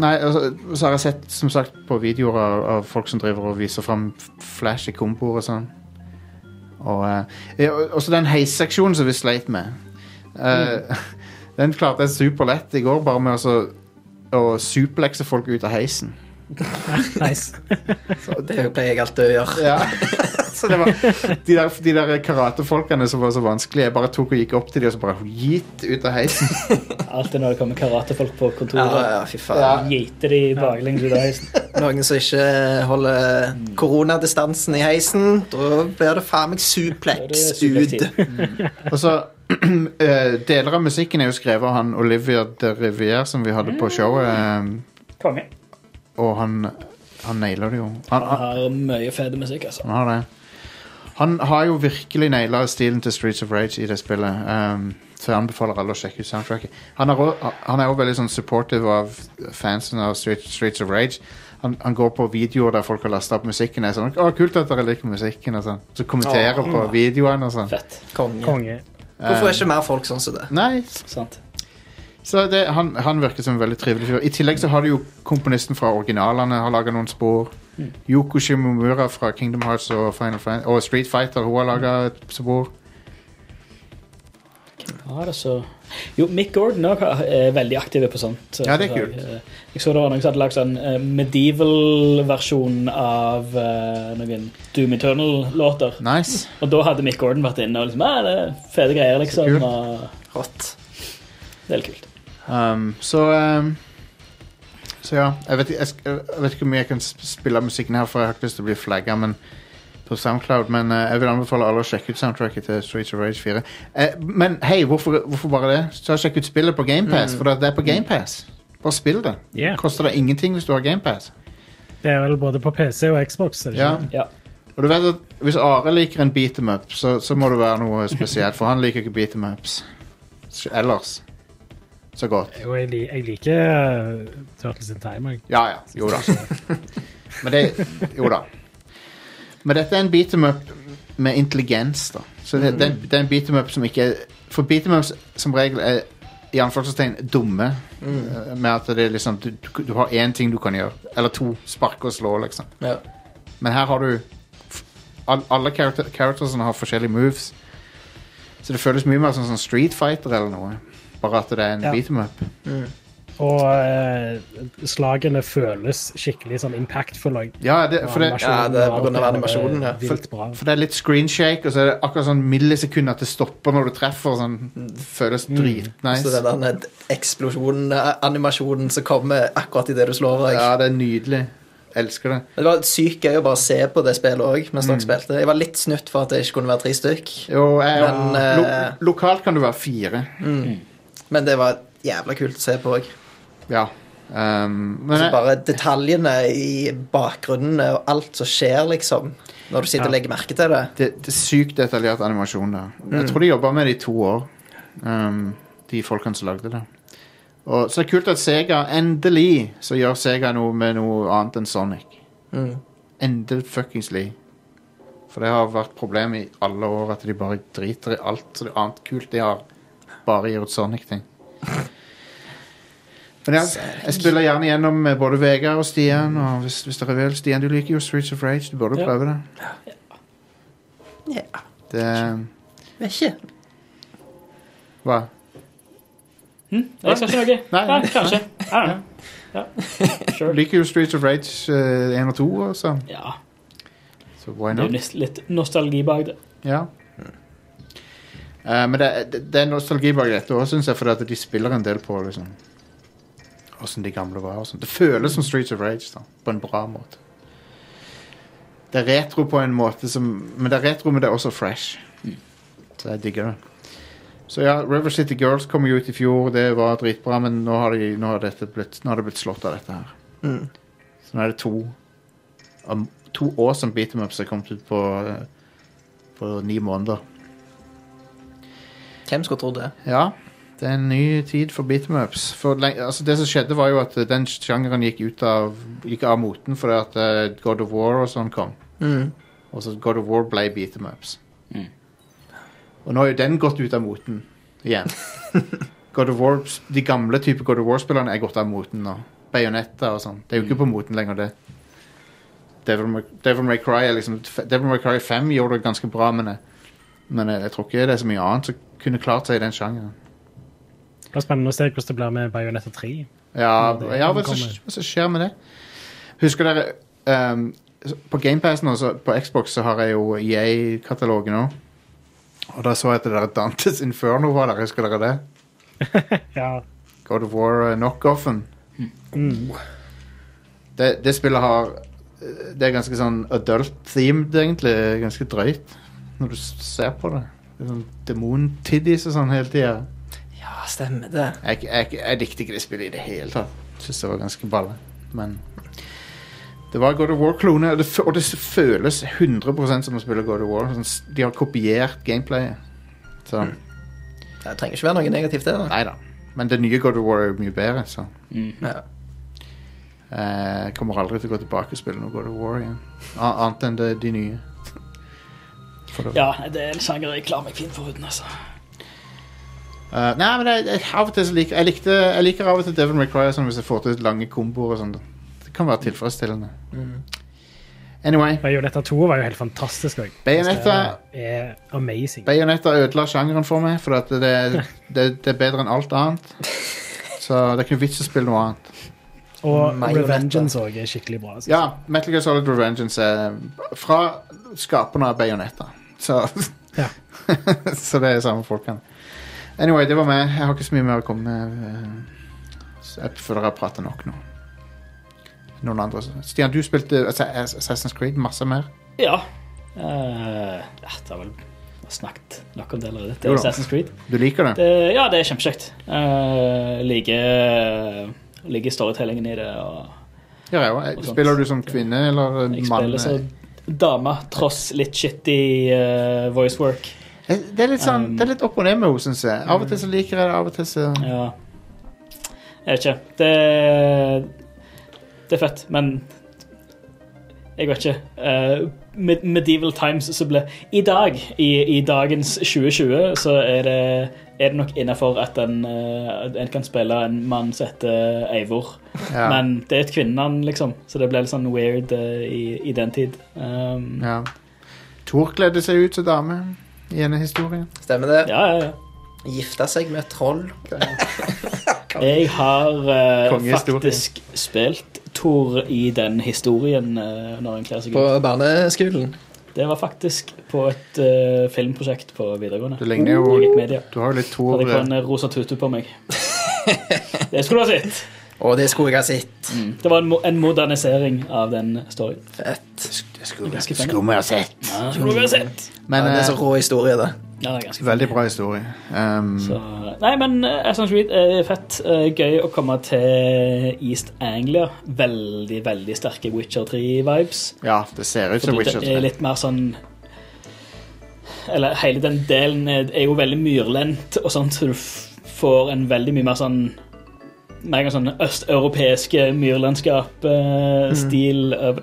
Speaker 2: Nei, og så, og så har jeg sett som sagt på videoer av, av folk som driver og viser fram flashy komboer og sånn. Og eh, ja, og- også den heisseksjonen som vi sleit med. Eh, Den klarte jeg superlett i går, bare med å så- å suplekse folk ut av heisen.
Speaker 5: Nice.
Speaker 4: Det pleier jeg alltid å gjøre.
Speaker 2: Ja. Så det var de der, de der karatefolkene som var så vanskelige, jeg bare tok og gikk opp til dem og så bare gitt ut av heisen.
Speaker 3: Alltid når det kommer karatefolk på kontoret.
Speaker 4: Ja, ja, fy faen.
Speaker 3: Geiter de baklengs ut av heisen.
Speaker 4: Noen som ikke holder koronadistansen i heisen, da blir det faen meg suplex ut.
Speaker 2: Og så eh, Deler av musikken er jo skrevet av han Olivia de Rivière som vi hadde på showet. eh,
Speaker 3: Konge.
Speaker 2: og han, han nailer det jo. Han,
Speaker 12: Han
Speaker 2: han,
Speaker 12: har mye fet musikk, altså.
Speaker 2: han har det. Han har jo virkelig naila stilen til Streets of Rage i det spillet. ehm, så jeg anbefaler alle å sjekke ut soundtracket. Han er også- han er òg veldig sånn supportive av fansen av Street, Streets of Rage. Han, han går på videoer der folk har lasta opp musikken. Og er sånn, å, kult at dere liker musikken og sånn. Så kommenterer
Speaker 4: Åh.
Speaker 2: på videoene og sånn.
Speaker 4: Konge.
Speaker 5: Konge.
Speaker 4: Hvorfor er ikke mer folk sånn som det?
Speaker 2: Nei,
Speaker 3: Sant.
Speaker 2: Så det, han, han virker som en veldig trivelig fyr. I tillegg så har du jo komponisten fra originalene har laga noen spor. Yoko Shimomura fra Kingdom Hearts og, Final Fan og Street Fighter hun har laga et spor.
Speaker 3: Ja, det så. Jo, Mick Gordon også er veldig aktiv på sånt.
Speaker 2: Ja, det er kult.
Speaker 3: Jeg, jeg så det var noen som hadde lagd sånn eh, medieval-versjon av eh, noen Doom Eternal-låter.
Speaker 2: Nice.
Speaker 3: Og da hadde Mick Gordon vært inne og liksom Ja, det er fete greier, liksom.
Speaker 2: Så kult.
Speaker 3: Og
Speaker 4: Rått.
Speaker 3: det er litt kult.
Speaker 2: Um, så um, Så ja. Jeg vet, jeg, sk- jeg vet ikke hvor mye jeg kan sp- spille av musikken her, for jeg har ikke lyst til å bli flagga men, på Soundcloud, men eh, jeg vil anbefale alle å sjekke ut soundtracket til Streets of Rage 4. Eh, men hei, hvorfor, hvorfor bare det? Så Sjekk ut spillet på GamePass,
Speaker 4: Mm.
Speaker 2: for det- det er på GamePass. Bare spill det.
Speaker 5: Yeah.
Speaker 2: Koster deg ingenting hvis du har GamePass.
Speaker 5: Det er vel både på PC og Xbox, er det
Speaker 2: Ja.
Speaker 5: ikke?
Speaker 3: Ja.
Speaker 2: Og du vet at Hvis Are liker en beat em up, så, så må det være noe spesielt, for han liker ikke beat em ups ellers så godt.
Speaker 5: Jo, jeg, li- jeg liker eh, Turtles in Time, jeg.
Speaker 2: Ja ja, jo da. Men det Jo da. Men dette er en beat em up med intelligens, da. Så det, det, er en- det er en beat em up som ikke er For beat em ups som regel er i anførselstegn dumme.
Speaker 4: Mm.
Speaker 2: Med at det er liksom du, du har én ting du kan gjøre. Eller to. Sparke og slå, liksom.
Speaker 4: Ja.
Speaker 2: Men her har du f- all- Alle character, charactersene har forskjellige moves. Så det føles mye mer som sånn Street Fighter eller noe. Bare at det er en
Speaker 5: Ja.
Speaker 2: beat 'em up.
Speaker 5: Og eh, slagene føles skikkelig sånn impactful. og-
Speaker 2: Ja, det, for det,
Speaker 5: og animasjonen og alt der, det er
Speaker 2: For,
Speaker 5: vilt bra.
Speaker 2: for det er litt screenshake, og så er det akkurat sånn millisekunder at det stopper når du treffer. og Sånn, det føles
Speaker 4: Mm. Så
Speaker 2: dritnice.
Speaker 4: den der eksplosjonen, eh, animasjonen som kommer akkurat idet du slår deg.
Speaker 2: Ja, det er nydelig. Elsker det.
Speaker 4: Det var sykt gøy å bare se på det spillet òg mens dere
Speaker 2: Mm.
Speaker 4: spilte. Jeg var litt snytt for at det ikke kunne være tre stykk.
Speaker 2: Jo, jeg,
Speaker 4: Men,
Speaker 2: lo,
Speaker 4: eh,
Speaker 2: lokalt kan du være fire.
Speaker 4: Mm. Men det var jævla kult å se på òg.
Speaker 2: Ja. Um, men
Speaker 4: Altså
Speaker 2: jeg-
Speaker 4: bare detaljene i bakgrunnen og alt som skjer, liksom. Når du sitter
Speaker 2: Ja.
Speaker 4: og legger merke til det.
Speaker 2: det, det er sykt detaljert animasjon der. Jeg
Speaker 4: Mm.
Speaker 2: tror de jobba med det i to år, um, de folkene som lagde det. Og så er det kult at Sega endelig så gjør Sega noe med noe annet enn Sonic.
Speaker 4: Mm.
Speaker 2: Endelig fuckingsly. For det har vært problem i alle år at de bare driter i alt så det annet kult de har. Bare gir ut Sonic-ting. Men ja, jeg spiller gjerne gjennom med både Vegard og Stian. Og hvis, hvis dere vil, Stian, du liker jo Streets of Rage. Du burde
Speaker 4: Ja.
Speaker 2: prøve det.
Speaker 4: Ja,
Speaker 2: det
Speaker 4: vet ikke.
Speaker 2: hva?
Speaker 3: Hm? Jeg sa ikke noe.
Speaker 2: Nei,
Speaker 3: Ja,
Speaker 2: nei.
Speaker 3: kanskje. I don't know.
Speaker 2: Du liker jo Streets of Rage eh, 1 og 2, altså.
Speaker 3: Ja.
Speaker 2: Så why
Speaker 3: Det er
Speaker 2: not?
Speaker 3: jo nest- litt nostalgi bak det.
Speaker 2: Ja. Eh, men det, er- det, det er nostalgi bak dette òg, syns jeg, fordi at de spiller en del på liksom åssen de gamle var. og sånt. Det føles som Streets of Rage, da, på en bra måte. Det er retro på en måte som Men det er retro, men det er også fresh. Så jeg digger det. Så ja, River City Girls kom jo ut i fjor, det var dritbra, men nå har, de, nå har, dette blitt, nå har det blitt slått av dette her.
Speaker 4: Mm.
Speaker 2: Så nå er det to om To år som beat 'em ups har kommet ut på eh, På ni måneder.
Speaker 4: Hvem skulle trodd det?
Speaker 2: Ja, det er en ny tid for beat 'em ups. For leng- altså det som skjedde, var jo at eh, den sjangeren gikk ut av Gikk av moten fordi at eh, God of War og sånn kom.
Speaker 4: Mm.
Speaker 2: Og så God of War ble beat 'em ups.
Speaker 3: Mm.
Speaker 2: Og nå har jo den gått ut av moten igjen. God of War, de gamle type God of War-spillerne er gått av moten nå. Bajonetta og sånn. Det er jo ikke på moten lenger, det. Devil May, Devil May Cry er liksom Devil May Cry 5 gjorde det ganske bra, men jeg, men jeg, jeg tror ikke det er så mye annet som kunne klart seg i den sjangeren.
Speaker 5: Det er spennende å se hvordan det blir med Bajonetta 3.
Speaker 2: Ja,
Speaker 5: det
Speaker 2: ja hva, som,
Speaker 5: kommer.
Speaker 2: hva som skjer med det? Husker dere ehm, På GamePassen og så- på Xbox så har jeg jo EA-katalogen òg. Og da så jeg at det der Dantes Inferno var der. Husker dere det?
Speaker 5: Ja.
Speaker 2: God of War eh, knockoffen.
Speaker 4: Mm.
Speaker 2: Det, det spillet har eh, Det er ganske sånn adult-themed, egentlig. Ganske drøyt når du s- ser på det. det er sånn Demon-tiddies og sånn hele tida.
Speaker 4: Ja, stemmer det.
Speaker 2: Jeg, jeg, jeg likte ikke det spillet i det hele tatt. Syns det var ganske balle. Men det var God of War-klone, og, det fø- og det føles 100 som å spille God of War. Sånn s- De har kopiert gameplayet. Så
Speaker 4: Mm. Det trenger ikke være noe negativt, det. da.
Speaker 2: nei da. Men det nye God of War er jo mye bedre, så
Speaker 4: Ja.
Speaker 2: eh, jeg kommer aldri til å gå tilbake og spille noe God of War igjen. A- Annet enn det, de nye. For det-
Speaker 3: Ja, det er en sjanger jeg klarer meg fint foruten, altså.
Speaker 2: Eh, nei, men jeg, jeg, av og til så liker jeg, likte, jeg liker av og til Devil May Cry sånn hvis jeg får til lange komboer og sånn. Det kan være tilfredsstillende. Anyway.
Speaker 5: Bajonetta 2 var jo helt fantastisk òg.
Speaker 2: Bayonetta-
Speaker 5: er amazing.
Speaker 2: Bajonetta ødela sjangeren for meg, for at det, det, det er bedre enn alt annet. Så det er ikke noe vits å spille noe annet.
Speaker 5: Og
Speaker 4: Bayonetta.
Speaker 5: Revengeance òg er skikkelig bra. altså.
Speaker 2: Ja, Metal Gear Solid Revengeance er fra skaperne av Bajonetta. Så,
Speaker 5: Ja.
Speaker 2: så det er samme folkene. Anyway, det var meg. Jeg har ikke så mye mer å komme med. Så Jeg føler jeg har prata nok nå. Noen andre Stian, du spilte Assassin's Creed masse mer.
Speaker 3: Ja. Eh, ja, det har vel snakket nok om det allerede. Det
Speaker 2: Jo
Speaker 3: er
Speaker 2: da.
Speaker 3: Assassin's Creed.
Speaker 2: Du liker det?
Speaker 3: Det, ja, det er kjempekjekt. Uh, liker liker storytellingen i det. og
Speaker 2: Gjør jeg òg. Spiller du som kvinne eller
Speaker 3: Jeg
Speaker 2: mann?
Speaker 3: spiller så dame, tross litt shitty eh, voice work.
Speaker 2: Det er litt sånn, det er litt opp og ned med henne, syns jeg. Av og til så liker jeg det, av og til så
Speaker 3: Um, Ja. Jeg vet ikke. Det, det er fett, men jeg vet ikke. Eh, Med- Medieval Times så ble I dag, i, i dagens 2020, så er det, er det nok innafor at en, eh, at en kan spille en mann som heter Eivor.
Speaker 2: Ja.
Speaker 3: Men det er et kvinnenavn, liksom, så det ble litt sånn weird eh, i, i den tid. Um,
Speaker 2: Ja. Thor kledde seg ut som dame i denne historien.
Speaker 4: Stemmer det?
Speaker 3: Ja, ja,
Speaker 4: Gifta seg med et troll.
Speaker 3: Jeg har eh,
Speaker 4: Kongehistorie.
Speaker 3: faktisk spilt Tor i den historien eh, når han kler seg ut.
Speaker 4: På barneskolen.
Speaker 3: Det var faktisk på et eh, filmprosjekt på videregående.
Speaker 2: Det ligner jo-
Speaker 3: Jeg gikk media.
Speaker 2: Du har jo litt Thor
Speaker 3: Hadde jeg
Speaker 2: eh,
Speaker 3: en eh, rosa tute på meg. det skulle du ha sett.
Speaker 4: Og det skulle jeg ha sett.
Speaker 3: Det var en, mo en modernisering av den storyen.
Speaker 2: Det skulle
Speaker 3: Ganske spennende.
Speaker 2: skulle vi ha sett.
Speaker 3: Ja, det skulle du ha sett.
Speaker 2: Men,
Speaker 4: ja, det er
Speaker 2: eh,
Speaker 4: så rå historie, det.
Speaker 3: Ja, det er ganske
Speaker 2: Veldig bra historie. Um,
Speaker 3: Nei, men eh, Assassin's Creed er fett. eh, Gøy å komme til East Anglia. Veldig, veldig sterke Witcher 3-vibes.
Speaker 2: ja, det ser ut som
Speaker 3: Fordi
Speaker 2: Witcher
Speaker 3: Det
Speaker 2: 3.
Speaker 3: er litt mer sånn Eller hele den delen er er jo veldig myrlendt og sånt, så du f- får en veldig mye mer sånn mer sånn østeuropeiske myrlandskap-stil over,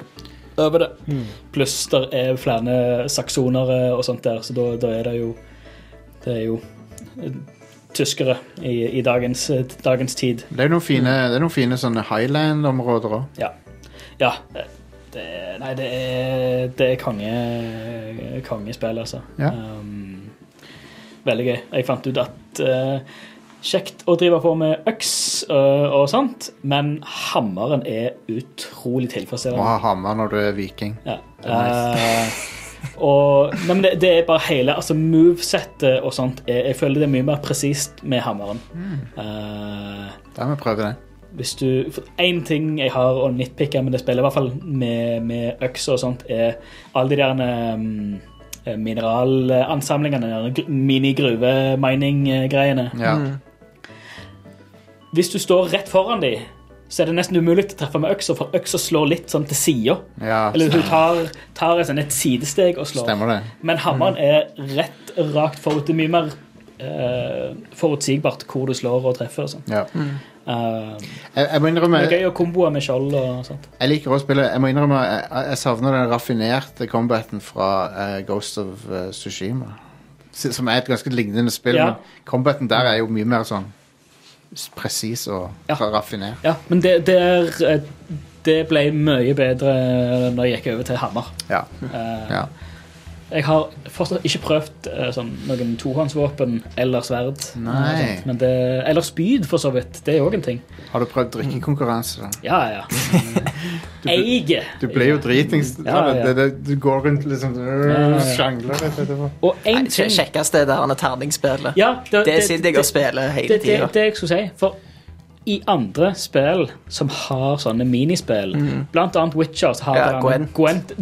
Speaker 3: over det. eh, Pluss der er flere saksonere og sånt der, så da, da er det jo Det er jo eh, tyskere i, i dagens, eh, dagens tid.
Speaker 2: Det er noen fine, det er noen fine sånne highland-områder òg.
Speaker 3: Ja. ja. eh, Det, nei, det er, det er konge, kongespill, altså.
Speaker 2: Ja.
Speaker 3: Um, veldig gøy. Jeg fant ut at eh, Kjekt å drive på med øks eh, og sånt, men hammeren er utrolig
Speaker 2: Må
Speaker 3: tilfredsstillende.
Speaker 2: ha hammer når du er viking.
Speaker 3: Ja.
Speaker 2: Det er
Speaker 3: Eh, og nei, men det, det er bare hele altså movesettet og sånt. Jeg, jeg føler det er mye mer presist med hammeren.
Speaker 2: Mm.
Speaker 3: Eh,
Speaker 2: Da må vi prøve det.
Speaker 3: hvis du Én ting jeg har å nitpicke med det spillet, i hvert fall med, med økser og sånt, er alle de der um, mineralansamlingene, de der gr- mini-gruve-mining-greiene.
Speaker 2: Ja.
Speaker 4: Mm.
Speaker 3: Hvis du står rett foran de, så er det nesten umulig å treffe med øksa, for øksa slår litt sånn til sida.
Speaker 2: Ja,
Speaker 3: Eller hun tar, tar et, sånn, et sidesteg og slår.
Speaker 2: stemmer det.
Speaker 3: Men hammeren er rett rakt forut. Det er mye mer eh, forutsigbart hvor du slår og treffer. og sånt.
Speaker 2: Ja.
Speaker 4: Mm.
Speaker 3: Eh,
Speaker 2: Jeg, jeg må innrømme
Speaker 3: det er
Speaker 2: Jeg
Speaker 3: gøy å komboe med skjold og sånn. sånt.
Speaker 2: liker å spille Jeg må innrømme jeg, jeg savner den raffinerte combaten fra eh, Ghost of uh, Sushima. Som er et ganske lignende spill,
Speaker 3: Ja.
Speaker 2: men combaten der er jo mye mer sånn s- presis og
Speaker 3: Ja.
Speaker 2: raffinert.
Speaker 3: Ja, men det, det, er, eh, det ble mye bedre når jeg gikk over til hammer.
Speaker 2: Ja.
Speaker 3: Eh,
Speaker 2: ja.
Speaker 3: Jeg har fortsatt ikke prøvd eh, sånn, noen tohåndsvåpen eller sverd.
Speaker 2: Nei.
Speaker 3: eh, sånt, Men det, eller spyd, for så vidt. Det er òg en ting.
Speaker 2: Har du prøvd drikkekonkurranse? da?
Speaker 3: Ja, ja. Eige.
Speaker 2: Du blir jo dritings.
Speaker 3: Ja, ja.
Speaker 2: Det, det, du går rundt liksom øh, Sjangler litt etterpå.
Speaker 3: Og én
Speaker 4: Det
Speaker 3: ting
Speaker 4: kjekkeste er det derne terningspillet.
Speaker 3: ja,
Speaker 4: det, sitter jeg og spiller hele
Speaker 3: det, det,
Speaker 4: tida.
Speaker 3: det jeg skulle si, for i andre spill som har sånne minispill, blant annet Witcher, så har
Speaker 4: Mm. Ja,
Speaker 3: det
Speaker 4: Gwent. Mm.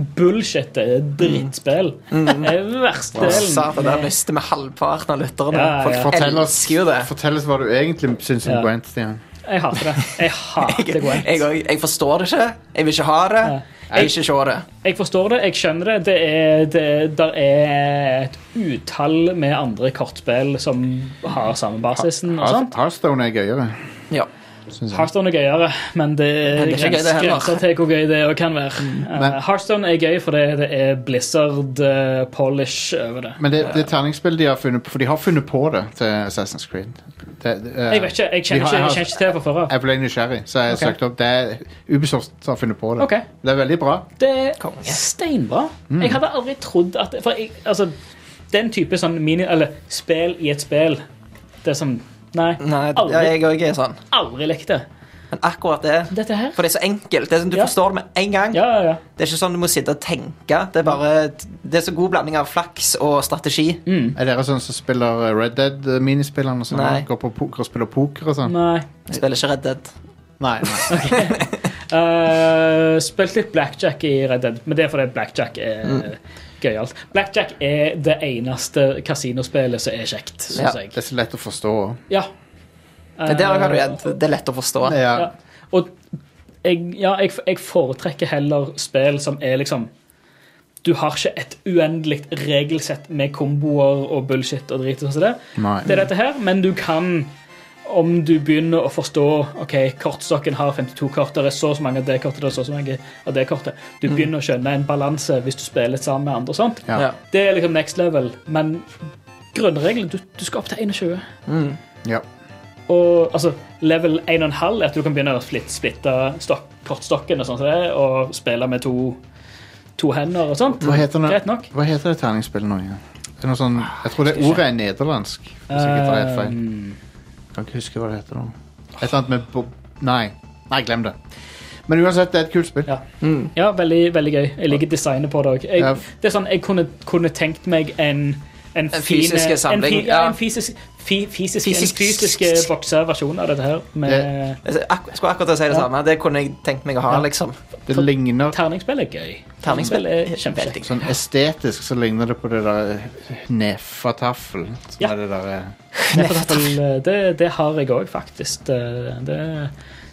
Speaker 3: Gwent bullshit, det er drittspill. Det er verste
Speaker 4: Satan,
Speaker 3: delen.
Speaker 4: der mister vi halvparten av lytterne.
Speaker 3: Ja, ja.
Speaker 4: Folk
Speaker 2: Fortell oss,
Speaker 4: elsker jo det.
Speaker 2: fortell oss hva du egentlig syns om
Speaker 3: Ja.
Speaker 2: Gwent, Stian.
Speaker 3: Jeg hater det. Jeg hater Gwent.
Speaker 4: Jeg, jeg, jeg forstår det ikke. Jeg vil ikke ha det. Jeg vil ikke se det.
Speaker 3: Jeg forstår det, jeg skjønner det. Det er, det der er et utall med andre kortspill som har samme basisen. og sånt.
Speaker 2: Hearthstone er gøyere.
Speaker 4: Ja.
Speaker 2: Synes jeg.
Speaker 3: Hearthstone er gøyere, men det
Speaker 4: Men
Speaker 3: er
Speaker 4: det er ikke gøy det
Speaker 3: grens-
Speaker 4: heller. Mm,
Speaker 3: grenser til hvor gøy det er og kan være.
Speaker 2: men-
Speaker 3: Eh, Hearthstone er gøy fordi det er Blizzard eh, polish over det.
Speaker 2: Men det, det er terningspill de har funnet på, for de har funnet på det til Assassin's Creed. Det, det, eh,
Speaker 3: Jeg vet ikke, jeg
Speaker 2: de
Speaker 3: kjenner
Speaker 2: har-
Speaker 3: ikke, jeg
Speaker 2: har-
Speaker 3: kjenner ikke til fra før av.
Speaker 2: jeg ble nysgjerrig, så jeg
Speaker 3: Ok.
Speaker 2: søkte opp. Det er Ubisoft som har funnet på det.
Speaker 3: Ok.
Speaker 2: Det er veldig bra.
Speaker 3: Det er steinbra. Jeg hadde aldri trodd at For jeg, altså, den type sånn mini... Eller spill i et spill, det er sånn Nei,
Speaker 4: Nei, d- ja,
Speaker 3: aldri,
Speaker 4: jeg òg er sånn.
Speaker 3: aldri likt det.
Speaker 4: Men akkurat det
Speaker 3: Dette her
Speaker 4: For det er så enkelt. Det er sånn, du
Speaker 3: Ja.
Speaker 4: forstår det med en gang.
Speaker 3: Ja, ja, ja.
Speaker 4: Det er ikke sånn du må sitte og tenke. Det er bare Det er så god blanding av flaks og strategi.
Speaker 3: Mm.
Speaker 2: Er dere sånn som spiller Red Dead-minispillene? Sånn,
Speaker 4: Nei.
Speaker 2: Går på poker og spiller poker og sånn?
Speaker 3: Nei.
Speaker 4: Jeg spiller ikke Red Dead.
Speaker 2: Nei. nei.
Speaker 3: Eh, spilt litt blackjack i Red Dead, men det er fordi blackjack er
Speaker 4: Mm.
Speaker 3: gøyalt. Blackjack er det eneste kasinospillet som er kjekt, syns
Speaker 4: Ja.
Speaker 3: jeg.
Speaker 2: Det er så lett å forstå.
Speaker 3: Ja.
Speaker 4: Men der har du
Speaker 3: Eh,
Speaker 4: Red. Det er lett å forstå.
Speaker 2: Ja.
Speaker 3: Ja. Og jeg, ja, jeg, jeg foretrekker heller spill som er liksom Du har ikke et uendelig regelsett med komboer og bullshit og drit. og sånn som det.
Speaker 2: Nei.
Speaker 3: Det er dette her, men du kan om du begynner å forstå ok, kortstokken har 52 kort, det er så og så mange av det kortet, det er så og så mange av det kortet Du
Speaker 5: Mm.
Speaker 3: begynner å skjønne en balanse hvis du spiller sammen med andre. og sånt.
Speaker 2: Ja. Ja.
Speaker 3: Det er liksom next level. Men grunnregelen du, du skal opp til 21.
Speaker 2: Ja.
Speaker 3: Og altså, level 1,5 er at du kan begynne å splitte, splitte stokk, kortstokken og sånn som det, er, og spille med to, to hender og sånt.
Speaker 2: Hva heter,
Speaker 3: Greit
Speaker 2: det,
Speaker 3: nok.
Speaker 2: hva heter det terningspillet nå igjen? Det er noe sånn, jeg tror det ordet er nederlandsk. Hvis jeg ikke tar helt feil. Kan ikke huske hva det heter nå. Et eller annet med bo... Nei. Nei, glem det. Men uansett, det er et kult spill.
Speaker 3: Ja, Ja, veldig, veldig gøy. Jeg liker designet på det òg.
Speaker 2: Ja.
Speaker 3: Det er sånn, jeg kunne, kunne tenkt meg en En,
Speaker 4: En
Speaker 3: fin- en
Speaker 4: fysisk
Speaker 3: fi-
Speaker 4: samling,
Speaker 3: Ja,
Speaker 4: ja.
Speaker 3: en fysisk, fi, fysisk,
Speaker 4: Fysisk.
Speaker 3: En fysisk eh, bokseversjon av dette her. Med
Speaker 4: Jeg ak- skulle akkurat til å si det
Speaker 3: Ja.
Speaker 4: samme. Det kunne jeg tenkt meg å ha,
Speaker 3: Ja.
Speaker 4: liksom.
Speaker 2: Det ligner
Speaker 3: terningspill er gøy.
Speaker 4: Terningspill er
Speaker 3: er kjempekjekt.
Speaker 2: Sånn estetisk så ligner det på det der nefataffel. Som
Speaker 3: Ja.
Speaker 2: er det der, eh,
Speaker 3: Nettopp, eh, Det, det har jeg òg, faktisk. Det, det,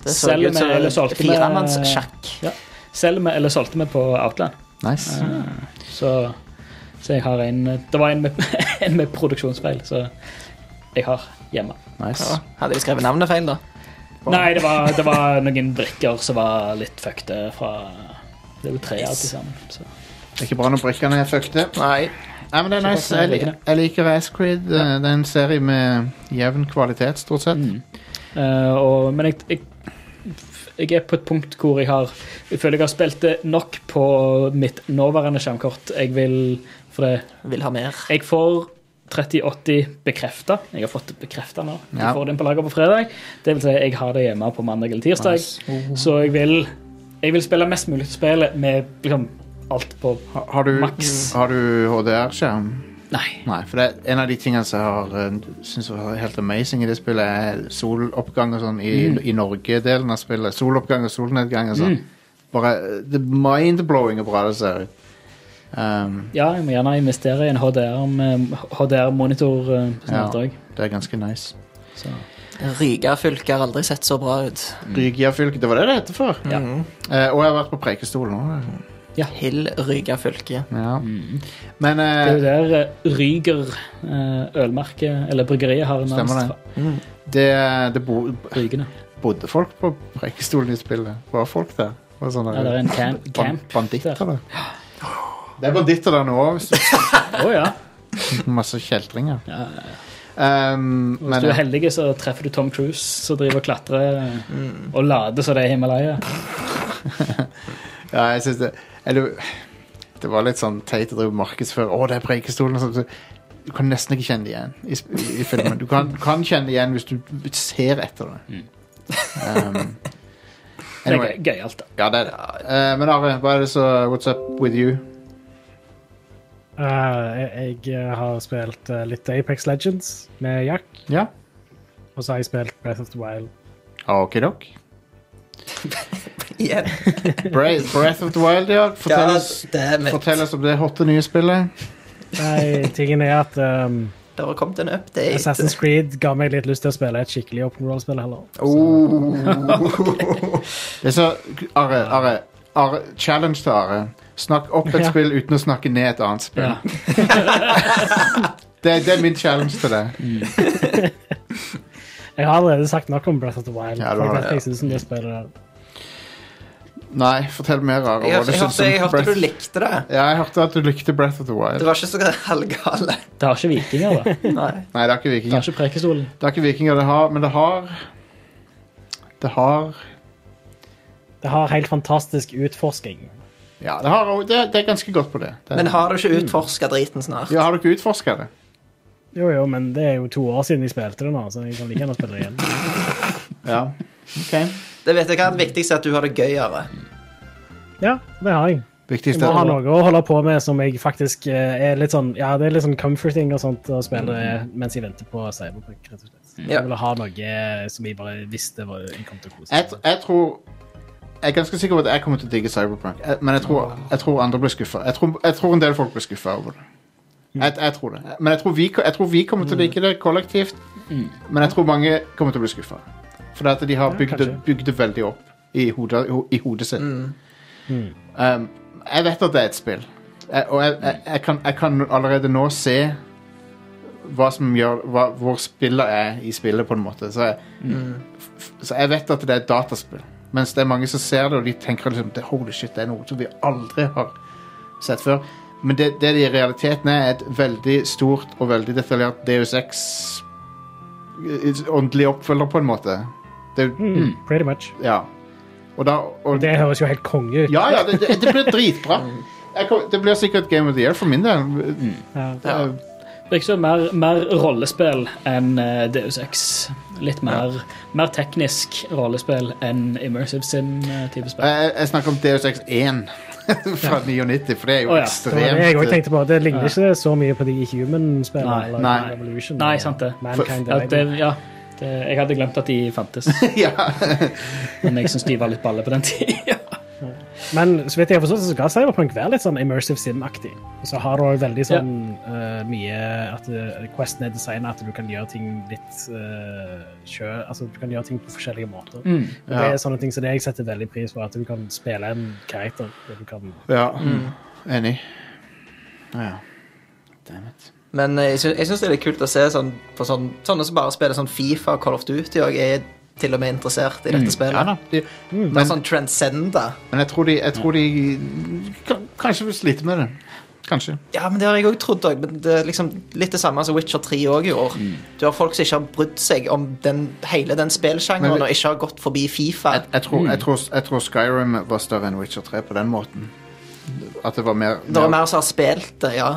Speaker 4: Det så
Speaker 3: selger
Speaker 4: ut som
Speaker 3: vi eller solgte vi-
Speaker 4: firemannssjakk.
Speaker 3: Ja, selger vi eller solgte vi på Outland.
Speaker 2: Nice.
Speaker 3: Eh, Så, så jeg har en Det var en med, en med produksjonsfeil, så jeg har hjemme.
Speaker 2: Nice.
Speaker 4: Ja. Hadde de skrevet navnet feil, da?
Speaker 3: Nei, det var, det var noen brikker som var litt fuckte fra Det var tre av til sammen. Så.
Speaker 2: Det er ikke bra når brikkene er fuckte.
Speaker 4: Nei.
Speaker 2: Nei, men det er
Speaker 3: Så
Speaker 2: nice.
Speaker 3: bare
Speaker 2: Jeg,
Speaker 3: sånn
Speaker 2: lik- jeg liker Ascrid. Det er en serie med jevn kvalitet, stort sett.
Speaker 3: Eh, og, men jeg, jeg, jeg er på et punkt hvor jeg har Jeg føler jeg har spilt det nok på mitt nåværende skjermkort. Jeg vil For det
Speaker 4: Vil ha mer.
Speaker 3: Jeg får 3080 bekrefta. Jeg har fått det bekrefta nå. Du
Speaker 4: Ja.
Speaker 3: får den på lager på fredag. Det vil si, jeg har det hjemme på mandag eller tirsdag. Så jeg vil, jeg vil spille mest mulig spill med liksom alt på
Speaker 2: Har du,
Speaker 3: maks.
Speaker 2: har du HDR-skjerm?
Speaker 3: Nei.
Speaker 2: Nei, for det er En av de tingene som jeg har, eh, synes var helt amazing i det spillet, er soloppgang og sånn i,
Speaker 3: Mm.
Speaker 2: i Norge-delen av spillet. Soloppgang og solnedgang og sånn. Bare eh, det er mind-blowing hvor bra det ser ut. Um,
Speaker 3: Ja, jeg må gjerne investere i en eh, HDR-monitor.
Speaker 2: ja,
Speaker 3: HDR
Speaker 2: det er ganske nice.
Speaker 3: Så.
Speaker 4: Riga fylke har aldri sett så bra ut.
Speaker 3: Mm.
Speaker 2: Rygia-fylke, det var det det het før.
Speaker 4: Ja.
Speaker 2: Eh, og jeg har vært på Preikestol nå.
Speaker 4: Hill Riga fylke.
Speaker 2: Ja. Men eh,
Speaker 3: Mm. Det er jo der eh, Ryger eh, ølmerke, eller bryggeriet, har navnet.
Speaker 2: Stemmer det. Det, det bo,
Speaker 3: Rygene.
Speaker 2: bodde folk på Preikestolen i spillet? Var folk der? Var sånn sånne,
Speaker 3: Ja, det er en camp-
Speaker 2: ban-
Speaker 3: camp
Speaker 2: banditter der. Det er banditter der nå òg.
Speaker 3: Å ja.
Speaker 2: Masse kjeltringer.
Speaker 3: ja.
Speaker 2: Um,
Speaker 3: Hvis
Speaker 2: men
Speaker 3: du er heldig, så treffer du Tom Cruise, som driver og klatrer eh,
Speaker 2: Mm.
Speaker 3: og lader som det er Himalaya.
Speaker 2: ja, jeg synes det Eller det var litt sånn teit å drive og markedsføre Å, det er Preikestolen. og sånt. Du kan nesten ikke kjenne det igjen i, sp- i filmen. Du kan, kan kjenne det igjen hvis du ser etter det. Um,
Speaker 3: Det Mm. er gøy- gøyalt, da.
Speaker 2: Ja, det er det. Eh, men Are, hva er det så What's up with you?
Speaker 5: Eh, jeg eh, har spilt eh, litt Apex Legends med Jack.
Speaker 2: Ja.
Speaker 5: Og så har jeg spilt Breath of the Wild.
Speaker 2: Okidok.
Speaker 4: Igjen.
Speaker 2: Breath, Breath of the Wild, ja. altså, Fortell,
Speaker 4: God
Speaker 2: oss,
Speaker 4: damn it.
Speaker 2: fortell oss om det hotte nye spillet.
Speaker 5: Nei, tingen er at ehm,
Speaker 4: Det har kommet en update.
Speaker 5: Assassin's Creed ga meg litt lyst til å spille et skikkelig open world-spill heller.
Speaker 2: Det er så, Are, Are, Are, challenge til Are. Snakk opp et
Speaker 5: Ja.
Speaker 2: spill uten å snakke ned et annet spill. det, det er min challenge til deg.
Speaker 5: Jeg har allerede sagt nok om Breath of the Wild.
Speaker 2: Ja, du
Speaker 5: Folk
Speaker 2: har
Speaker 5: vet
Speaker 2: det,
Speaker 5: hva jeg synes om det spillet der.
Speaker 2: Nei, fortell mer, Are.
Speaker 4: Jeg,
Speaker 2: hva
Speaker 4: hørte-
Speaker 2: du
Speaker 4: jeg,
Speaker 2: syns
Speaker 4: hørte,
Speaker 2: om
Speaker 4: jeg hørte
Speaker 2: Breath-
Speaker 4: du likte det.
Speaker 2: ja, jeg hørte at du likte Breath of the Wild.
Speaker 4: Det var ikke så halvgale.
Speaker 3: Det har ikke vikinger, da.
Speaker 4: Nei.
Speaker 2: Nei, det er ikke
Speaker 3: Det
Speaker 2: vikinger.
Speaker 3: har ikke Preikestolen.
Speaker 2: Det er ikke vikinger, det har, men det har Det har
Speaker 5: Det har helt fantastisk utforsking.
Speaker 2: Ja, det, har, det, det er ganske godt på det. det
Speaker 4: Men har du ikke utforska driten snart?
Speaker 2: ja, har du ikke utforska det?
Speaker 5: Jo, jo, men det er jo to år siden jeg spilte det nå, så jeg kan like gjerne spille det igjen.
Speaker 2: Ja. Ok.
Speaker 4: Det vet jeg hva er det viktigste, at du har det gøyere.
Speaker 5: Ja, det har jeg. Jeg
Speaker 2: Viktigst
Speaker 5: må ha
Speaker 2: er
Speaker 5: noe å holde på med som jeg faktisk eh, er litt sånn Ja, det er litt sånn comforting og sånt å spille
Speaker 2: Mm.
Speaker 5: mens jeg venter på Cyberpunk, rett og slett.
Speaker 4: Ja.
Speaker 5: Jeg ville ha noe som jeg bare visste var, jeg kom til å kose
Speaker 2: jeg,
Speaker 5: meg med.
Speaker 2: jeg tror Jeg er ganske sikker på at jeg kommer til å digge Cyberpunk, jeg, men jeg tror, jeg tror andre blir skuffa. Jeg, tror- jeg tror en del folk blir skuffa over det. Jeg, jeg tror det. Men jeg tror, vi, jeg tror vi kommer til å like det kollektivt, men jeg tror mange kommer til å bli skuffa. Fordi at de har bygd det-
Speaker 5: kanskje.
Speaker 2: bygd det veldig opp i hodet, i hodet sitt. Um, Eh, jeg vet at det er et spill, jeg, og jeg, jeg, jeg, kan, jeg kan allerede nå se hva som gjør, hva, hvor spillet er i spillet, på en måte. Så jeg, f- så jeg vet at det er et dataspill. Mens det er mange som ser det, og de tenker liksom det, holy shit, det er noe som vi aldri har sett før. Men det, det det i realiteten er, er et veldig stort og veldig detaljert Deus Ex eh, åndelig oppfølger, på en måte. Det,
Speaker 5: Mm, pretty much.
Speaker 2: ja. Og da, og,
Speaker 5: Det høres jo helt konge ut.
Speaker 2: ja, ja, det, det, det blir dritbra. Jeg kom, det blir sikkert Game of the Year for min del. Det er-
Speaker 3: Virker som mer, mer rollespill enn eh, Deus Ex. Litt mer, mer teknisk rollespill enn Immersive Sim-type spill.
Speaker 2: Jeg, jeg snakker om Deus Ex 1 fra 99, for det er jo
Speaker 3: Å, ja.
Speaker 5: Det var det jeg også
Speaker 2: ekstremt
Speaker 5: tenkte på. Det ligner ikke så mye på de Human-spillene.
Speaker 3: Nei.
Speaker 5: eller
Speaker 2: Nei.
Speaker 5: Revolution.
Speaker 3: Nei, sant det.
Speaker 5: Mankind
Speaker 3: ja, det,
Speaker 5: Divided.
Speaker 3: ja. Det, jeg hadde glemt at de fantes. Men jeg syns de var litt balle på den tida.
Speaker 5: Men så vidt jeg har forstått, så skal Cyberpunk være litt sånn immersive sim-aktig. Og så har du også veldig sånn eh, mye at eh, Questen er designet at du kan gjøre ting litt uh, sjø... Altså du kan gjøre ting på forskjellige måter.
Speaker 3: Mm.
Speaker 5: Og Det
Speaker 2: Ja.
Speaker 5: er sånne ting som det jeg setter veldig pris på, at du kan spille en karakter. og Du kan...
Speaker 2: Ja,
Speaker 4: Mm.
Speaker 2: enig. Ja. Dammit.
Speaker 4: Men eh, jeg syns, jeg syns det er litt kult å se sånn, på sånn, sånne som bare spiller sånn Fifa og Call of Duty, og jeg er til og med interessert i
Speaker 2: Mm.
Speaker 4: dette
Speaker 2: Ja,
Speaker 4: spillet.
Speaker 2: da. de,
Speaker 4: Det er
Speaker 2: men,
Speaker 4: sånn transcenda.
Speaker 2: men jeg tror de, jeg tror de kan- Kanskje vil slite med det. Kanskje.
Speaker 4: Ja, men det har jeg òg trodd, også, men det er liksom litt det samme som Witcher 3 òg i år.
Speaker 2: Mm.
Speaker 4: Du har folk som ikke har brydd seg om den, hele
Speaker 2: Men
Speaker 4: den spillsjangeren,
Speaker 2: vi-
Speaker 4: og ikke har gått forbi Fifa.
Speaker 2: Jeg tror, jeg, tror, jeg tror Skyrim var større enn Witcher 3 på den måten. At det var mer,
Speaker 4: Det er mer som har spilt det, ja.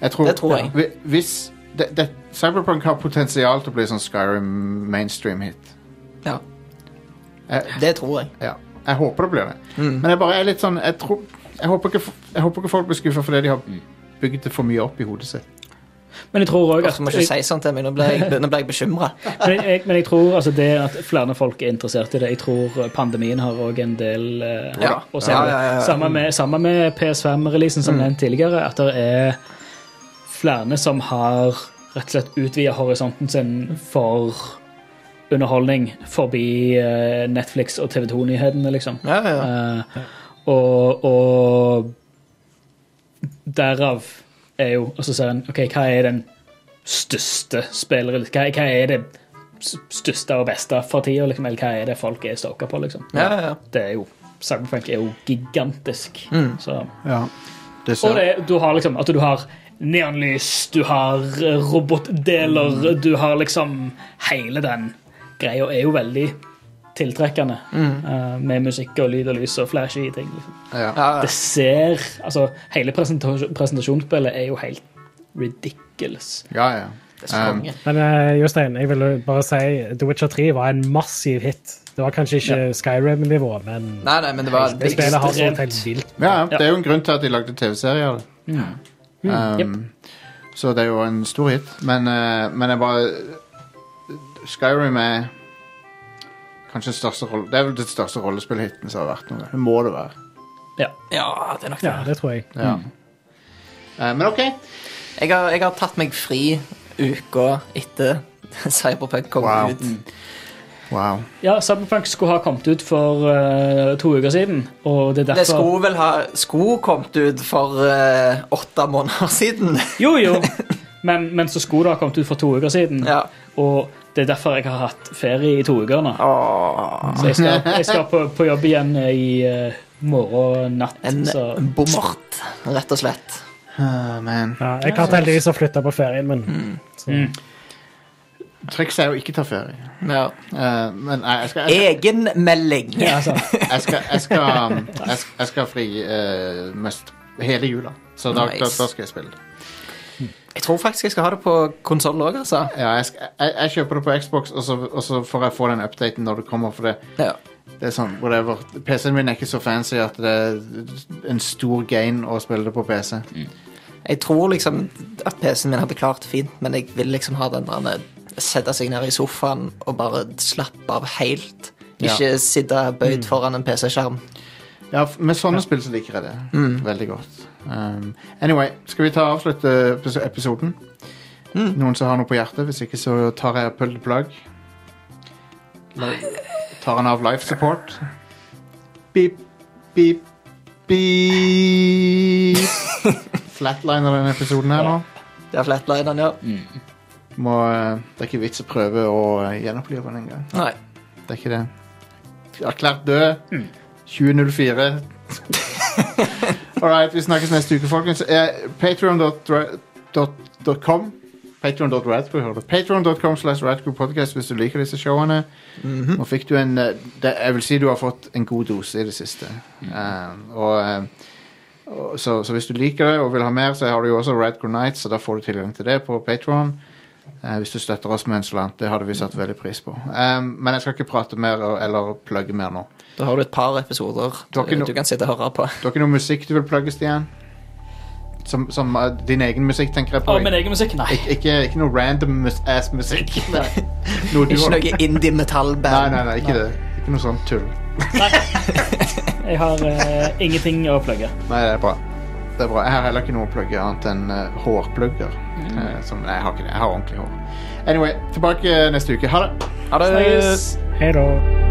Speaker 2: Jeg tror,
Speaker 4: Det tror jeg.
Speaker 2: Hvi- Hvis det, det, Cyberpunk har potensial til å bli sånn Skyrim mainstream hit.
Speaker 4: Ja.
Speaker 2: Jeg,
Speaker 4: Det tror jeg.
Speaker 2: ja. jeg håper det blir det. Men jeg bare er litt sånn Jeg, tror, jeg, håper, ikke, f- jeg håper ikke folk blir skuffa fordi de har bygd det for mye opp i hodet sitt.
Speaker 3: Men jeg tror òg
Speaker 4: Og
Speaker 3: at
Speaker 4: så må ikke si sånt til meg, nå ble jeg, nå ble jeg bekymra.
Speaker 3: men jeg, men jeg tror altså det at flere folk er interessert i det. Jeg tror pandemien har òg en del eh,
Speaker 4: Ja.
Speaker 3: å si.
Speaker 4: Ja, ja, ja, ja.
Speaker 3: Samme med, samme med PS5-releasen som
Speaker 4: Mm.
Speaker 3: nevnt tidligere, at det er flere som har rett og slett utvida horisonten sin for underholdning forbi eh, Netflix og TV 2-nyhetene, liksom.
Speaker 4: Ja, ja, ja.
Speaker 3: Eh, og, og derav er jo Og så ser en OK, hva er den største spillere Hva, hva er det s- største og beste for tida, liksom? Eller hva er det folk er stoka på, liksom?
Speaker 4: Ja, ja, ja.
Speaker 3: Det er jo Cyberpunk er jo gigantisk.
Speaker 4: Mm.
Speaker 3: Så.
Speaker 2: Ja. Det
Speaker 3: Og
Speaker 2: ser,
Speaker 3: det, er- du har liksom at du har neonlys, du har eh,
Speaker 4: Mm.
Speaker 3: robotdeler, du har liksom Hele den greia er jo veldig tiltrekkende.
Speaker 4: Mm.
Speaker 3: eh, med musikk og lyd og lys og flashy ting. Liksom.
Speaker 2: ja.
Speaker 4: Ja,
Speaker 3: Det ser Altså, hele presentasjon, presentasjonsspillet er jo helt ridiculous.
Speaker 2: ja, ja.
Speaker 4: det er så
Speaker 2: Um,
Speaker 4: konge.
Speaker 5: Men eh, Jostein, jeg ville bare si The Witcher 3 var en massiv hit. Det var kanskje ikke Skyrim-nivå, men
Speaker 4: Nei, nei, men det var
Speaker 5: det spillet har
Speaker 3: ekstremt.
Speaker 5: solgt helt vilt.
Speaker 2: ja, ja. Det er jo en grunn til at de lagde TV-serier. av det. Um, Så det er jo en stor hit. Men, eh, men jeg bare Skyrim er kanskje den største rolle, det er vel det største rollespillhiten som har vært noen gang. Det må det være.
Speaker 4: Ja, det er nok det.
Speaker 5: Ja, det tror jeg.
Speaker 2: Ja. Eh, men OK.
Speaker 4: Jeg har, jeg har tatt meg fri uka etter Cyberpunk kom
Speaker 2: Wow.
Speaker 4: ut.
Speaker 2: Wow.
Speaker 3: Ja, Cyberpunk skulle ha kommet ut for eh, to uker siden, og det er
Speaker 4: Det
Speaker 3: derfor
Speaker 4: skulle vel ha sko kommet ut for eh, åtte måneder siden.
Speaker 3: Jo, jo! Men, men så skulle det ha kommet ut for to uker siden,
Speaker 4: ja.
Speaker 3: og det er derfor jeg har hatt ferie i to uker nå.
Speaker 4: Åh,
Speaker 3: Så jeg skal, jeg skal på, på jobb igjen eh, i eh, morgen natt.
Speaker 4: en
Speaker 3: Så
Speaker 4: bommert, rett og slett.
Speaker 2: Ah, man.
Speaker 5: Ja, jeg har heldigvis flytta på ferien min. Så.
Speaker 2: Trikset er jo ikke ta ferie.
Speaker 4: Ja.
Speaker 2: Eh, men nei, jeg skal, jeg,
Speaker 4: Egenmelding.
Speaker 3: ja, altså,
Speaker 2: jeg skal, jeg skal, um, jeg skal, jeg skal fri eh, mest hele jula. Så da, da,
Speaker 4: Nice.
Speaker 2: da skal jeg spille det.
Speaker 4: Jeg tror faktisk jeg skal ha det på konsoll òg, altså.
Speaker 2: Ja, jeg, skal, jeg, jeg kjøper det på Xbox, og så, og så får jeg få den updaten når det kommer. For det,
Speaker 4: Ja.
Speaker 2: det er sånn, whatever. PC-en min er ikke så fancy at det er en stor gain å spille det på PC.
Speaker 4: Jeg tror liksom at PC-en min hadde klart det fint, men jeg vil liksom ha den der Sette seg ned i sofaen og bare slappe av helt.
Speaker 2: Ja. Mm.
Speaker 4: Ikke sitte bøyd foran en PC-skjerm.
Speaker 2: Ja, f- Med sånne spill så liker jeg det veldig godt. Um, anyway, skal vi ta og avslutte epis- episoden? Noen som har noe på hjertet? Hvis ikke så tar jeg pull the plug. Eller Tar han av life support? Beep, beep, beep. Flatliner denne episoden her nå. Mm.
Speaker 4: Det er flatlineren, ja.
Speaker 2: Må, eh, det er ikke vits å prøve å eh, gjenopplive den engang.
Speaker 4: Nei.
Speaker 2: Det er ikke det. Erklært død. 2004. All right, vi snakkes neste uke, folkens. Eh, Patreon.com Patreon.radcrew, hører du. Patreon.com slash radcrew podcast hvis du liker disse showene. Nå fikk du en eh, det, Jeg vil si du har fått en god dose i det siste. Eh, og, eh, og, så, så hvis du liker det og vil ha mer, så har du jo også Radcrew Nights, så da får du tilgang til det på Patron. Eh, hvis du støtter oss med en slant. Det hadde vi satt veldig pris på. Eh, men jeg skal ikke prate mer og- eller plugge mer nå.
Speaker 4: Da har du et par episoder
Speaker 2: Du har ikke
Speaker 4: du,
Speaker 2: noe-
Speaker 4: du kan sitte og høre på.
Speaker 2: Du har ikke noe musikk du vil plugge, Stian? Som, som eh, din egen musikk, tenker jeg på.
Speaker 3: Å, min egen musikk? Nei.
Speaker 2: Ik ikke, ikke noe random mus- ass-musikk. Noe du
Speaker 4: Ikke
Speaker 2: har-
Speaker 4: noe indie-metallband.
Speaker 2: Nei, nei, nei, ikke det. Ikke noe sånt tull.
Speaker 3: Jeg har eh, ingenting å plugge.
Speaker 2: Nei, det er bra. Det er bra. Jeg har heller ikke noe å plugge annet enn eh, hårplugger. Eh, som, nei, jeg har ikke det. Jeg har ordentlig hår. Anyway, tilbake eh, neste uke. Ha det.
Speaker 4: Ha det.
Speaker 3: Snakkes.
Speaker 5: Hei da.